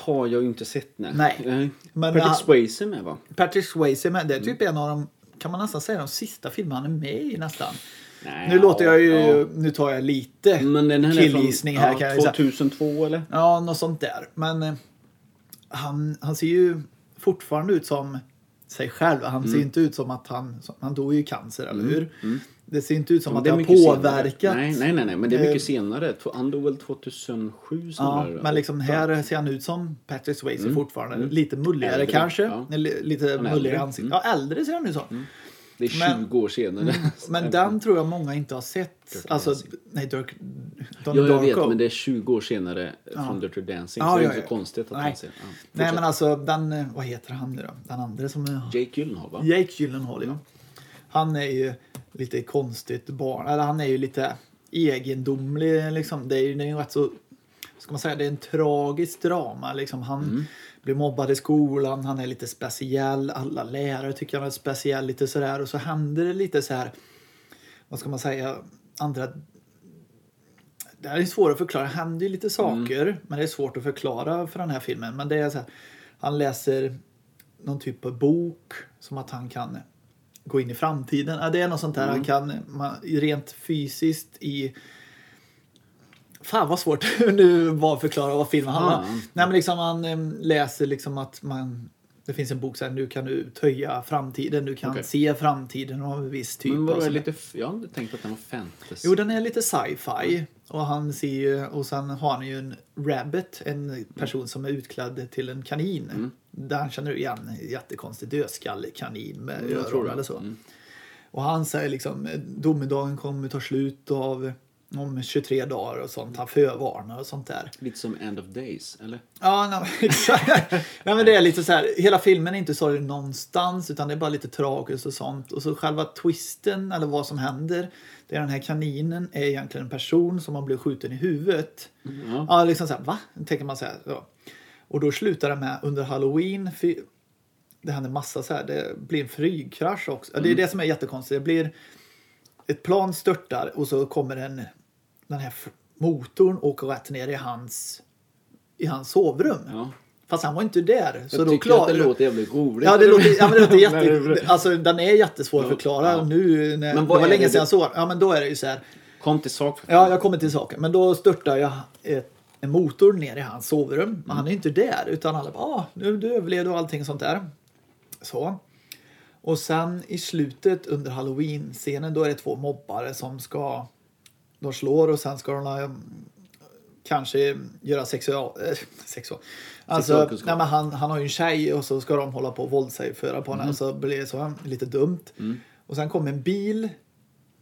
S2: har jag ju inte sett nej.
S1: Nej. Men eh,
S2: Men Patrick
S1: han-
S2: Swayze är med va?
S1: Patrick Swayze, men det är
S2: Mm.
S1: typ en av de, kan man nästan säga, de sista filmerna han är med i nästan.
S2: Nej,
S1: nu låter jag ju,
S2: ja.
S1: nu tar jag lite
S2: Men den här
S1: killgissning
S2: är
S1: här
S2: från
S1: kan jag ju
S2: ja,
S1: säga.
S2: 2002 eller?
S1: Ja, något sånt där. Men eh, han, han ser ju fortfarande ut som sig själv. Han
S2: Mm.
S1: ser inte ut som att han, som- han dog ju i cancer, eller hur? Det ser inte ut som att
S2: det
S1: det
S2: är
S1: har
S2: mycket
S1: påverkat.
S2: Senare. Nej, nej, nej, nej, men det är mycket
S1: Eh,
S2: senare. Tw- Han dog väl 2007
S1: Ja,
S2: snarare?
S1: men liksom här ser han ut som Patrick Swayze fortfarande. Lite mulligare
S2: Mm. Äldre,
S1: kanske.
S2: ja.
S1: Eller Lite
S2: är
S1: mulligare
S2: äldre. Mm.
S1: ansikte. Ja, äldre ser han ut som.
S2: det är 20
S1: men- Mm,
S2: år senare.
S1: Men den tror jag många inte har sett. alltså, nej, Dirk... Don
S2: ja, jag vet,
S1: Darko.
S2: men det är 20 år senare från Dirty Dancing.
S1: Ja,
S2: så det är
S1: ja,
S2: inte
S1: ja.
S2: så konstigt att
S1: Nej.
S2: han ser. Ja.
S1: Nej,
S2: fortsätt.
S1: men alltså den... eh, Vad heter han nu då? Den andra som... är-
S2: Jake Gyllenhaal va?
S1: Jake Gyllenhaal, ja. Han är ju lite konstigt barn, eller han är ju lite egendomlig liksom. Det är ju det är ju rätt så, ska man säga, det är en tragisk drama liksom. Han blir mobbad i skolan, han är lite speciell, alla lärare tycker han är speciell lite sådär och så händer det lite så här vad ska man säga, andra... Det här är svårt att förklara. Det händer
S2: Mm.
S1: ju lite saker, men det är svårt att förklara för den här filmen. Men det är så här, han läser någon typ av bok som att han kan gå in i framtiden. Ja, det är något sånt där
S2: Mm.
S1: han kan, man, rent fysiskt i... Fan vad svårt nu var att förklara vad filmen handlar om.
S2: Ah.
S1: Nej men liksom man em, läser liksom att man... Det finns en bok så här, nu kan du töja framtiden, du kan
S2: Okej.
S1: se framtiden av en viss typ.
S2: Men
S1: och
S2: vadå, är
S1: sådär.
S2: lite... f- Jag hade tänkt att den var fantasy.
S1: Jo, den är lite sci-fi. Och, han ser ju, och sen har han ju en rabbit, en person som är utklädd till en kanin.
S2: Mm.
S1: Där han känner igen en jättekonstig dödskallig kanin med
S2: Mm, jag tror
S1: öron
S2: det.
S1: eller så. Och han säger liksom domedagen kommer ta slut av om 23 dagar och sånt. Han förvarnar och sånt där.
S2: Lite som End of Days, eller?
S1: Ja, nej, men exakt. nej, men det är lite så här, hela filmen är inte sorglig någonstans utan det är bara lite tragiskt och sånt. Och så själva twisten, eller vad som händer, det är den här kaninen är egentligen en person som har blivit skjuten i huvudet.
S2: Ja.
S1: Ja, liksom så här, va? Tänker man så här. Ja. Och då slutar det med under halloween, fy- det händer massa så här, det blir en flygkrasch också. Ja, Det är
S2: Mm.
S1: det som är jättekonstigt. Det blir ett plan störtar och så kommer en, den här f- motorn åker rätt ner i hans, i hans sovrum.
S2: ja.
S1: Fast han var inte där. Så
S2: jag
S1: då
S2: tycker
S1: klar...
S2: att det låter jävligt roligt.
S1: Ja, det låter, ja, men det låter
S2: När
S1: jätte...
S2: det-
S1: Alltså, den är jättesvår att
S2: Ja,
S1: förklara.
S2: ja.
S1: Nu, när,
S2: Men
S1: det
S2: vad
S1: var
S2: är
S1: länge
S2: det
S1: sedan
S2: du-
S1: jag såg Ja, men då är det ju så här.
S2: Kom till sak. för
S1: Ja, jag kommer till saken. Men då störtar jag ett, en motor ner i hans sovrum. Men han är ju inte där. Utan alla bara, ah, nu du överlevde och allting sånt där. Så. Och sen i slutet under halloween-scenen då är det två mobbare som ska... De slår och sen ska de ha, mm, kanske göra sexual... Äh, sexual. Alltså,
S2: Sexualkunskap.
S1: nej, men han, han har ju en tjej och så ska de hålla på och våldsägföra på henne.
S2: Mm.
S1: Och så blir det så lite dumt. Och sen kommer en bil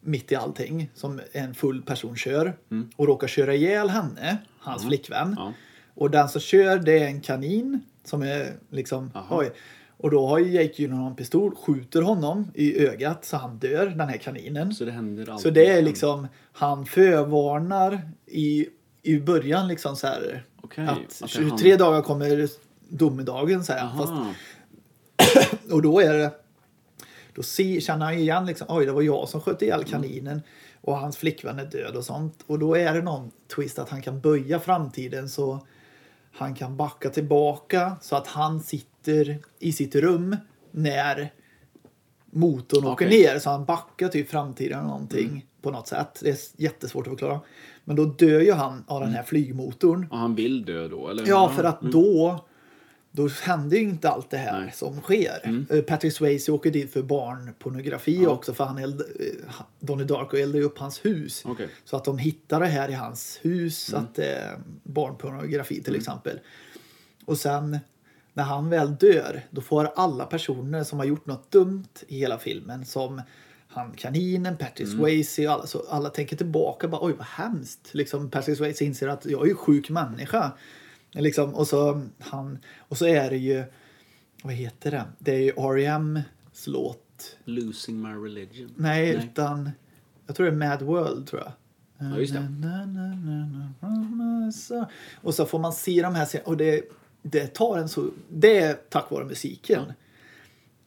S1: mitt i allting som en full person kör och råkar köra ihjäl henne, hans flickvän.
S2: Mm. Ja.
S1: Och den som kör det är en kanin som är liksom
S2: Aha.
S1: oj. Och då har ju Jake Gyllenhaal en pistol, skjuter honom i ögat så han dör, den här kaninen.
S2: Så det händer alltid.
S1: Så det är liksom, han förvarnar i, i början liksom så här
S2: Okej,
S1: att,
S2: att det är han.
S1: 23 dagar kommer domedagen säger han. Fast
S2: Aha.
S1: och då är det... Då se- känner han igen liksom, oj det var jag som sköt ihjäl kaninen och hans flickvän är död och sånt. Och då är det någon twist att han kan böja framtiden så han kan backa tillbaka så att han sitter i sitt rum när motorn åker
S2: Okej.
S1: ner. Så han backar till framtiden eller någonting på något sätt. Det är jättesvårt att förklara. Men då dör ju han av den här flygmotorn.
S2: Och han vill dö då, eller? Mm.
S1: Ja, för att då, då hände ju inte allt det här
S2: Nej. Mm.
S1: som sker. Eh, Patrick Swayze åker dit för barnpornografi också för han eld, eh, Donnie Darko eldar ju upp hans hus.
S2: Okej.
S1: Så att de hittar det här i hans hus, att, eh, barnpornografi till exempel. Och sen när han väl dör, då får alla personer som har gjort något dumt i hela filmen som han kaninen, Patrick Swayze och alla, så alla tänker tillbaka bara oj vad hemskt. Liksom, Patrick Swayze inser att jag är ju sjuk människa. Liksom, och, så, han, och så är det ju, vad heter det? Det är ju R.E.M.s låt.
S2: Losing my religion.
S1: Nej,
S2: Nej.
S1: utan jag tror det är Mad World tror jag.
S2: Ja, just det.
S1: Na, na, na, na, na, na, så. Och så får man se de här scenerna och det, det tar en så... Det är tack vare musiken.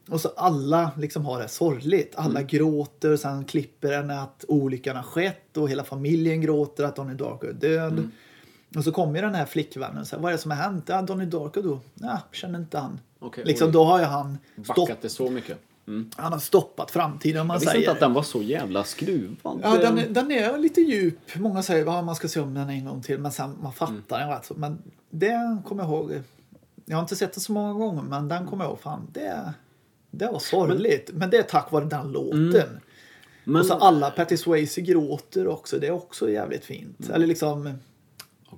S1: Och så alla liksom har det sorgligt. Alla
S2: Mm.
S1: gråter, sen klipper den att olyckan har skett och hela familjen gråter att Donnie Darko är död.
S2: Mm.
S1: Och så kommer ju den här flickvännen och säger vad är det som har hänt? Ja, Donnie Darko då? Nej, känner inte han.
S2: Okej,
S1: liksom,
S2: oj.
S1: då har ju han, stopp,
S2: Backat det så mycket. Mm.
S1: han har stoppat framtiden om man
S2: Jag visste
S1: säger.
S2: inte att den var så jävla skruvad.
S1: Ja, den, är- den är lite djup. Många säger att man ska se om den en gång till, men sen, man fattar den rätt så. Men det kommer jag ihåg. Jag har inte sett den så många gånger, men den kommer jag ihåg. Fan, det, det var sorgligt. Men, Mm. det är tack vare den låten.
S2: Men,
S1: Och så alla Patrick Swayze gråter också. Det är också jävligt fint. Eller liksom...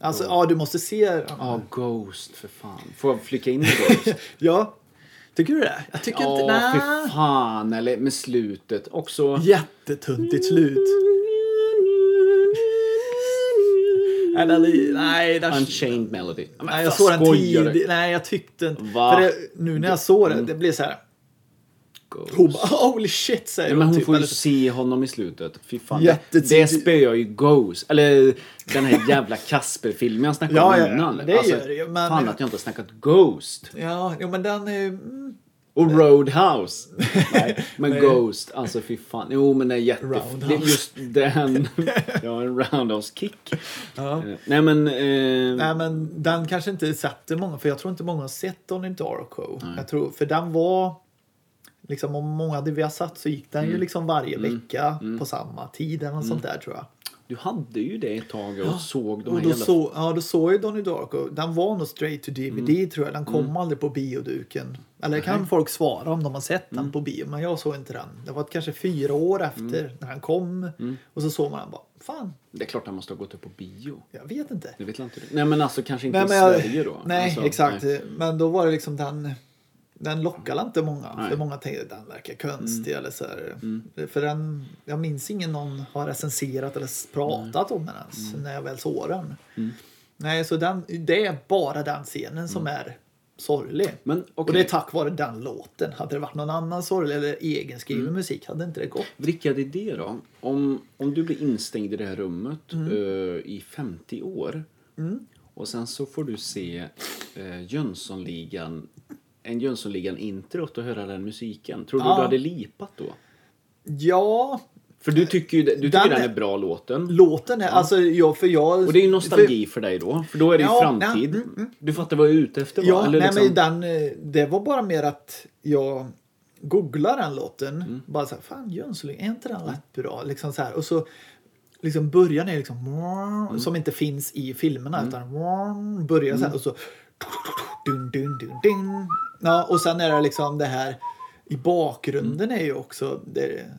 S1: Alltså, ja, du måste se...
S2: Ja, Ghost för fan. Får jag flika in i Ghost?
S1: Ja. Tycker du det? Jag tycker
S2: Ja,
S1: inte...
S2: för
S1: Nej.
S2: fan. Eller med slutet också.
S1: Jättetuntigt slut. Mm. Eller, nej, där...
S2: Unchained Melody. Ja, men
S1: Nej, jag
S2: fan,
S1: såg den
S2: Alltså, skojar du?
S1: tidig. Nej, jag tyckte inte...
S2: Va? Mm.
S1: För det, nu när jag såg det, det blev så här...
S2: och...
S1: Hon bara holy shit säger
S2: Nej, men hon
S1: typ,
S2: får ju
S1: eller-
S2: se honom i slutet. Fy fan.
S1: Jättetidigt.
S2: Det spöar ju Ghost. Eller den här jävla Kasper-filmen jag snackade
S1: Ja,
S2: om
S1: ja, ja.
S2: innan. Alltså,
S1: Det gör det ju, men-
S2: Fan att jag inte har snackat Ghost.
S1: Ja, jo, men den är ju... mm,
S2: Och Roadhouse. Nej, men
S1: Nej.
S2: Ghost. Alltså fy fan. Jo men det är jätte...
S1: Roundhouse.
S2: Det är just den. Ja, en roundhouse-kick.
S1: Ja.
S2: Eh, Nej men... Eh,
S1: Nej, men den kanske inte sätter många, för jag tror inte många har sett Donnie Darko. Jag tror, för den var... Liksom om många hade vi har satt så gick den
S2: Mm.
S1: ju liksom varje vecka på samma tid eller något sånt där tror jag.
S2: Du hade ju det ett tag och såg de
S1: Och
S2: här
S1: då,
S2: jävla...
S1: så, ja, då såg ju Donnie Darko, den var nog straight to DVD
S2: Mm.
S1: tror jag, den kom aldrig på bioduken. Eller kan folk svara om de har sett
S2: Mm.
S1: den på bio, men jag såg inte den. Det var kanske fyra år efter när han kom
S2: Mm.
S1: och så såg man den bara, fan,
S2: Det är klart han måste ha gått upp på bio.
S1: jag vet inte.
S2: Det vet jag inte du. Nej men alltså kanske inte
S1: Nej, men
S2: i
S1: jag,
S2: Sverige då.
S1: nej
S2: alltså,
S1: exakt.
S2: nej.
S1: Men då var det liksom den, den lockade inte många.
S2: Nej. Mm.
S1: För många tänkte den verkar konstig eller så här. För den, jag minns ingen någon har recenserat eller s- pratat om den ens
S2: Mm.
S1: när jag väl såg den. Nej, så den, det är bara den scenen som är sorglig.
S2: Mm. Men
S1: Och
S2: okej.
S1: det är tack vare den låten. Hade det varit någon annan sorglig eller egenskriven
S2: Mm.
S1: musik hade inte det gått.
S2: Rickard idé då? Om, om du blir instängd i det här rummet
S1: Mm.
S2: eh, i 50 år och sen så får du se uh, Jönssonligan, en Jönssonligan-introt och höra den musiken. Tror du
S1: Ja.
S2: du hade lipat då?
S1: Ja,
S2: För du tycker ju du tycker den,
S1: Den
S2: är
S1: är-
S2: bra låten.
S1: låten är... Alltså, jag, för jag...
S2: Och det är ju
S1: för-
S2: nostalgi för, dig då, för då är det ju
S1: Ja,
S2: framtid.
S1: nej, mm,
S2: Du fattar vad jag är ute efter va?
S1: Ja,
S2: Eller
S1: nej,
S2: liksom-
S1: men den, eh, det var bara mer att jag googlade den låten.
S2: Mm.
S1: Bara så här, fan Jönssonligan, är inte den rätt bra? Liksom så här. Och så liksom början är liksom
S2: Mm.
S1: som inte finns i filmerna utan börjar så här och så dun, dun, dun, dun. Ja, och sen är det liksom det här i bakgrunden är ju också det, ja, det,
S2: Mm.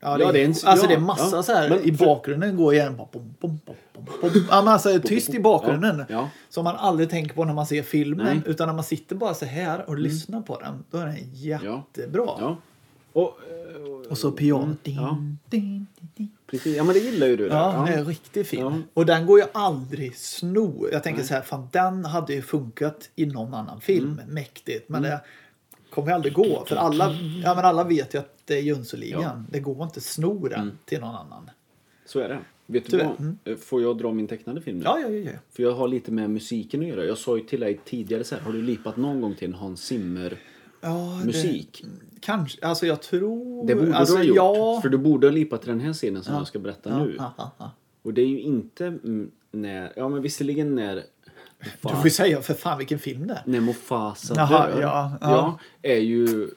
S2: Ja, det är
S1: är,
S2: en-
S1: alltså
S2: ja,
S1: det är massa
S2: ja.
S1: så här
S2: Men
S1: i
S2: för-
S1: bakgrunden går igen bara bom, bom, bom, bom, bom. Ja, men alltså tyst i bakgrunden.
S2: Ja, ja.
S1: Som man aldrig tänker på när man ser filmen.
S2: Nej. Mm.
S1: Utan när man sitter bara så här och lyssnar på den. Då är den jättebra.
S2: Ja. Och, eh,
S1: Och så piano. Din,
S2: Ja.
S1: din, din, din.
S2: precis. ja, men det gillar ju du. där.
S1: Ja, det är riktigt fin.
S2: Ja.
S1: Och den går ju aldrig sno. Jag tänker så här, fan den hade ju funkat i någon annan film.
S2: Mm.
S1: Mäktigt. Men det kommer ju aldrig gå. För alla, ja, men alla vet ju att det är Jönssonligan.
S2: Ja. Mm.
S1: Det går inte att sno den till någon annan.
S2: Så är det. Vet du
S1: Tyvärr. Mm.
S2: vad? Eh, Får jag dra min tecknade film nu?
S1: Ja, ja, ja. ja.
S2: För jag har lite med musiken att göra. Jag sa ju till dig tidigare så här, har du lipat någon gång till en Hans Zimmer
S1: ja det-
S2: musik?
S1: Kanske, alltså jag tror...
S2: Det, borde
S1: alltså,
S2: du ha gjort.
S1: Ja.
S2: För du borde ha lipat till den här scenen som jag ska berätta
S1: ja,
S2: nu.
S1: ja, ja, ja.
S2: Och det är ju inte mm, när, ja men visserligen när,
S1: Du får ju säga för fan vilken film det är.
S2: när Mufasa
S1: Jaha,
S2: dör.
S1: ja, ja.
S2: är ju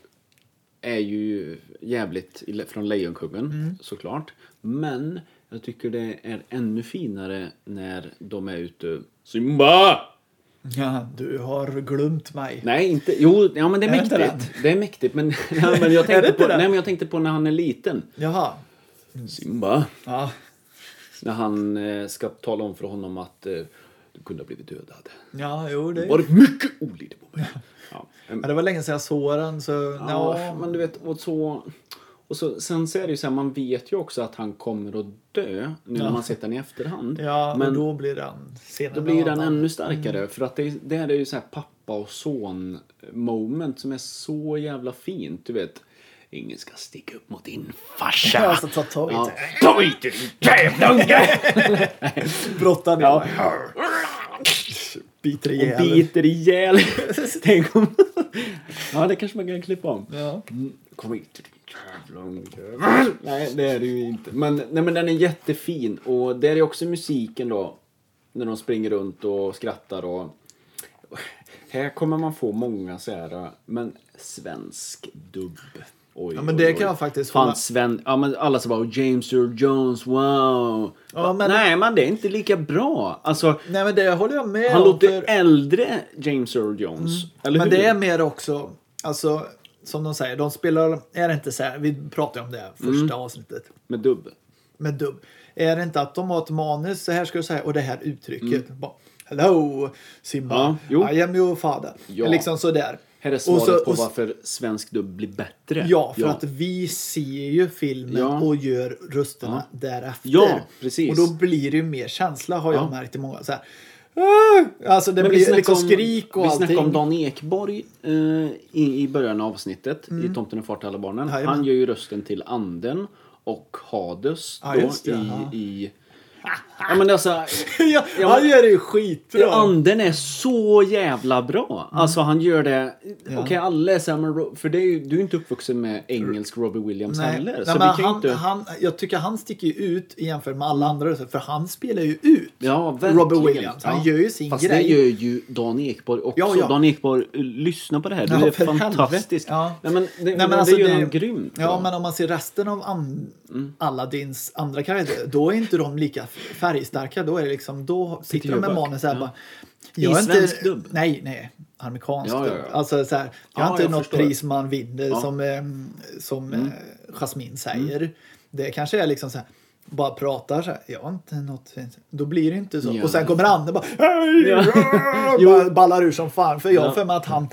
S2: är ju jävligt i- från Lejonkungen
S1: Mm.
S2: såklart. Men jag tycker det är ännu finare när de är ute Simba!
S1: Ja, du har glömt mig.
S2: Nej, inte... Jo, ja, men det är,
S1: Är det inte
S2: mäktigt. Det är mäktigt, men, nej, men jag
S1: Är det
S2: tänkte
S1: inte Mm.
S2: på,
S1: det?
S2: nej, men jag tänkte på när han är liten.
S1: Jaha.
S2: Simba.
S1: Ja.
S2: När han eh, ska tala om för honom att eh, du kunde ha blivit dödad.
S1: Ja, jo det...
S2: Det var mycket olydigt på mig. Ja. em,
S1: Ja, det var länge sedan jag såg den så... Ja,
S2: ja, men du vet, och så... Och så, sen så är det ju så här, man vet ju också att han kommer att dö nu när man sett den i efterhand.
S1: ja
S2: men
S1: och då blir den scenen
S2: Då blir ju
S1: en
S2: den
S1: annan.
S2: ännu starkare.
S1: Mm.
S2: För att det, det här är ju så här pappa och son moment som är så jävla fint. Du vet. Ingen ska sticka upp mot din farsa.
S1: Ja, alltså, ta tag i
S2: Ja.
S1: det.
S2: Ta i det, din jävla unge!
S1: Brottad
S2: Ja.
S1: ja. Biter
S2: Och
S1: ihjäl.
S2: biter ihjäl. Tänk om... Ja, det kanske man kan klippa om.
S1: Ja.
S2: Mm, Kom hit din jävla unge. Nej, det är det ju inte. Men, nej, men den är jättefin. Och där är också musiken då. När de springer runt och skrattar och... Här kommer man få många så här, men svensk dubb. Oj,
S1: Ja, men
S2: oj,
S1: det
S2: oj.
S1: kan jag faktiskt hålla-
S2: Fan, Sven... Ja, men alla som bara James Earl Jones, wow.
S1: Ja, men-
S2: Nej, men det är inte lika bra. Alltså,
S1: Nej men det håller jag med
S2: han
S1: om.
S2: låter
S1: för-
S2: äldre James Earl Jones. Eller
S1: Men
S2: hur?
S1: det är mer också, alltså som de säger, de spelar, är det inte så här, vi pratade om det här
S2: Mm.
S1: första avsnittet.
S2: Med dubb.
S1: med dubb. Är det inte att de har ett manus, så här ska du säga, och det här uttrycket. Bara, Hello Simba,
S2: Mm. Ja, jo.
S1: I am your father.
S2: Ja.
S1: Liksom sådär.
S2: Här är
S1: Och så-
S2: svaret på
S1: och så-
S2: varför svensk dubb blir bättre.
S1: Ja, för att vi ser ju filmen
S2: Ja.
S1: och gör rösterna därefter.
S2: Ja, precis.
S1: Och då blir det ju mer känsla har jag
S2: Ja.
S1: märkt i många. Så här, "Ah!" Alltså det
S2: Men vi
S1: blir
S2: snackade
S1: liksom
S2: om-
S1: skrik och
S2: Vi
S1: allting.
S2: snackade om Dan Ekborg eh, i, i början av avsnittet i Tomten är far till alla barnen.
S1: Mm. Jajamän.
S2: Han gör ju rösten till anden och Hades
S1: Ja,
S2: då
S1: just det,
S2: i...
S1: ja.
S2: i ja, men alltså,
S1: ja,
S2: Ja,
S1: han
S2: men-
S1: gör det ju skitbra.
S2: anden är så jävla bra.
S1: Mm.
S2: Alltså han gör det... Okej, alla är samma... Ro- För det är ju, du är ju inte uppvuxen med engelsk Robbie Williams
S1: Nej,
S2: heller.
S1: nej,
S2: så
S1: men
S2: vi kan ju
S1: han,
S2: inte...
S1: han, jag tycker han sticker ju ut jämfört med alla andra röster, för han spelar ju ut
S2: Ja, verkligen.
S1: Robert Williams. Han
S2: Ja.
S1: gör ju sin
S2: Fast
S1: grej.
S2: det gör ju Dan Ekborg också.
S1: Ja, ja.
S2: Dan Ekborg, eh, lyssna på det här. Du
S1: Ja,
S2: är
S1: för helvete.
S2: fantastisk.
S1: Ja.
S2: Nej, men det,
S1: Nej,
S2: men
S1: men alltså
S2: det gör
S1: det-
S2: han grymt.
S1: Ja,
S2: bra.
S1: men om man ser resten av an- Aladdins andra karaktärer, då är inte de lika färgstarka. Då är det liksom, då sitter de med
S2: Jöback.
S1: manus såhär
S2: Ja.
S1: bara...
S2: I
S1: jag är inte-
S2: svensk dubb?
S1: Nej, nej. Amerikansk
S2: Ja, ja, ja.
S1: dubb. Alltså så här, jag har
S2: Ja,
S1: inte
S2: jag
S1: något
S2: förstår.
S1: pris man vinner
S2: Ja. Mm.
S1: som, eh, som eh, Jasmine säger. Det kanske är liksom så här bara pratar så här, jag har inte något fint. Då blir det inte så.
S2: Ja.
S1: Och sen kommer Anne bara, hej,
S2: Ja.
S1: ja.
S2: Jo.
S1: bara ballar ur som fan. För jag har
S2: Ja.
S1: för mig att han,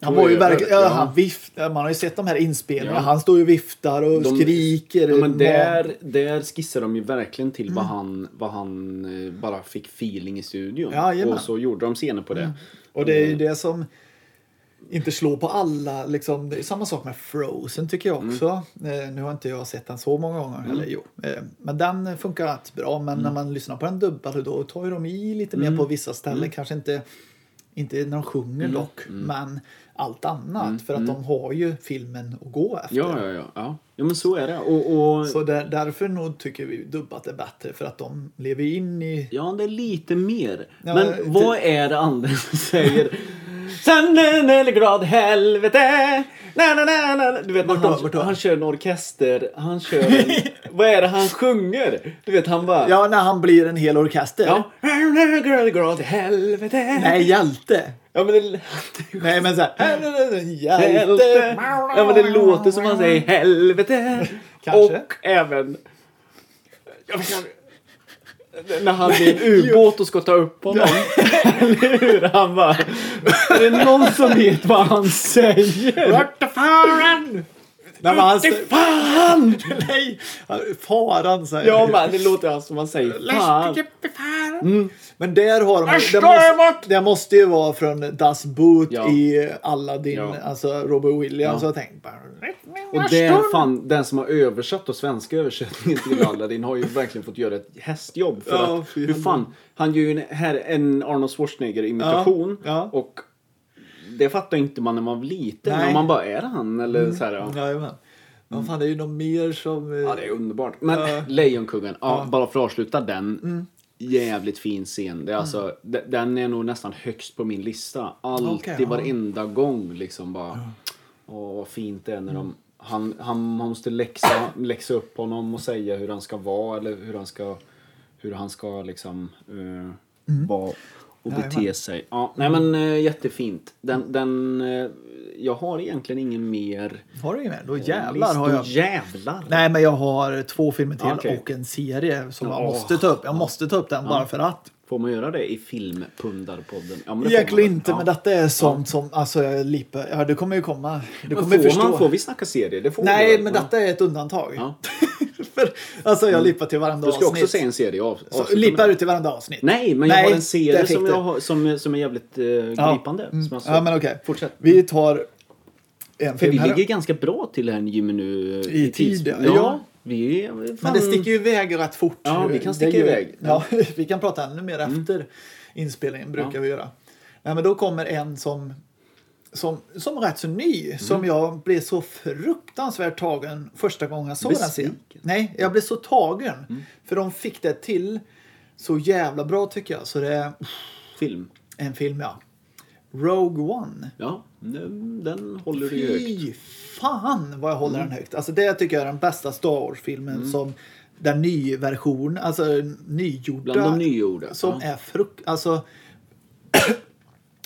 S1: han
S2: Då
S1: var ju
S2: är det-
S1: verkligen, ja,
S2: ja.
S1: han vift, man har ju sett de här inspelningarna.
S2: Ja.
S1: Han står ju och viftar och
S2: De-
S1: skriker. Mm.
S2: Ja, men
S1: Man-
S2: där, där skissar de ju verkligen till vad han, vad han eh, bara fick feeling i studion.
S1: Ja, jajamän. Mm.
S2: och så gjorde de scener på det.
S1: Och det är
S2: Mm.
S1: ju det som inte slår på alla. Liksom, det är samma sak med Frozen tycker jag
S2: Mm.
S1: också. Eh, nu har inte jag sett den så många gånger. Eller, jo. Eh, men den funkar rätt bra. Men
S2: Mm.
S1: när man lyssnar på den dubbade då tar ju de i lite mer på vissa ställen.
S2: Mm.
S1: Kanske inte, inte när de sjunger dock. Men allt annat. För att de har ju filmen att gå efter.
S2: Mm. Ja, ja, ja, ja. Ja, men så är det. Och, och,
S1: Så där, därför nog tycker vi dubbat är bättre. För att de lever in i
S2: Ja, det är lite mer.
S1: Ja,
S2: men
S1: det-
S2: vad är det Anders säger? Sanden eller glad helvete! Na, na, na, na. Du vet, när
S1: Vart då?
S2: han,
S1: Vart då?
S2: han kör en orkester, han kör en, Vad är det han sjunger? Du vet, han bara...
S1: Ja, när han blir en hel orkester.
S2: Ja. Girl, girl, till helvete.
S1: Nej, hjälte.
S2: Ja men det lät
S1: Nej, men så här. "Här är det en Hjälte.
S2: Helvete. Ja men det låter som han säger helvete.
S1: Kanske.
S2: Och även... Jag vet inte. När han blir en ubåt och ska ta upp honom. Eller hur? Han bara... Är det någon som vet vad han säger?
S1: Vart är faran? Nej, men han säger...
S2: Fan!
S1: Nej, han- faran säger
S2: Ja
S1: han.
S2: men det låter alltså som han säger fan.
S3: Mm.
S1: Men där har de...
S2: Värsta
S1: Det måste,
S2: emot!
S1: det måste ju vara från Das Boot
S2: Ja.
S1: i Aladdin,
S2: Ja.
S1: alltså Robert Williams.
S2: Ja.
S1: Och jag tänkte bara...
S2: Och den, fan, den som har översatt och svenska översättningen till Aladdin har ju verkligen fått göra ett hästjobb. För
S1: Ja,
S2: att,
S1: fy
S2: hur fan, han gör ju en, här, en Arnold Schwarzenegger-imitation.
S1: Ja, ja.
S2: Och det fattar inte man när man var liten.
S1: Nej.
S2: När man bara, är det han? Eller så här, ja.
S1: Jajamän. Men fan, det är ju något mer som... eh,
S2: ja, det är underbart. Men
S1: Ja. Mm.
S2: Lejonkungen, ja, bara för att avsluta den. Jävligt fin scen. Det är alltså, de- Den är nog nästan högst på min lista. Alltid,
S1: Okej, ja.
S2: varenda gång liksom bara. Åh, vad fint det är
S1: Mm.
S2: när de... Han, han man måste läxa, läxa upp honom och säga hur han ska vara eller hur han ska... Hur han ska liksom... eh, vara och
S1: Mm. Jajamän. Mm.
S2: bete sig. Ja, nej men eh, jättefint. Den... den eh, jag har egentligen ingen mer...
S1: Har du inget mer? Då jävlar har
S2: Då
S1: jag...
S2: Jävlar!
S1: Nej, men jag har två filmer till
S2: Ah, okej.
S1: och en serie som jag
S2: Åh.
S1: måste ta upp. Jag måste ta upp den bara för att.
S2: Får man göra det i filmpundarpodden? Ja, men det får
S1: Egentligen
S2: man väl.
S1: inte, men detta är sånt som... Alltså, jag lipper. Ja, det kommer ju komma. Du
S2: Men
S1: kommer
S2: får,
S1: förstå.
S2: man, får vi snacka serier? Det får vi
S1: Nej,
S2: väl?
S1: men
S2: Ja.
S1: detta är ett undantag.
S2: Ja. Mm.
S1: för, alltså, jag lippar till varenda
S2: Du ska
S1: avsnitt.
S2: också se en serie av.
S1: Så,
S2: avsluta
S1: lippar
S2: med
S1: du
S2: det.
S1: till varenda avsnitt?
S2: Nej, men jag
S1: Nej,
S2: har en
S1: där
S2: serie
S1: fick
S2: som,
S1: du.
S2: jag har, som, som är jävligt eh,
S1: Ja.
S2: gripande.
S1: Mm.
S2: Som jag såg.
S1: Ja, men okej.
S2: Fortsätt.
S1: Vi tar en
S2: För vi
S1: film här.
S2: ligger ganska bra till här Jimmy nu. eh,
S1: I
S2: tids-
S1: tid, ja.
S2: ja. Vi är fan...
S1: Men det sticker ju iväg rätt fort.
S2: Ja, vi kan
S1: Det
S2: sticka
S1: gör-
S2: iväg. Mm.
S1: Ja, vi kan prata ännu mer efter inspelningen, brukar
S2: Ja.
S1: vi göra. Nej, men då kommer en som, som, som är rätt så ny,
S2: Mm.
S1: som jag blev så fruktansvärt tagen första gången jag såg den
S2: Besviken. Mm.
S1: scenen. Nej, jag blev så tagen. För de fick det till så jävla bra tycker jag. Så det är
S2: Film.
S1: en film, ja. Rogue One.
S2: Ja, den, den håller du ju högt. Mm.
S1: Fy fan vad jag håller den högt. Alltså det tycker jag är den bästa Star Wars-filmen som den ny version, alltså nygjorda.
S2: Bland de nygjorda,
S1: Som
S2: ja.
S1: är frukt, alltså.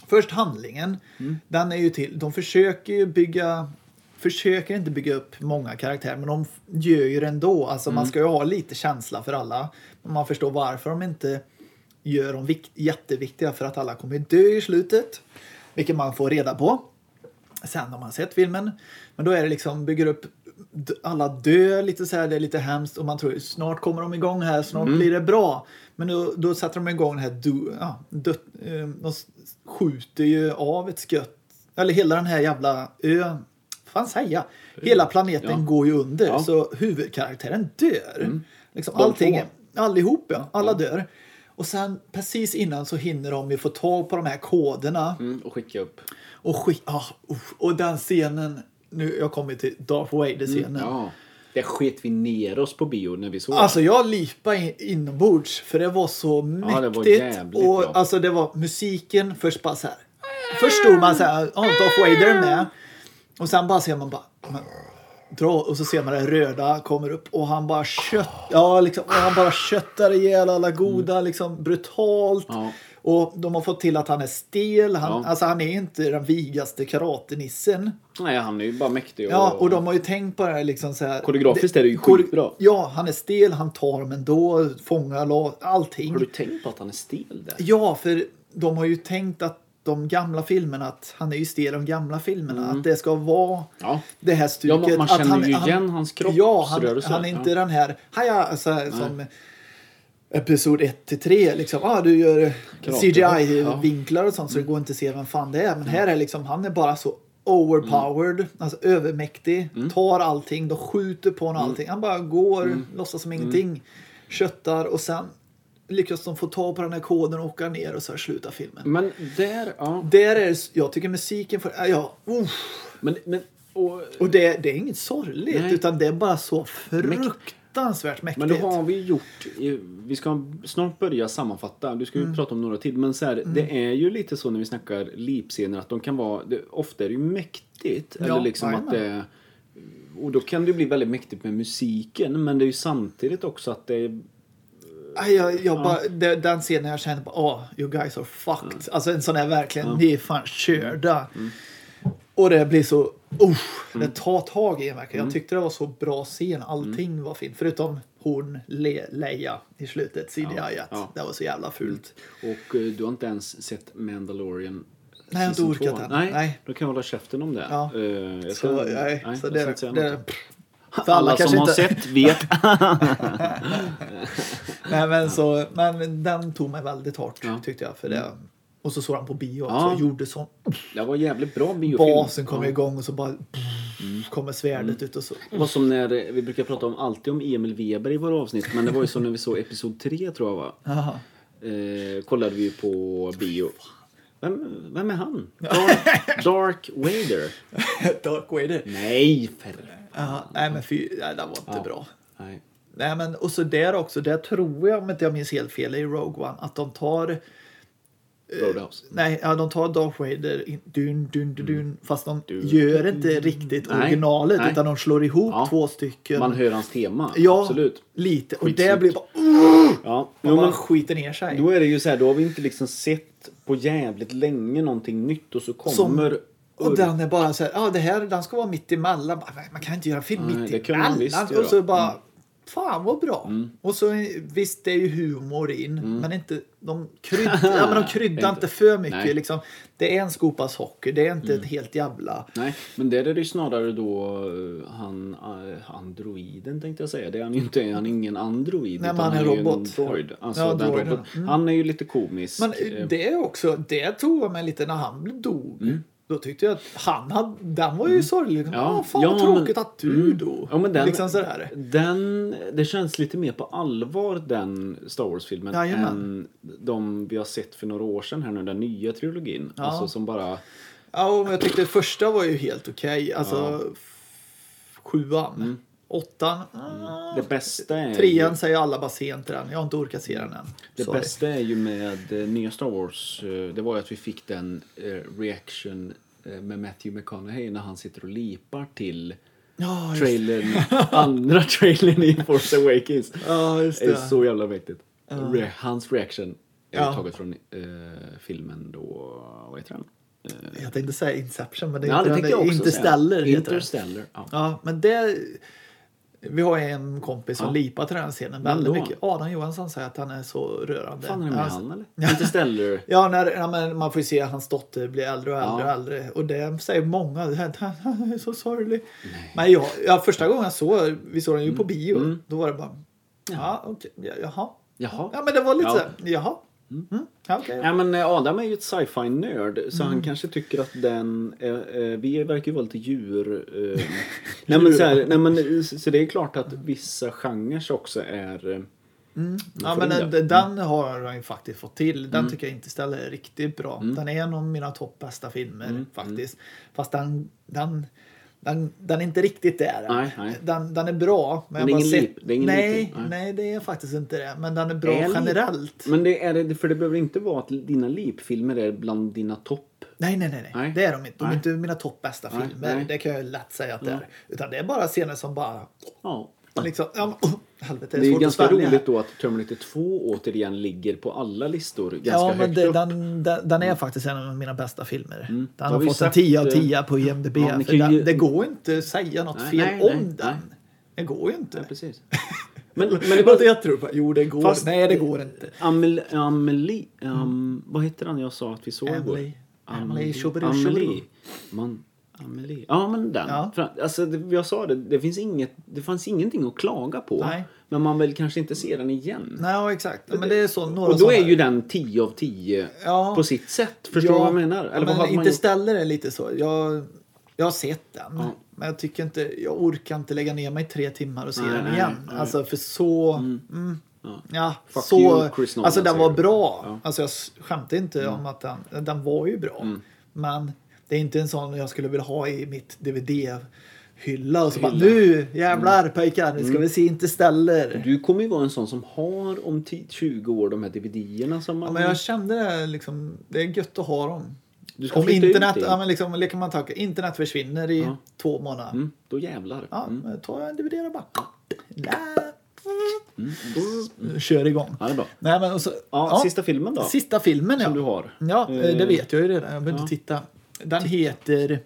S1: först handlingen.
S2: Mm.
S1: Den är ju till, de försöker ju bygga, försöker inte bygga upp många karaktärer men de f- gör ju det ändå. Alltså
S2: Mm.
S1: man ska ju ha lite känsla för alla. Men man förstår varför de inte gör dem vikt, jätteviktiga för att alla kommer ju dö i slutet. Vilket man får reda på sen har man sett filmen. Men då är det liksom, bygger upp d- alla dö lite så här, det är lite hemskt och man tror snart kommer de igång här, snart
S2: Mm.
S1: blir det bra. Men då, då satte de igång den här, du, ja, dött, eh, de s- skjuter ju av ett skött, eller hela den här jävla ön, fan säga, hela planeten
S2: Ja.
S1: går ju under
S2: Ja.
S1: så huvudkaraktären dör. Liksom,
S2: De
S1: allting,
S2: två.
S1: allihop ja, alla dör. Och sen precis innan så hinner de ju få tag på de här koderna.
S2: Mm, och skicka upp.
S1: Och, skit, ah, uff. och den scenen, nu jag kommer till Darth Vader-scenen.
S2: Mm, Ja. Det sket vi ner oss på bio när vi såg
S1: Alltså jag lipade in, inombords för det var så mäktigt.
S2: Ja, det var jävligt
S1: och
S2: bra.
S1: alltså det var musiken först bara så här. Först stod man så här, ja Darth Vader är med. Och sen bara ser man bara, men, dra och så ser man det röda kommer upp och han bara kött, ja liksom, och han bara köttar ihjäl alla goda liksom brutalt.
S2: Mm. Ja.
S1: Och de har fått till att han är stel, han,
S2: Ja.
S1: alltså han är inte den vigaste karatenissen.
S2: Nej, han är ju bara mäktig. Och...
S1: Ja, och de har ju tänkt på det här liksom så här.
S2: Koreografiskt är det ju
S1: kore-
S2: skitbra.
S1: Ja, han är stel, han tar dem ändå, fångar, la- allting.
S2: Har du tänkt på att han är stel där?
S1: Ja, för de har ju tänkt att de gamla filmerna, att han är ju stel i de gamla filmerna, att det ska vara
S2: Mm. Ja.
S1: det här stuket.
S2: Ja, man- man
S1: att
S2: känner ju igen hans
S1: Ja, han,
S2: kroppsrörelser.
S1: han är inte
S2: Ja.
S1: den här, haja, så här, som Episod 1 till 3 liksom. Ah, du gör
S2: Karate, ja.
S1: CGI-vinklar och sånt så
S2: Mm.
S1: det går inte att se vem fan det är. Men här är liksom, han är bara så overpowered,
S2: Mm.
S1: alltså övermäktig. Tar allting, de skjuter på
S2: Mm.
S1: honom allting. Han bara går, låtsas som ingenting. Köttar och sen lyckas de få tag på den här koden och åka ner och så här slutar filmen.
S2: Men där, ja.
S1: Där är det- jag tycker musiken för, ja, uff.
S2: Men, men och,
S1: Och det, det är inget sorgligt
S2: Nej.
S1: utan det är bara så fruktansvärt mäktigt.
S2: men då har vi gjort... eh, Vi ska snart börja sammanfatta. Du ska ju prata om några till. Men så här, det är ju lite så när vi snackar lipscener att de kan vara... Det, ofta är det ju mäktigt. eller
S1: Ja,
S2: liksom att
S1: jajamän.
S2: det, och då kan det ju bli väldigt mäktigt med musiken. Men det är ju samtidigt också att det är...
S1: Aj, Jag, jag bara, det- den scenen jag kände bara, oh, you guys are fucked.
S2: Mm.
S1: Alltså en sån här verkligen, ni är fan körda.
S2: Mm.
S1: Och det blir så, usch, det tar tag i en verkligen.
S2: Mm.
S1: Jag tyckte det var så bra scen, allting var fint. Förutom hon, Le, Leia i slutet, CGI.
S2: Ja, ja.
S1: Det var så jävla fult.
S2: Och eh, du har inte ens sett Mandalorian
S1: jag har inte
S2: season
S1: orkat
S2: två.
S1: än.
S2: Nej,
S1: Nej.
S2: då kan jag hålla käften om det.
S1: Ja.
S2: Eh, jag
S1: Så, nej,
S2: jag
S1: så
S2: ska
S1: det,
S2: inte säga
S1: det,
S2: något.
S1: för alla
S2: alla
S1: kanske
S2: som har
S1: inte-
S2: sett vet
S1: nej, men, så, men den tog mig väldigt hårt
S2: Ja. Mm.
S1: tyckte jag. För det. Och så såg han på bio också
S2: Ja.
S1: och gjorde sån
S2: Det var jävligt bra biofilm.
S1: basen kommer igång och så bara
S2: Mm.
S1: kommer svärdet ut och så.
S2: Det var som när, eh, vi brukar prata om alltid om Emil Weber i våra avsnitt, men det var ju som när vi såg episod 3 tror jag va?
S1: Jaha.
S2: Eh, kollade vi ju på bio. Vem, vem är han? Dark, Dark Vader?
S1: Dark Vader.
S2: Nej för...
S1: Ja, nej men fy, nej, det var inte
S2: Ja.
S1: bra.
S2: Nej.
S1: Nej men och så där också, där tror jag om inte jag minns helt fel i Rogue One att de tar,
S2: Roadhouse.
S1: nej ja, de tar Darth Vader, in- dun, dun, dun, dun, fast de
S2: Mm. Dun.
S1: gör inte riktigt
S2: Nej,
S1: originalet
S2: nej.
S1: utan de slår ihop
S2: Ja.
S1: två stycken.
S2: Man hör hans tema,
S1: ja,
S2: absolut.
S1: lite. Och det
S2: Skitsnyggt.
S1: blir bara,
S2: Ja.
S1: man
S2: Jo,
S1: bara
S2: men
S1: skiter ner sig.
S2: då är det ju så här, då har vi inte liksom sett på jävligt länge någonting nytt och så kommer...
S1: Som, och den är bara så här, ja det här den ska vara mitt emellan. Bara, "Nej, Man kan inte göra en film
S2: Nej,
S1: mitt
S2: det kunde man
S1: emellan.
S2: visst
S1: och så
S2: göra. Mm.
S1: bara, fan vad bra. Och så visst det är ju humor in,
S2: Mm.
S1: men inte, de kryddar, ja, men de kryddar inte för mycket.
S2: Nej. Mm.
S1: Liksom. Det är en skopa socker, det är inte ett helt jävla...
S2: Nej, men där är det ju snarare då eh, han, eh, androiden tänkte jag säga. Det är han ju inte, han är ingen android.
S1: Nej,
S2: utan
S1: men han är
S2: ju
S1: robot.
S2: En droid. Alltså,
S1: Ja,
S2: den
S1: droiden.
S2: robot. Han är ju lite komisk.
S1: mm. Men
S2: eh, Mm.
S1: det är också, det tog jag mig lite när han dog. Då tyckte jag att han hade, den var ju sorglig. Liksom,
S2: Ja,
S1: "Åh, fan
S2: ja,
S1: vad tråkigt
S2: men- mm.
S1: att du dog.
S2: ja, men den-
S1: liksom sådär.
S2: Den, det känns lite mer på allvar den Star Wars-filmen
S1: Jajamän.
S2: än de vi har sett för några år sedan här nu, den nya trilogin.
S1: Ja.
S2: Alltså som bara...
S1: Ja, och jag tyckte första var ju helt okej. Alltså, f- sjuan.
S2: Mm.
S1: Åttan. ah.
S2: Det bästa är ju,
S1: Trean säger alla bara sent den. Jag har inte orkat se den än.
S2: det
S1: Sorry.
S2: bästa är ju med eh, nya Star Wars, eh, det var ju att vi fick den eh, reaction eh, med Matthew McConaughey när han sitter och lipar till
S1: Ja, just,
S2: trailern, andra trailern i Force Awakens.
S1: ja, just
S2: Det är
S1: det.
S2: så jävla mäktigt. Re- Hans reaction är
S1: Ja.
S2: taget från eh, filmen då, vad heter den? Eh,
S1: Jag tänkte säga Inception, men det är
S2: ja,
S1: inte
S2: det
S1: den.
S2: tänkte jag också
S1: Interstellar
S2: säga.
S1: heter den.
S2: Interstellar, ja.
S1: Ja, men det... Vi har en kompis som
S2: Ja.
S1: lipar till den här scenen
S2: Vem
S1: väldigt
S2: då?
S1: mycket. Adam Johansson säger att han är så rörande.
S2: fan är det med
S1: Alltså-
S2: han eller? Inte Stellar?
S1: Ja, när, ja, men man får ju se att hans dotter blir äldre och äldre
S2: Ja.
S1: och äldre. Och det säger många. Han är så sorglig. Men jag, ja, första gången jag såg, vi såg den ju på bio. Då var det bara, ja okej, ja, jaha.
S2: Jaha.
S1: Ja men det var lite
S2: Ja.
S1: så här, jaha. Mm. Ja, okej.
S2: Ja, men eh, Adam är ju ett sci-fi nörd så
S1: Mm.
S2: han kanske tycker att den... Eh, eh, vi verkar ju vara lite djur... Eh. nej, men så, här, nej, men, eh, så så det är klart att vissa genrer också är... eh,
S1: Ja,
S2: får
S1: men
S2: in
S1: den,
S2: det.
S1: den har han ju faktiskt fått till.
S2: Mm.
S1: Den tycker jag inte ställer är riktigt bra. Den är en av mina topp bästa filmer
S2: Mm,
S1: faktiskt. Fast den, den, den, den är inte riktigt där.
S2: Nej, nej.
S1: Den, den är bra. Men
S2: Men
S1: jag
S2: det är
S1: bara
S2: ingen
S1: sett-
S2: lip- det är ingen
S1: nej,
S2: lipning, nej.
S1: nej, det är faktiskt inte det. Men den är bra
S2: Är lip-
S1: generellt.
S2: Men det är det, för det behöver inte vara att dina lipfilmer är bland dina topp.
S1: Nej, nej, nej, nej.
S2: Nej.
S1: Det är de inte. De är
S2: Nej.
S1: inte mina topp bästa
S2: Nej,
S1: filmer.
S2: nej.
S1: Det kan jag lätt säga att det är. Utan det är bara scener som bara...
S2: Ja.
S1: Liksom, ja, men, oh, helvete,
S2: Det är ju
S1: svårt att
S2: ganska
S1: svälja här.
S2: roligt då att Terminator 2 återigen ligger på alla listor ganska
S1: Ja, men
S2: högt
S1: det,
S2: upp. Mm.
S1: den, den, den är faktiskt en av mina bästa filmer. Den
S2: Har
S1: har
S2: vi
S1: fått en
S2: sagt,
S1: 10 av
S2: eh,
S1: 10 på IMDB.
S2: ja, ni
S1: för
S2: kan
S1: den,
S2: ju-
S1: det går ju inte att säga något
S2: Nej,
S1: fel
S2: nej,
S1: om
S2: nej,
S1: den.
S2: nej.
S1: Det går ju inte.
S2: Ja, precis. Men, men
S1: Men
S2: det
S1: det
S2: var...
S1: var jag tror på. Jo, det går.
S2: Fast-
S1: nej, det går inte.
S2: Amel, Amelie... Um, Vad heter han jag sa att vi såg
S1: Emily-
S2: igår?
S1: Emily Chaubery- Chaubery.
S2: Amelie. Man, Amelie. Ja, men den.
S1: Ja.
S2: För, alltså, det, jag sa det, det, finns inget, det fanns ingenting att klaga på.
S1: Nej.
S2: Men man vill kanske inte se den igen.
S1: Nej, ja, exakt. Ja, Men det är så, några
S2: Och då är
S1: sådana-
S2: ju den 10 av 10
S1: Ja.
S2: på sitt sätt. Förstår du
S1: Ja,
S2: vad jag menar? Eller vad
S1: men
S2: hade man
S1: inte
S2: gjort?
S1: ställer det lite så. Jag, jag har sett den.
S2: Ja.
S1: Men jag tycker inte, jag orkar inte lägga ner mig tre timmar och se
S2: Nej,
S1: den
S2: nej,
S1: igen.
S2: nej.
S1: Alltså för så... Mm.
S2: Ja.
S1: Ja,
S2: Fuck
S1: så...
S2: you, Chris Nolan,
S1: alltså den
S2: säger
S1: var
S2: du.
S1: bra.
S2: Ja. Mm.
S1: Alltså jag s- skämtar inte om att den, den var ju bra. Men det är inte en sån jag skulle vilja ha i mitt DVD-hylla. Och så bara nu jävlar pojkar, nu ska
S2: Mm.
S1: vi se inte ställer.
S2: Du kommer ju vara en sån som har om 10 20 år de här DVD-erna som man...
S1: Ja, men jag kände det liksom, det är gött att ha dem.
S2: Du ska
S1: Om
S2: flytta ut
S1: internet,
S2: det.
S1: ja, men liksom, leker man tanke, internet försvinner i
S2: Ja.
S1: två månader.
S2: mm, då jävlar.
S1: Ja,
S2: Mm.
S1: men tar jag en DVD och bara... Där. Kör igång.
S2: Ja, det är bra.
S1: Nej, men och så,
S2: Ja, sista filmen då?
S1: Sista filmen, ja.
S2: Som du har.
S1: Ja, eh, det
S2: Eh,
S1: vet jag ju redan. Jag behöver inte titta. Den heter... Nu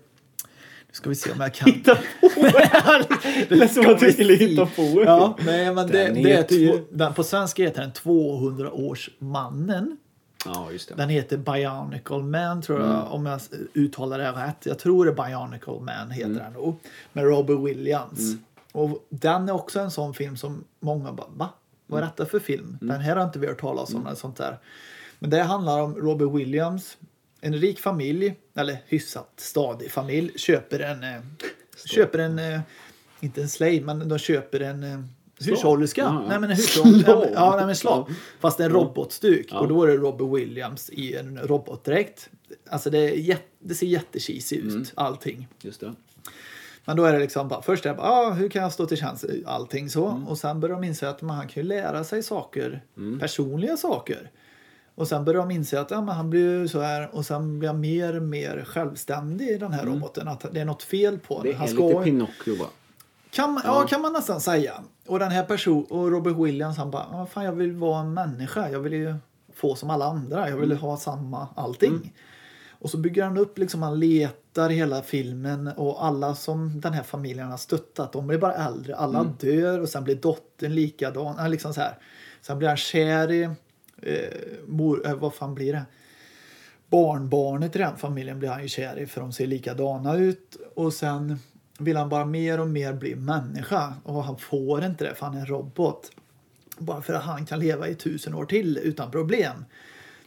S1: ska vi se om jag kan... Hitta
S2: Det lät som att du skulle hitta på en
S1: Ja, nej, men det,
S2: Den
S1: det är
S2: heter ju-
S1: två, den, På svenska heter den 200-årsmannen.
S2: Ja, just det. Mm.
S1: Den heter Bionicle Man tror jag, om jag s- uttalar det rätt. Jag tror det är Bionicle Man heter
S2: Mm.
S1: den nog. Med Robert Williams. Och den är också en sån film som många bara, va? Vad är
S2: Mm.
S1: detta för film? Den här har inte vi hört talas om eller sånt där. Men det handlar om Robert Williams. En rik familj, eller hyfsat stadig familj, köper en, eh, köper en, eh, inte en slave, men de köper en eh, hushållerska.
S2: Ja, ja.
S1: Nej men en hushållerska.
S2: Slav.
S1: Ja, nej, men slav. Fast en robotstuk. Och då är det Robert Williams i en robotdräkt. Alltså det, är jätte, det ser jättecheesy ut,
S2: Mm.
S1: allting.
S2: Just det.
S1: Men då är det liksom bara, först är det bara, ah, hur kan jag stå till tjänst? Allting så.
S2: Mm.
S1: Och sen börjar de inse att man, han kan ju lära sig saker, personliga saker. Och sen börjar de inse att ja, men han blir ju så här och sen blir han mer och mer självständig i den här roboten. Att det är något fel på
S2: Mm. Det
S1: den.
S2: är
S1: Han
S2: lite
S1: ska,
S2: Pinocchio va?
S1: kan, man, ja. kan man nästan säga. Och den här personen, och Robert Williams, han bara, ah, fan jag vill vara en människa. Jag vill ju få som alla andra. Jag vill ha samma allting. Och så bygger han upp, liksom han letar hela filmen och alla som den här familjen har stöttat, de blir bara äldre. Alla dör och sen blir dottern likadan. Han Liksom så här. Sen blir han kär i, eh, mor, eh, vad fan blir det? Barnbarnet i den familjen blir han ju kär i för de ser likadana ut. Och sen vill han bara mer och mer bli människa och han får inte det för han är en robot. Bara för att han kan leva i tusen år till utan problem.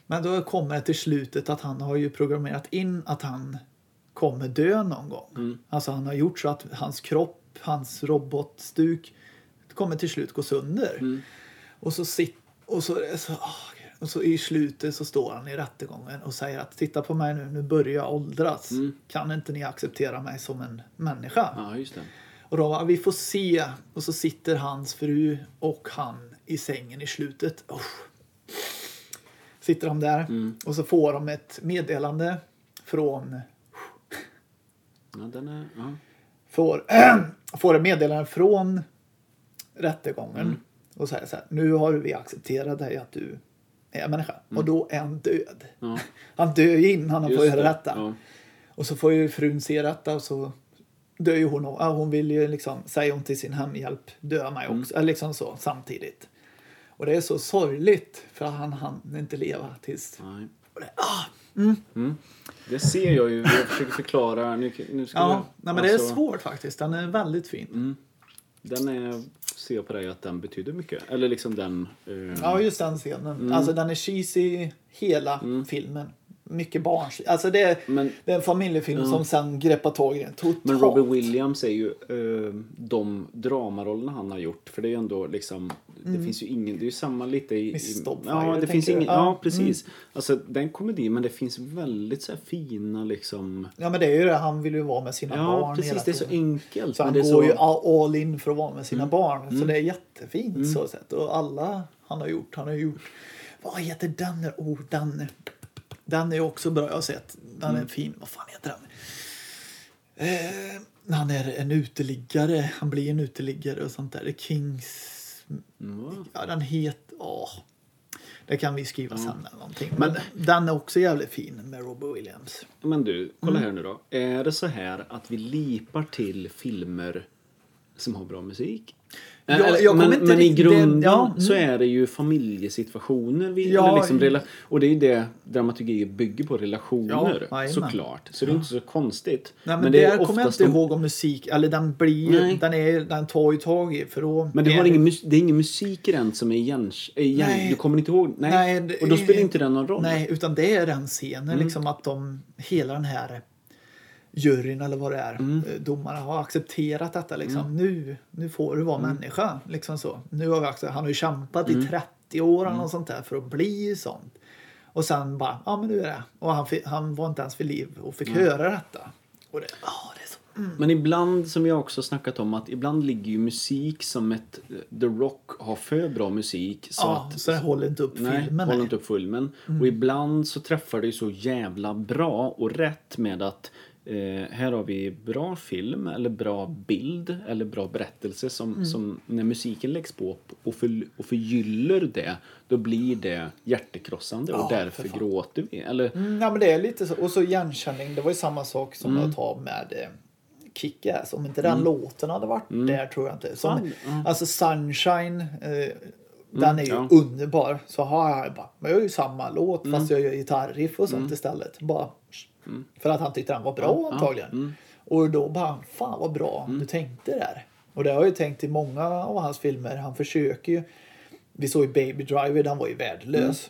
S1: Men då kommer det till slutet att han har ju programmerat in att han kommer dö någon gång. Alltså han har gjort så att hans kropp, hans robotstuk kommer till slut gå sönder. Och så sitter och så, är det så, åh, gud. och så i slutet så står han i rättegången och säger att titta på mig nu, nu börjar jag åldras. Kan inte ni acceptera mig som en människa?
S2: Ja, just det.
S1: Och de bara, vi får se. Och så sitter hans fru och han i sängen i slutet. Usch. Sitter de där
S2: Mm.
S1: och så får de ett meddelande från
S2: Ja, den är... Ja.
S1: får, får ett meddelande från rättegången
S2: Mm.
S1: och säger så här, nu har vi accepterat dig att du är människa. Och då är han död.
S2: Mm. Ja.
S1: Han dör ju innan han
S2: Just
S1: får göra
S2: det.
S1: detta.
S2: Ja.
S1: Och så får ju frun se detta och så dör ju hon. Ja, hon vill ju liksom, säger hon till sin hemhjälp, dö mig också. Mm. Liksom så, samtidigt. Och det är så sorgligt för han hann inte leva tills...
S2: Nej. Mm.
S1: Ah,
S2: Det ser jag ju. Jag försöker förklara. Nu, nu ska
S1: ja,
S2: jag-
S1: nej, men det är
S2: alltså, Mm.
S1: svårt faktiskt. Den är väldigt fin.
S2: Den är, ser jag på dig att den betyder mycket. Eller liksom den... eh,
S1: Ja, just den scenen.
S2: Mm.
S1: Alltså den är cheesy hela filmen. Mycket barns... Alltså det är,
S2: Men-
S1: det är en familjefilm som sen greppar tag i den totalt.
S2: Men Robbie Williams är ju eh, de dramarollerna han har gjort. För det är ju ändå liksom, det finns ju ingen, det är ju samma lite i...
S1: Mm. Miss
S2: i-
S1: Doubtfire,
S2: ja, det
S1: tänker
S2: finns
S1: du?
S2: ingen,
S1: Ja. Mm.
S2: ja, precis. Alltså det är en komedi men det finns väldigt så här fina liksom...
S1: Ja, men det är ju det. Han vill ju vara med sina barn
S2: Ja, precis. Det är så
S1: tiden.
S2: enkelt.
S1: Så
S2: men
S1: han
S2: det är
S1: går
S2: så, Mm.
S1: ju all all in för att vara med sina barn. Så det är jättefint så sett. Och alla han har gjort, han har gjort... Vad heter den? nu? Oh, den, den är ju också bra. Jag har sett. Den
S2: Mm.
S1: är fin. Vad fan heter den? Eh, han är en uteliggare. Han blir en uteliggare och sånt där. The Kings...
S2: Ja.
S1: Ja, den heter... Åh. Det kan vi skriva
S2: Mm.
S1: sen eller någonting. Men, den är också jävligt fin med Robert Williams.
S2: Men du, kolla
S1: Mm.
S2: här nu då. Är det så här att vi lipar till filmer som har bra musik?
S1: Ja,
S2: Eller-
S1: jag kommer
S2: men,
S1: inte
S2: men i
S1: riktigt-
S2: grunden
S1: ja, mm.
S2: så är det ju familjesituationer. Vi,
S1: Ja,
S2: eller liksom,
S1: i-
S2: rela- och det är ju det dramaturgi bygger på, relationer.
S1: Ja, jajamän.
S2: såklart. Så det är inte så konstigt.
S1: Nej, men, det där kommer jag
S2: oftast
S1: inte
S2: de-
S1: ihåg om musik, eller den blir ju,
S2: Nej.
S1: den, är, den tar ju tag i för då...
S2: Men det,
S1: är
S2: har ingen, mus- det är ingen musik i den som är igen... är igen
S1: Nej.
S2: Du kommer inte ihåg? Nej.
S1: Nej, det
S2: och då
S1: är-
S2: spelar inte den någon roll. Mm.
S1: Nej, utan det är den scenen liksom att de, hela den här juryn eller vad det är,
S2: Mm.
S1: eh, domarna har accepterat detta liksom. Nu, nu får du vara
S2: Mm.
S1: människa, liksom så. Nu har vi accepterat, han har ju kämpat i 30 år
S2: Mm.
S1: eller något sånt där för att bli sånt. Och sen bara, ja men nu är det. Och han, fi- han var inte ens vid liv och fick höra detta. Och det, ja det är så
S2: Men ibland, som jag också snackat om, att ibland ligger ju musik som ett... eh, The Rock har för bra musik. Så
S1: ja,
S2: att,
S1: så det håller inte upp
S2: nej,
S1: filmen. Mm.
S2: håller inte upp filmen. Och ibland så träffar det ju så jävla bra och rätt med att eh, här har vi bra film eller bra bild eller bra berättelse som,
S1: Mm.
S2: som när musiken läggs på och, för, och förgyller det, då blir det hjärtekrossande och
S1: Ja, för
S2: därför
S1: fan.
S2: gråter vi. Eller,
S1: Mm, ja, men det är lite så. Och så igenkänning. Det var ju samma sak som
S2: Mm.
S1: att ta med eh, Kick-Ass. Om inte den låten hade varit där tror jag inte. Som,
S2: Mm. Fan, ja. Mm,
S1: Alltså Sunshine. Eh, den är ju
S2: ja. Mm.
S1: underbar. Så har jag bara, men jag gör ju samma låt fast jag gör gitarriff och sånt istället. Bara, För att han tyckte den var bra antagligen.
S2: Mm.
S1: Och då bara, fan vad bra du tänkte där. Och det har jag ju tänkt i många av hans filmer. Han försöker ju. Vi såg ju Baby Driver, den var ju värdelös.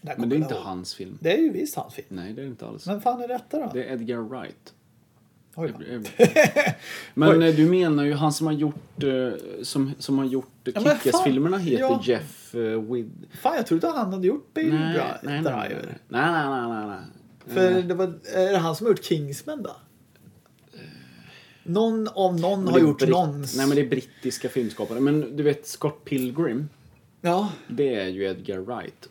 S1: Den
S2: Mm.
S1: kommer
S2: men det är
S1: jag
S2: inte
S1: ihåg.
S2: hans film.
S1: Det är ju visst hans film.
S2: Nej, det är det inte alls.
S1: Men fan är detta då?
S2: Det är Edgar Wright.
S1: Oj, då.
S2: Men eh, du menar ju han som har gjort eh, som, som har gjort eh,
S1: Ja, men
S2: Kick-Ass-filmerna
S1: fan,
S2: heter
S1: ja.
S2: Jeff eh, With...
S1: Fan, jag trodde han hade gjort Baby
S2: Nej,
S1: Dri-
S2: nej, nej, nej,
S1: Driver.
S2: nej, nej, nej, nej, nej. Eh,
S1: För det var, är det han som har gjort Kingsman då? Någon av någon har
S2: Det är
S1: gjort
S2: britt-
S1: någons.
S2: Nej, men det är brittiska filmskapare. Men du vet, Scott Pilgrim,
S1: Ja.
S2: det är ju Edgar Wright.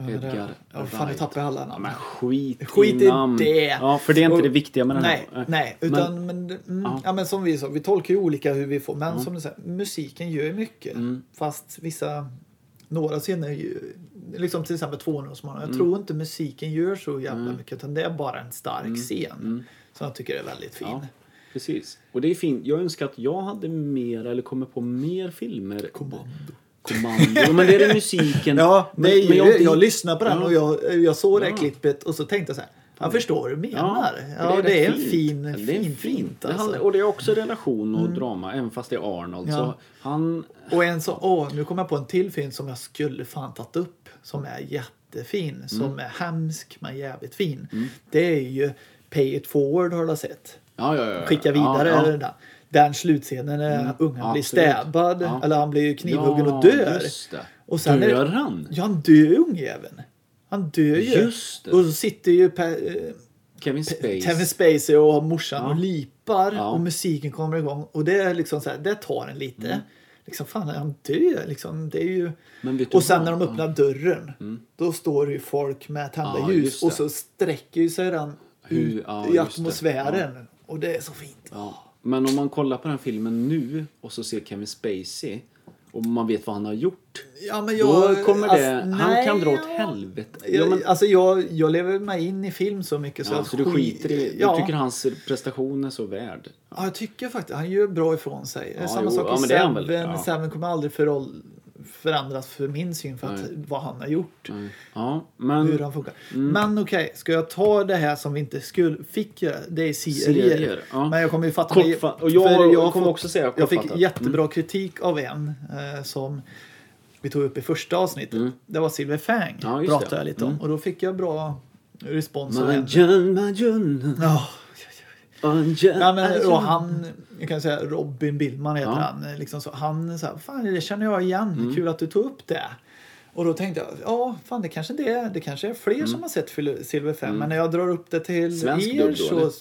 S2: Edgar
S1: Ja, fan, nu
S2: Wright.
S1: tappar jag alla
S2: Ja,
S1: namn.
S2: men skit,
S1: Skit i
S2: namn.
S1: det.
S2: Ja, för det är inte
S1: Och-
S2: det viktiga med den här.
S1: Nej, nej. Utan, men, mm, ja.
S2: Ja.
S1: men som vi sa, vi tolkar ju olika hur vi får. Men som du säger, musiken gör ju mycket.
S2: Mm.
S1: Fast vissa, några scener är ju, liksom till exempel 200-årsmannen.
S2: Mm.
S1: Jag tror inte musiken gör så jävla mycket. Utan det är bara en stark scen. Som jag tycker är väldigt fin.
S2: Mm. Ja, precis. Och det är fint. Jag önskar att jag hade mer eller kommer på mer filmer. Kommando. Kommando. Men det är det musiken.
S1: Ja,
S2: Men-
S1: nej,
S2: men
S1: jag,
S2: har inte-
S1: lyssnade på den
S2: Ja.
S1: och jag, jag såg det här
S2: Ja.
S1: klippet och så tänkte jag så här. Jag förstår vad du menar. Ja,
S2: för
S1: det, är en
S2: rätt
S1: fin,
S2: Ja, det är
S1: fin, fint.
S2: Det handlar-
S1: Alltså. Mm.
S2: Och det är också relation och drama, även fast det är Arnold. Så
S1: Ja.
S2: han...
S1: Och en så, åh, nu kom jag på en till film som jag skulle fan tagit upp. Som är
S2: Mm.
S1: jättefin. Som är hemsk men jävligt fin. Det är ju Pay It Forward har du sett.
S2: Ja, ja, Eh, ja. ja.
S1: Skicka vidare
S2: Ja,
S1: eller
S2: ja.
S1: den där. Den slutscenen när ungen blir
S2: absolut.
S1: stäbbad.
S2: Ja.
S1: Eller han blir ju knivhuggen
S2: Ja,
S1: och dör.
S2: just det.
S1: Och sen
S2: dör
S1: är,
S2: han?
S1: Ja, han dör ju ungjäveln. Han dör ju.
S2: Just det.
S1: Och så sitter ju Per, eh,
S2: Kevin Spacey.
S1: Kevin Spacey och morsan och lipar
S2: Ja.
S1: och musiken kommer igång och det är liksom så här, det tar en lite. Liksom fan, han dör liksom. Det är ju...
S2: Mm. Men vet du
S1: Och sen
S2: vad? Mm.
S1: när de öppnar dörren, då står det ju folk med tända
S2: Ja, just
S1: ljus
S2: det.
S1: och så sträcker ju sig den
S2: Hur-
S1: ut
S2: ja, just
S1: i
S2: det.
S1: atmosfären. Och det är så fint.
S2: Ja. Men om man kollar på den filmen nu och så ser Kevin Spacey och man vet vad han har gjort.
S1: Ja, men
S2: då kommer det...
S1: alltså,
S2: han
S1: nej,
S2: kan dra åt
S1: ja.
S2: helvete. Ja,
S1: Jag,
S2: men,
S1: alltså jag, jag lever mig in i film så mycket så
S2: ja,
S1: jag
S2: så Alltså, du skiter i det.
S1: Ja.
S2: Du tycker hans prestation är så värd.
S1: ja, jag tycker faktiskt han gör bra ifrån sig. Det är
S2: Ja,
S1: Samma
S2: jo,
S1: sak
S2: ja,
S1: i
S2: men det är han väl,
S1: Seven.
S2: ja.
S1: Seven kommer aldrig förål- förändras för min syn för att,
S2: Nej. Mm.
S1: vad han har gjort.
S2: Ja, men...
S1: Hur han funkar. Men okej, ska jag ta det här som vi inte skulle, fick göra? Det är serier.
S2: Serier, ja.
S1: Men jag kommer ju fatta
S2: Kortfatt- och jag
S1: för har
S2: kommer
S1: fått-
S2: också säga
S1: Jag fick
S2: kortfattat. Mm.
S1: jättebra kritik av en eh, som vi tog upp i första avsnittet. Det var Silver Fang.
S2: Mm. Ja, just
S1: pratade
S2: det.
S1: jag
S2: Mm.
S1: lite om. Och då fick jag bra respons av en.
S2: Majan, Majan,
S1: Ja. Ja,
S2: Majan,
S1: men, och han, jag kan säga Robin Billman heter
S2: Ja. Mm.
S1: han. Liksom så, han sa, fan det känner jag igen, kul att du tog upp det. Och då tänkte jag, ja fan det kanske, det, är- det kanske är fler som har sett Fil- Silver 5. Men när jag drar upp det till
S2: Mm. Svensk
S1: er
S2: dubb då,
S1: så...
S2: eller?
S1: Eller,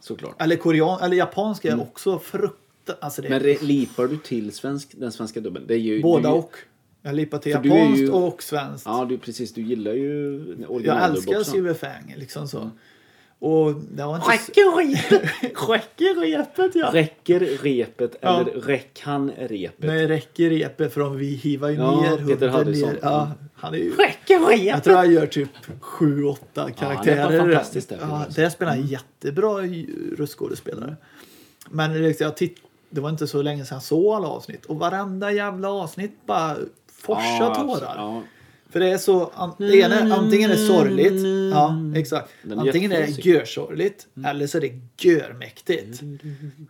S2: Såklart.
S1: eller korean, eller japanska är också fruktansvärt. Alltså det,
S2: Men re- lipar du till svensk, den svenska dubben? Det är ju,
S1: båda
S2: du,
S1: och. Jag lippar till
S2: För du är
S1: japanskt
S2: ju-
S1: och svenskt.
S2: Ja, du, precis. Du gillar ju Mm.
S1: jag
S2: originaldubb
S1: älskar
S2: också.
S1: Silver Fang, liksom så. Och det var inte... så-
S2: Räcker
S1: Räcker repet
S2: repet?
S1: ja!
S2: Räcker repet
S1: Ja.
S2: eller räck han repet?
S1: Nej, räcker repet från vi hivar ju
S2: Ja,
S1: ner
S2: Peter
S1: hunden
S2: Harrison.
S1: ner. Ja, han är ju,
S2: Räcker
S1: jag
S2: repet?
S1: tror han gör typ 7-8 karaktärer.
S2: han är fan fantastisk där, Peter
S1: ja,
S2: Harrison. Mm.
S1: där spelar han jättebra ju- röstskådespelare. Men liksom, jag titt, det var inte så länge sedan jag såg alla avsnitt. Och varenda jävla avsnitt bara forsar
S2: absolut.
S1: tårar.
S2: Ja.
S1: För det är så, an, det ena, antingen är det sorgligt, ja exakt.
S2: Den är Mm.
S1: Antingen är det
S2: jättesorglig.
S1: görsorgligt eller så är det görmäktigt.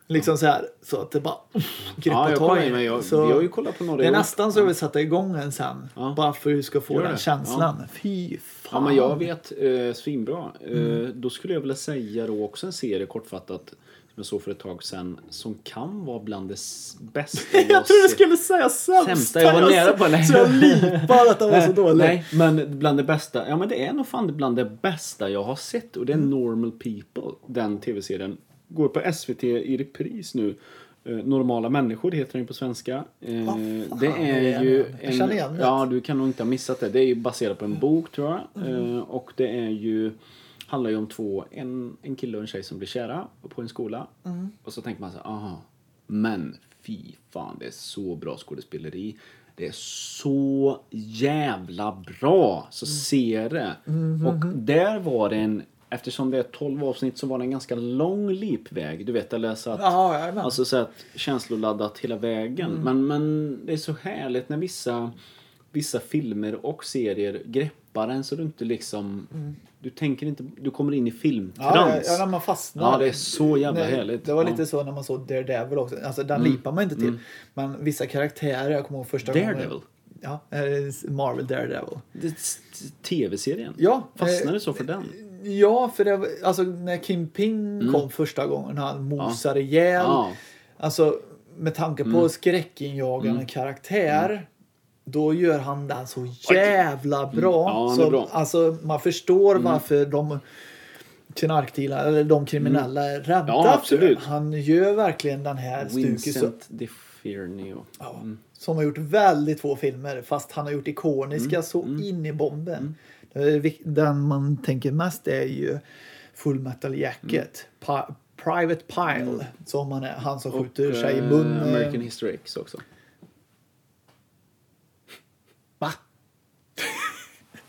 S1: Liksom så här, så att det bara uff,
S2: Ja,
S1: griper
S2: jag
S1: tag
S2: kollar
S1: i
S2: in, men jag,
S1: Så
S2: vi har ju kollat på några
S1: Det är
S2: ihop.
S1: nästan så jag vill sätta igång en sen.
S2: Ja.
S1: Bara för att du ska få
S2: Gör
S1: den
S2: det.
S1: känslan. Fy fan.
S2: Ja, men jag vet. Eh, svinbra. Eh,
S1: Mm.
S2: då skulle jag vilja säga då också en serie kortfattat som jag såg för ett tag sedan som kan vara bland det s- bästa
S1: Jag trodde du
S2: sett.
S1: skulle säga sämsta.
S2: Sämsta, jag var nära på det.
S1: Så jag lipar att den var så dålig.
S2: Eh, Nej, men bland det bästa. Ja, men det är nog fan bland det bästa jag har sett. Och det är
S1: Mm.
S2: Normal People. Den tv-serien. Går på SVT i repris nu. Eh, Normala människor heter den ju på svenska. Eh,
S1: fan,
S2: det
S1: det är
S2: är ju...
S1: den. Jag känner igen det.
S2: Ja, du kan nog inte ha missat det. Det är ju baserat på en bok tror jag. Eh, och det är ju... Handlar ju om två, en, en kille och en tjej som blir kära på en skola. Och så tänker man så här, aha. Men fy fan, det är så bra skådespeleri. Det är så jävla bra. Så se det. Och där var det en, eftersom det är 12 avsnitt så var det en ganska lång lipväg. Du vet, eller så att...
S1: Jaha, jajamän.
S2: Alltså så att känsloladdat hela vägen.
S1: Mm.
S2: Men, men det är så härligt när vissa, vissa filmer och serier greppar en så du inte liksom... Du tänker inte... Du kommer in i
S1: Mm. Ja,
S2: filmtrans.
S1: ja, när man fastnar.
S2: Ja, det är så jävla
S1: Nej,
S2: härligt.
S1: Det var
S2: Ja. Mm.
S1: lite så när man såg Daredevil också. Alltså den lipar man inte till. Men vissa karaktärer, jag kommer ihåg första
S2: Daredevil?
S1: gången. Ja, eh, Marvel Daredevil.
S2: Det- s- Tv-serien?
S1: Ja,
S2: Fastnade
S1: eh,
S2: du så för den?
S1: Ja, för det, var- alltså när Kim Ping kom första gången, han mosade ihjäl.
S2: Mm. Ja. Mm.
S1: Alltså med tanke på skräckinjagande karaktär. Då gör han den så jävla bra.
S2: Mm. Ja, han är
S1: så,
S2: bra. Mm.
S1: Alltså man förstår varför de knarkdealarna eller de kriminella är rädda
S2: Mm. Ja,
S1: för
S2: absolut.
S1: den. Han gör verkligen den här stuket så,
S2: Vincent DeFirnio.
S1: ja, Mm. som har gjort väldigt få filmer fast han har gjort ikoniska
S2: Mm.
S1: så in i bomben. Det är vik- Den man tänker mest är ju Full Metal Jacket.
S2: Mm.
S1: Pi- Private Pile, som han, är, han som skjuter sig i
S2: Eh,
S1: munnen.
S2: American History X också.
S1: Va?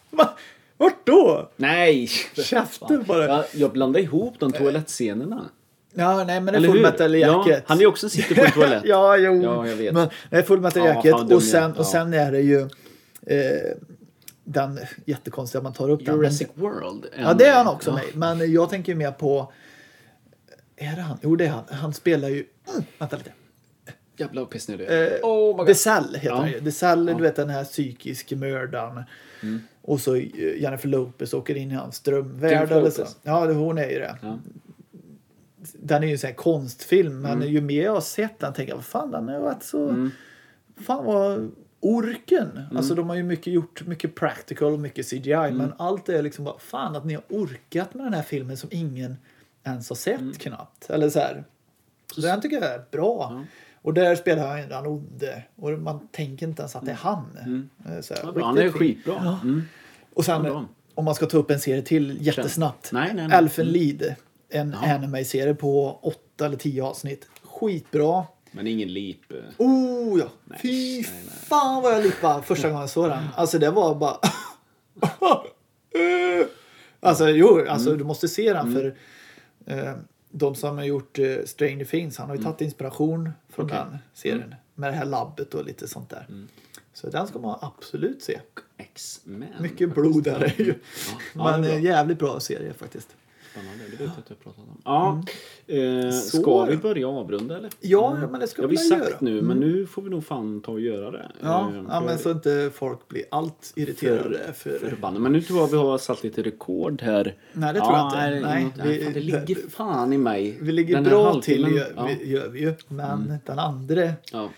S1: Va? Vart då?
S2: Nej!
S1: Käften bara.
S2: Jag, jag blandade ihop de toalettscenerna.
S1: Ja, nej men det är
S2: Eller
S1: Full
S2: hur?
S1: Metal
S2: Ja,
S1: Jacket.
S2: han är ju också sitter på en toalett.
S1: ja, jo.
S2: Ja, jag vet.
S1: Men det är Full Metal
S2: Ja,
S1: Jacket
S2: fan, dum
S1: och, sen,
S2: jag.
S1: och
S2: Ja.
S1: sen är det ju eh, den jättekonstiga man tar upp den.
S2: Jurassic World.
S1: Ja, det är han också med Men jag tänker mer på... Är det han? Jo, det är han. Han spelar ju... Mm, vänta lite.
S2: Jävlar vad pissnödig jag är.
S1: Eh,
S2: Oh my god.
S1: Desell heter
S2: Ja. Mm.
S1: han ju. Desell, du vet den här psykiska mördaren. Och så eh, Jennifer Lopez åker in i hans drömvärld.
S2: Jennifer
S1: Eller så.
S2: Lopez.
S1: Ja, det- hon är ju det.
S2: Ja.
S1: Den är ju en sån här konstfilm,
S2: Mm.
S1: men ju mer jag har sett den tänker jag, vad fan den har varit så... Fan vad... Orken!
S2: Mm.
S1: Alltså de har ju mycket gjort, mycket practical och mycket CGI. Men allt är liksom bara, fan att ni har orkat med den här filmen som ingen ens har sett
S2: Mm.
S1: knappt. Eller så här. Så den tycker jag är bra. Och där spelar han den onde. Och man tänker inte ens att det är han. Eh, Så här,
S2: Mm. Ja, bra. Han är
S1: riktigt fin.
S2: skitbra. Mm.
S1: Och sen,
S2: bra.
S1: om man ska ta upp en serie till jättesnabbt.
S2: Nej, nej, Mm. nej.
S1: Elfenlied. En anime-serie på åtta eller tio avsnitt. Skitbra.
S2: Men ingen lip. eh.
S1: Oh ja!
S2: Nej,
S1: Fy
S2: nej, Mm. nej.
S1: fan vad jag lippade första gången jag såg den. Alltså det var bara... alltså jo, alltså,
S2: Mm.
S1: du måste se den för eh, de som har gjort eh, Stranger Things, han har ju tagit inspiration från
S2: Mm. Okej. Mm.
S1: den serien. Med det här labbet och lite sånt där. Så den ska man absolut se.
S2: X-Men.
S1: Mycket blod där är ju.
S2: Ja,
S1: Men
S2: det är
S1: eh, jävligt bra serie faktiskt.
S2: Spännande. Det vet jag att du har pratat om. Ja. Eh, ska
S1: Mm. Så.
S2: vi börja avrunda eller?
S1: Ja, men det ska
S2: Det har
S1: vi
S2: vi
S1: väl
S2: sagt
S1: göra. Mm.
S2: nu, men nu får vi nog fan ta och göra det.
S1: Ja,
S2: Eh,
S1: ja,
S2: för-
S1: men så inte folk blir allt irriterade. För,
S2: Förbannat. Men nu tror jag vi har satt lite rekord här.
S1: Nej, det tror jag inte.
S2: är det
S1: Nej,
S2: något-
S1: vi-
S2: fan, det ligger fan i mig.
S1: Vi ligger
S2: Den här
S1: bra
S2: halvtimmen-
S1: till gör,
S2: Ja. Mm.
S1: vi, gör vi ju. Men den andra,
S2: Ja.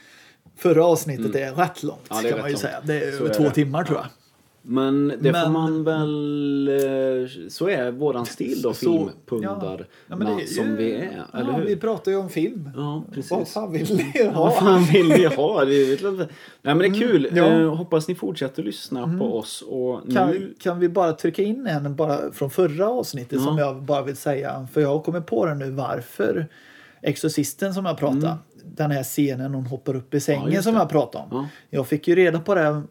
S1: förra avsnittet är rätt långt
S2: Mm. Ja, det är
S1: kan
S2: rätt
S1: man ju
S2: långt.
S1: säga. Det är
S2: Så
S1: över
S2: är
S1: två
S2: det.
S1: timmar tror jag.
S2: Men det får
S1: Men-
S2: man väl... eh, Så är våran stil då,
S1: Så-
S2: filmpundar.
S1: Ja, men det är ju-
S2: som vi är,
S1: ja,
S2: eller hur?
S1: Vi pratar ju om film.
S2: Ja,
S1: Vad
S2: precis.
S1: fan vill ni
S2: Vad
S1: ha? Mm,
S2: fan vill ni ha? Det är, vet jag inte. Nej, men det är kul.
S1: ja. Mm.
S2: Eh, hoppas ni fortsätter lyssna på oss. Och nu...
S1: Kan, kan vi bara trycka in en bara från förra avsnittet
S2: Ja.
S1: som jag bara vill säga. För jag har kommit på det nu varför Exorcisten som jag pratade Den här scenen hon hoppar upp i sängen
S2: just
S1: som
S2: det.
S1: jag pratade om.
S2: Mm. Ja.
S1: Jag fick ju reda på det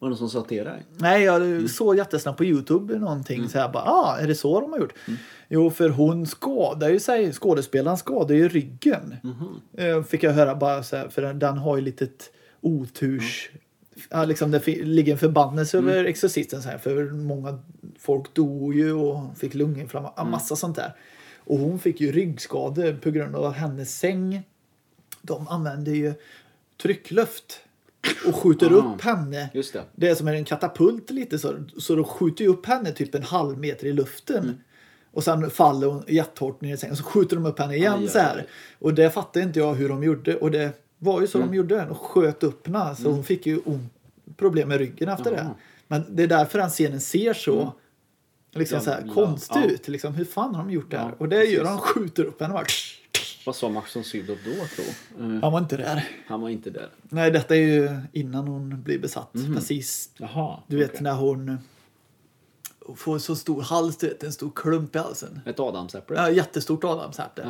S2: Var det någon som sa till dig?
S1: Nej, jag såg jättesnabbt på Youtube någonting så här bara, ah, är det så de har gjort? Jo, för hon skadar ju sig, skådespelaren skadar ju ryggen. Eh, Fick jag höra bara så här, för den, den har ju litet oturs... Ja, Mm. liksom det fi- ligger en förbannelse över Exorcisten så här, för många folk dog ju och fick lunginflammation, mm. massa sånt där. Och hon fick ju ryggskador på grund av att hennes säng, de använder ju tryckluft och skjuter
S2: Ah.
S1: upp henne
S2: Just det.
S1: det är som en katapult lite så, så de skjuter ju upp henne typ en halv meter i luften.
S2: Mm.
S1: Och sen faller hon jättehårt ner i sängen och så skjuter de upp henne igen
S2: Aj, aj,
S1: så här.
S2: aj.
S1: Och det fattar inte jag hur de gjorde och det var ju så
S2: Mm.
S1: de gjorde. De sköt upp henne så hon fick ju ont, problem med ryggen efter det.
S2: Jaha. Mm.
S1: Men det är därför den scenen ser så liksom så här
S2: Jävla-
S1: konstig
S2: ja.
S1: ut. Liksom, hur fan har de gjort det här?
S2: Ja,
S1: och det gör de, de skjuter upp henne bara.
S2: Vad sa Max von Sydow då, tro? Eh,
S1: Han var inte där.
S2: Han var inte där.
S1: Nej, detta är ju innan hon blir besatt.
S2: Mhm.
S1: Precis
S2: Jaha.
S1: Du vet när hon får så stor hals, du vet, en stor klump i halsen.
S2: Ett adamsäpple.
S1: Ja, jättestort adamsäpple.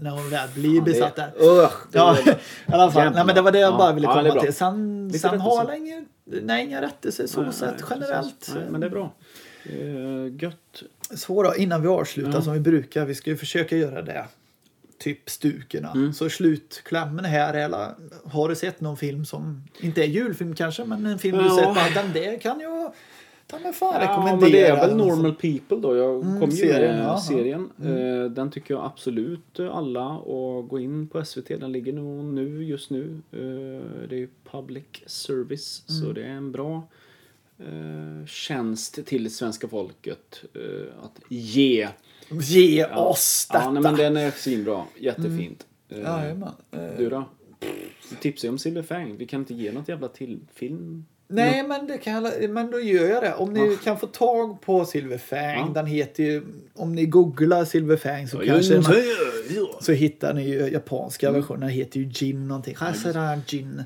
S1: När hon väl blir
S2: Fan, det-
S1: besatt där.
S2: Usch, det är-
S1: Ja, i alla fall. Nej, men det var det jag
S2: Ja,
S1: bara ville
S2: ja, det är
S1: komma
S2: bra.
S1: till. Sen,
S2: Lite
S1: sen har
S2: rättelse.
S1: jag inga, nej, inga rättelser så
S2: Nej,
S1: sett
S2: nej,
S1: generellt.
S2: precis. Nej, men det är bra. Eh, gött.
S1: Så då, innan vi avslutar
S2: Ja.
S1: som vi brukar, vi ska ju försöka göra det. Typ stukerna.
S2: Mm.
S1: Så slutklämmen här är alla, har du sett någon film som, inte är julfilm kanske, men en film du
S2: Ja.
S1: sett, bara, den där kan jag ta mig fan rekommendera.
S2: men det är väl
S1: Eller något
S2: Normal People då. Jag
S1: Mm,
S2: kom ju
S1: serien,
S2: med
S1: ja, Mm. ja.
S2: serien. Eh, Den tycker jag absolut alla och gå in på SVT. Den ligger nog nu just nu. Eh, Det är ju public service
S1: Mm.
S2: så det är en bra eh, tjänst till svenska folket eh, att ge.
S1: sånt. Ge oss detta!
S2: Ja, nej, men den är svinbra. Jättefint. Eh,
S1: Jajamän. Eh,
S2: Du då? Tipsa ju om Silverfang. Vi kan inte ge något jävla till film.
S1: Nej, men, det kan, jag- men då gör jag det. Om ni kan få tag på Silverfang,
S2: Ja.
S1: den heter ju... Om ni googlar Silverfang så kanske man, så hittar ni ju japanska
S2: Mm.
S1: versionen. Den heter ju Gin någonting. Hasara Gin.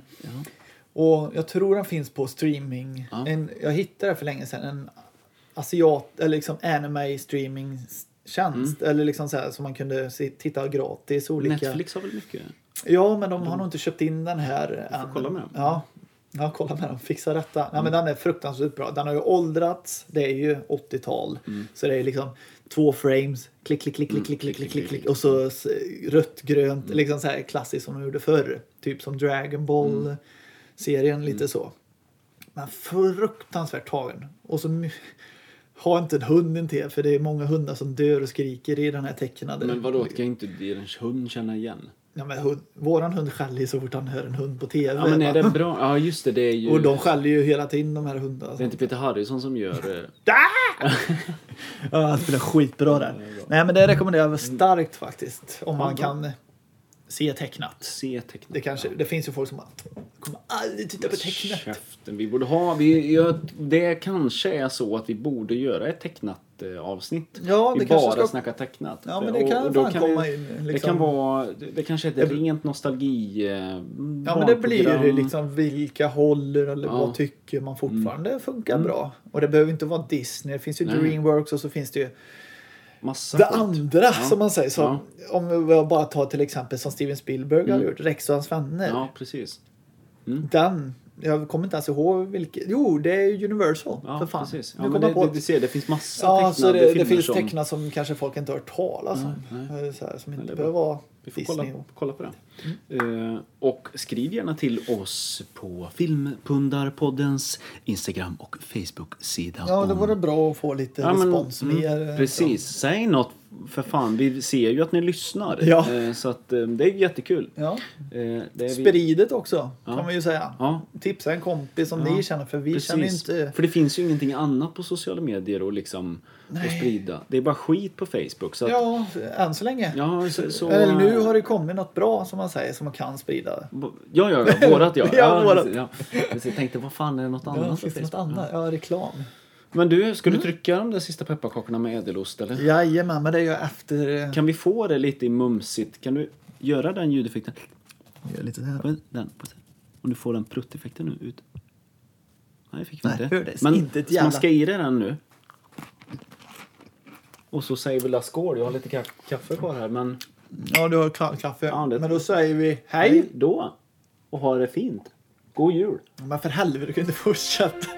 S1: Och jag tror den finns på streaming.
S2: Ja.
S1: En, jag hittade för länge sedan en asiat, eller liksom anime streaming tjänst. Eller liksom så här som man kunde se, titta gratis. Olika.
S2: Mm. Netflix har väl mycket?
S1: Ja, men de har nog inte köpt in den här
S2: Mm. får kolla med dem. Mm.
S1: Ja. Ja, kolla med dem. Fixa detta. Nej, men den är fruktansvärt bra. Den har ju åldrats. Det är ju 80-tal.
S2: Mm.
S1: Så det är liksom två frames. Klick, klick, klick, klick, klick, klick, klick, klick, klick. Och så s- rött, grönt.
S2: Mm.
S1: Liksom så här klassiskt som de gjorde förr. Typ som Dragon
S2: Mm.
S1: Ball-serien, lite så. Men fruktansvärt tagen. Och så my- ha inte en hund intill för det är många hundar som dör och skriker i den här tecknade.
S2: Men vadå, kan inte din hund känna igen?
S1: Ja, men hund, våran hund skäller ju så fort han hör en hund på tv.
S2: Ja men är
S1: va?
S2: det bra? Ja just det, det är ju...
S1: Och de skäller ju hela tiden de här hundarna.
S2: Det är inte Peter Harrison som gör... eh,
S1: Ja, han spelar skitbra där. Nej men det rekommenderar jag starkt faktiskt. Om man
S2: Mm. Ja, bra.
S1: kan se tecknat.
S2: C-tecknat.
S1: Det, kanske, det finns ju folk som bara, kommer aldrig titta på tecknat.
S2: Alltså, Käften, vi borde ha... Vi, jag, det kanske är så att vi borde göra ett tecknat eh, avsnitt.
S1: Ja,
S2: vi
S1: det kanske
S2: bara
S1: ska-
S2: snackar tecknat.
S1: Ja, men det kan
S2: då
S1: fan komma in,
S2: Det
S1: liksom.
S2: kan vara... Det, det kanske är ett
S1: Det-
S2: rent nostalgi... eh,
S1: Ja men det blir ju
S2: barnprogram.
S1: liksom vilka håller eller
S2: Ja. Mm.
S1: vad tycker man fortfarande funkar bra. Och det behöver inte vara Disney. Det finns ju
S2: Nej.
S1: Dreamworks och så finns det ju
S2: Massa
S1: Det
S2: skit.
S1: andra som man säger, som, om jag bara tar till exempel som Steven Spielberg har
S2: Mm.
S1: gjort, Rex och hans vänner.
S2: Ja, Mm. precis.
S1: Den, jag kommer inte ens ihåg vilken. Jo, det är Universal.
S2: Ja,
S1: för fan.
S2: precis.
S1: nu
S2: Ja, men
S1: kommer
S2: det,
S1: jag på.
S2: det, du ser, det finns massa
S1: ja, så
S2: tecknade
S1: det,
S2: filmer
S1: det finns
S2: som...
S1: tecknat som kanske folk inte har hört talas om. Eh, Så här, som inte
S2: det är
S1: behöver vara
S2: Vi får kolla,
S1: Disney. Mm. och-
S2: kolla på den. Eh, och skriv gärna till oss på Filmpundarpoddens Instagram och Facebook-sida.
S1: Ja, det
S2: om-
S1: vore bra att få lite
S2: Ja, men-
S1: respons
S2: mm,
S1: mer. eh,
S2: Precis. Säg något, för fan. Vi ser ju att ni lyssnar.
S1: Ja.
S2: Eh, så att, eh, det är jättekul.
S1: så. Ja.
S2: Eh, det är vi-
S1: Spiridet också,
S2: Ja.
S1: kan man ju säga.
S2: Ja.
S1: Tipsa en kompis som
S2: Ja,
S1: ni känner, för vi känner ju
S2: Precis.
S1: inte...
S2: För det finns ju ingenting annat på sociala medier att liksom att sprida. Det är bara skit på Facebook. Så att, ja.
S1: Ja, än så länge.
S2: så, så,
S1: Eller nu har det kommit något bra som man säger som man kan sprida.
S2: Ja, ja, ja. Vårat ja.
S1: Ja, vårat.
S2: precis, Ja. Precis, Jag tänkte, vad fan är det något annat?
S1: Ja,
S2: på
S1: finns det något
S2: Facebook?
S1: annat? Ja, reklam.
S2: Men du, ska
S1: Mm.
S2: du trycka de där sista pepparkakorna med ädelost eller?
S1: Jajamän, men det är ju efter... eh, Jag
S2: Kan vi få det lite i mumsigt? Kan du göra den ljudeffekten?
S1: gör lite så här.
S2: Den, på- om du får den prutteffekten nu ut. Nej, det fick vi
S1: Nej,
S2: inte.
S1: hördes inte ett jävla-
S2: smaska i dig den nu. Och så säger vi la skål. Jag har lite ka- kaffe kvar här, men
S1: Ja, du har ka- kaffe.
S2: Ja, det-
S1: Men då säger vi hej.
S2: då. Och ha det fint. God jul.
S1: Men för helvete, du kan inte fortsätta.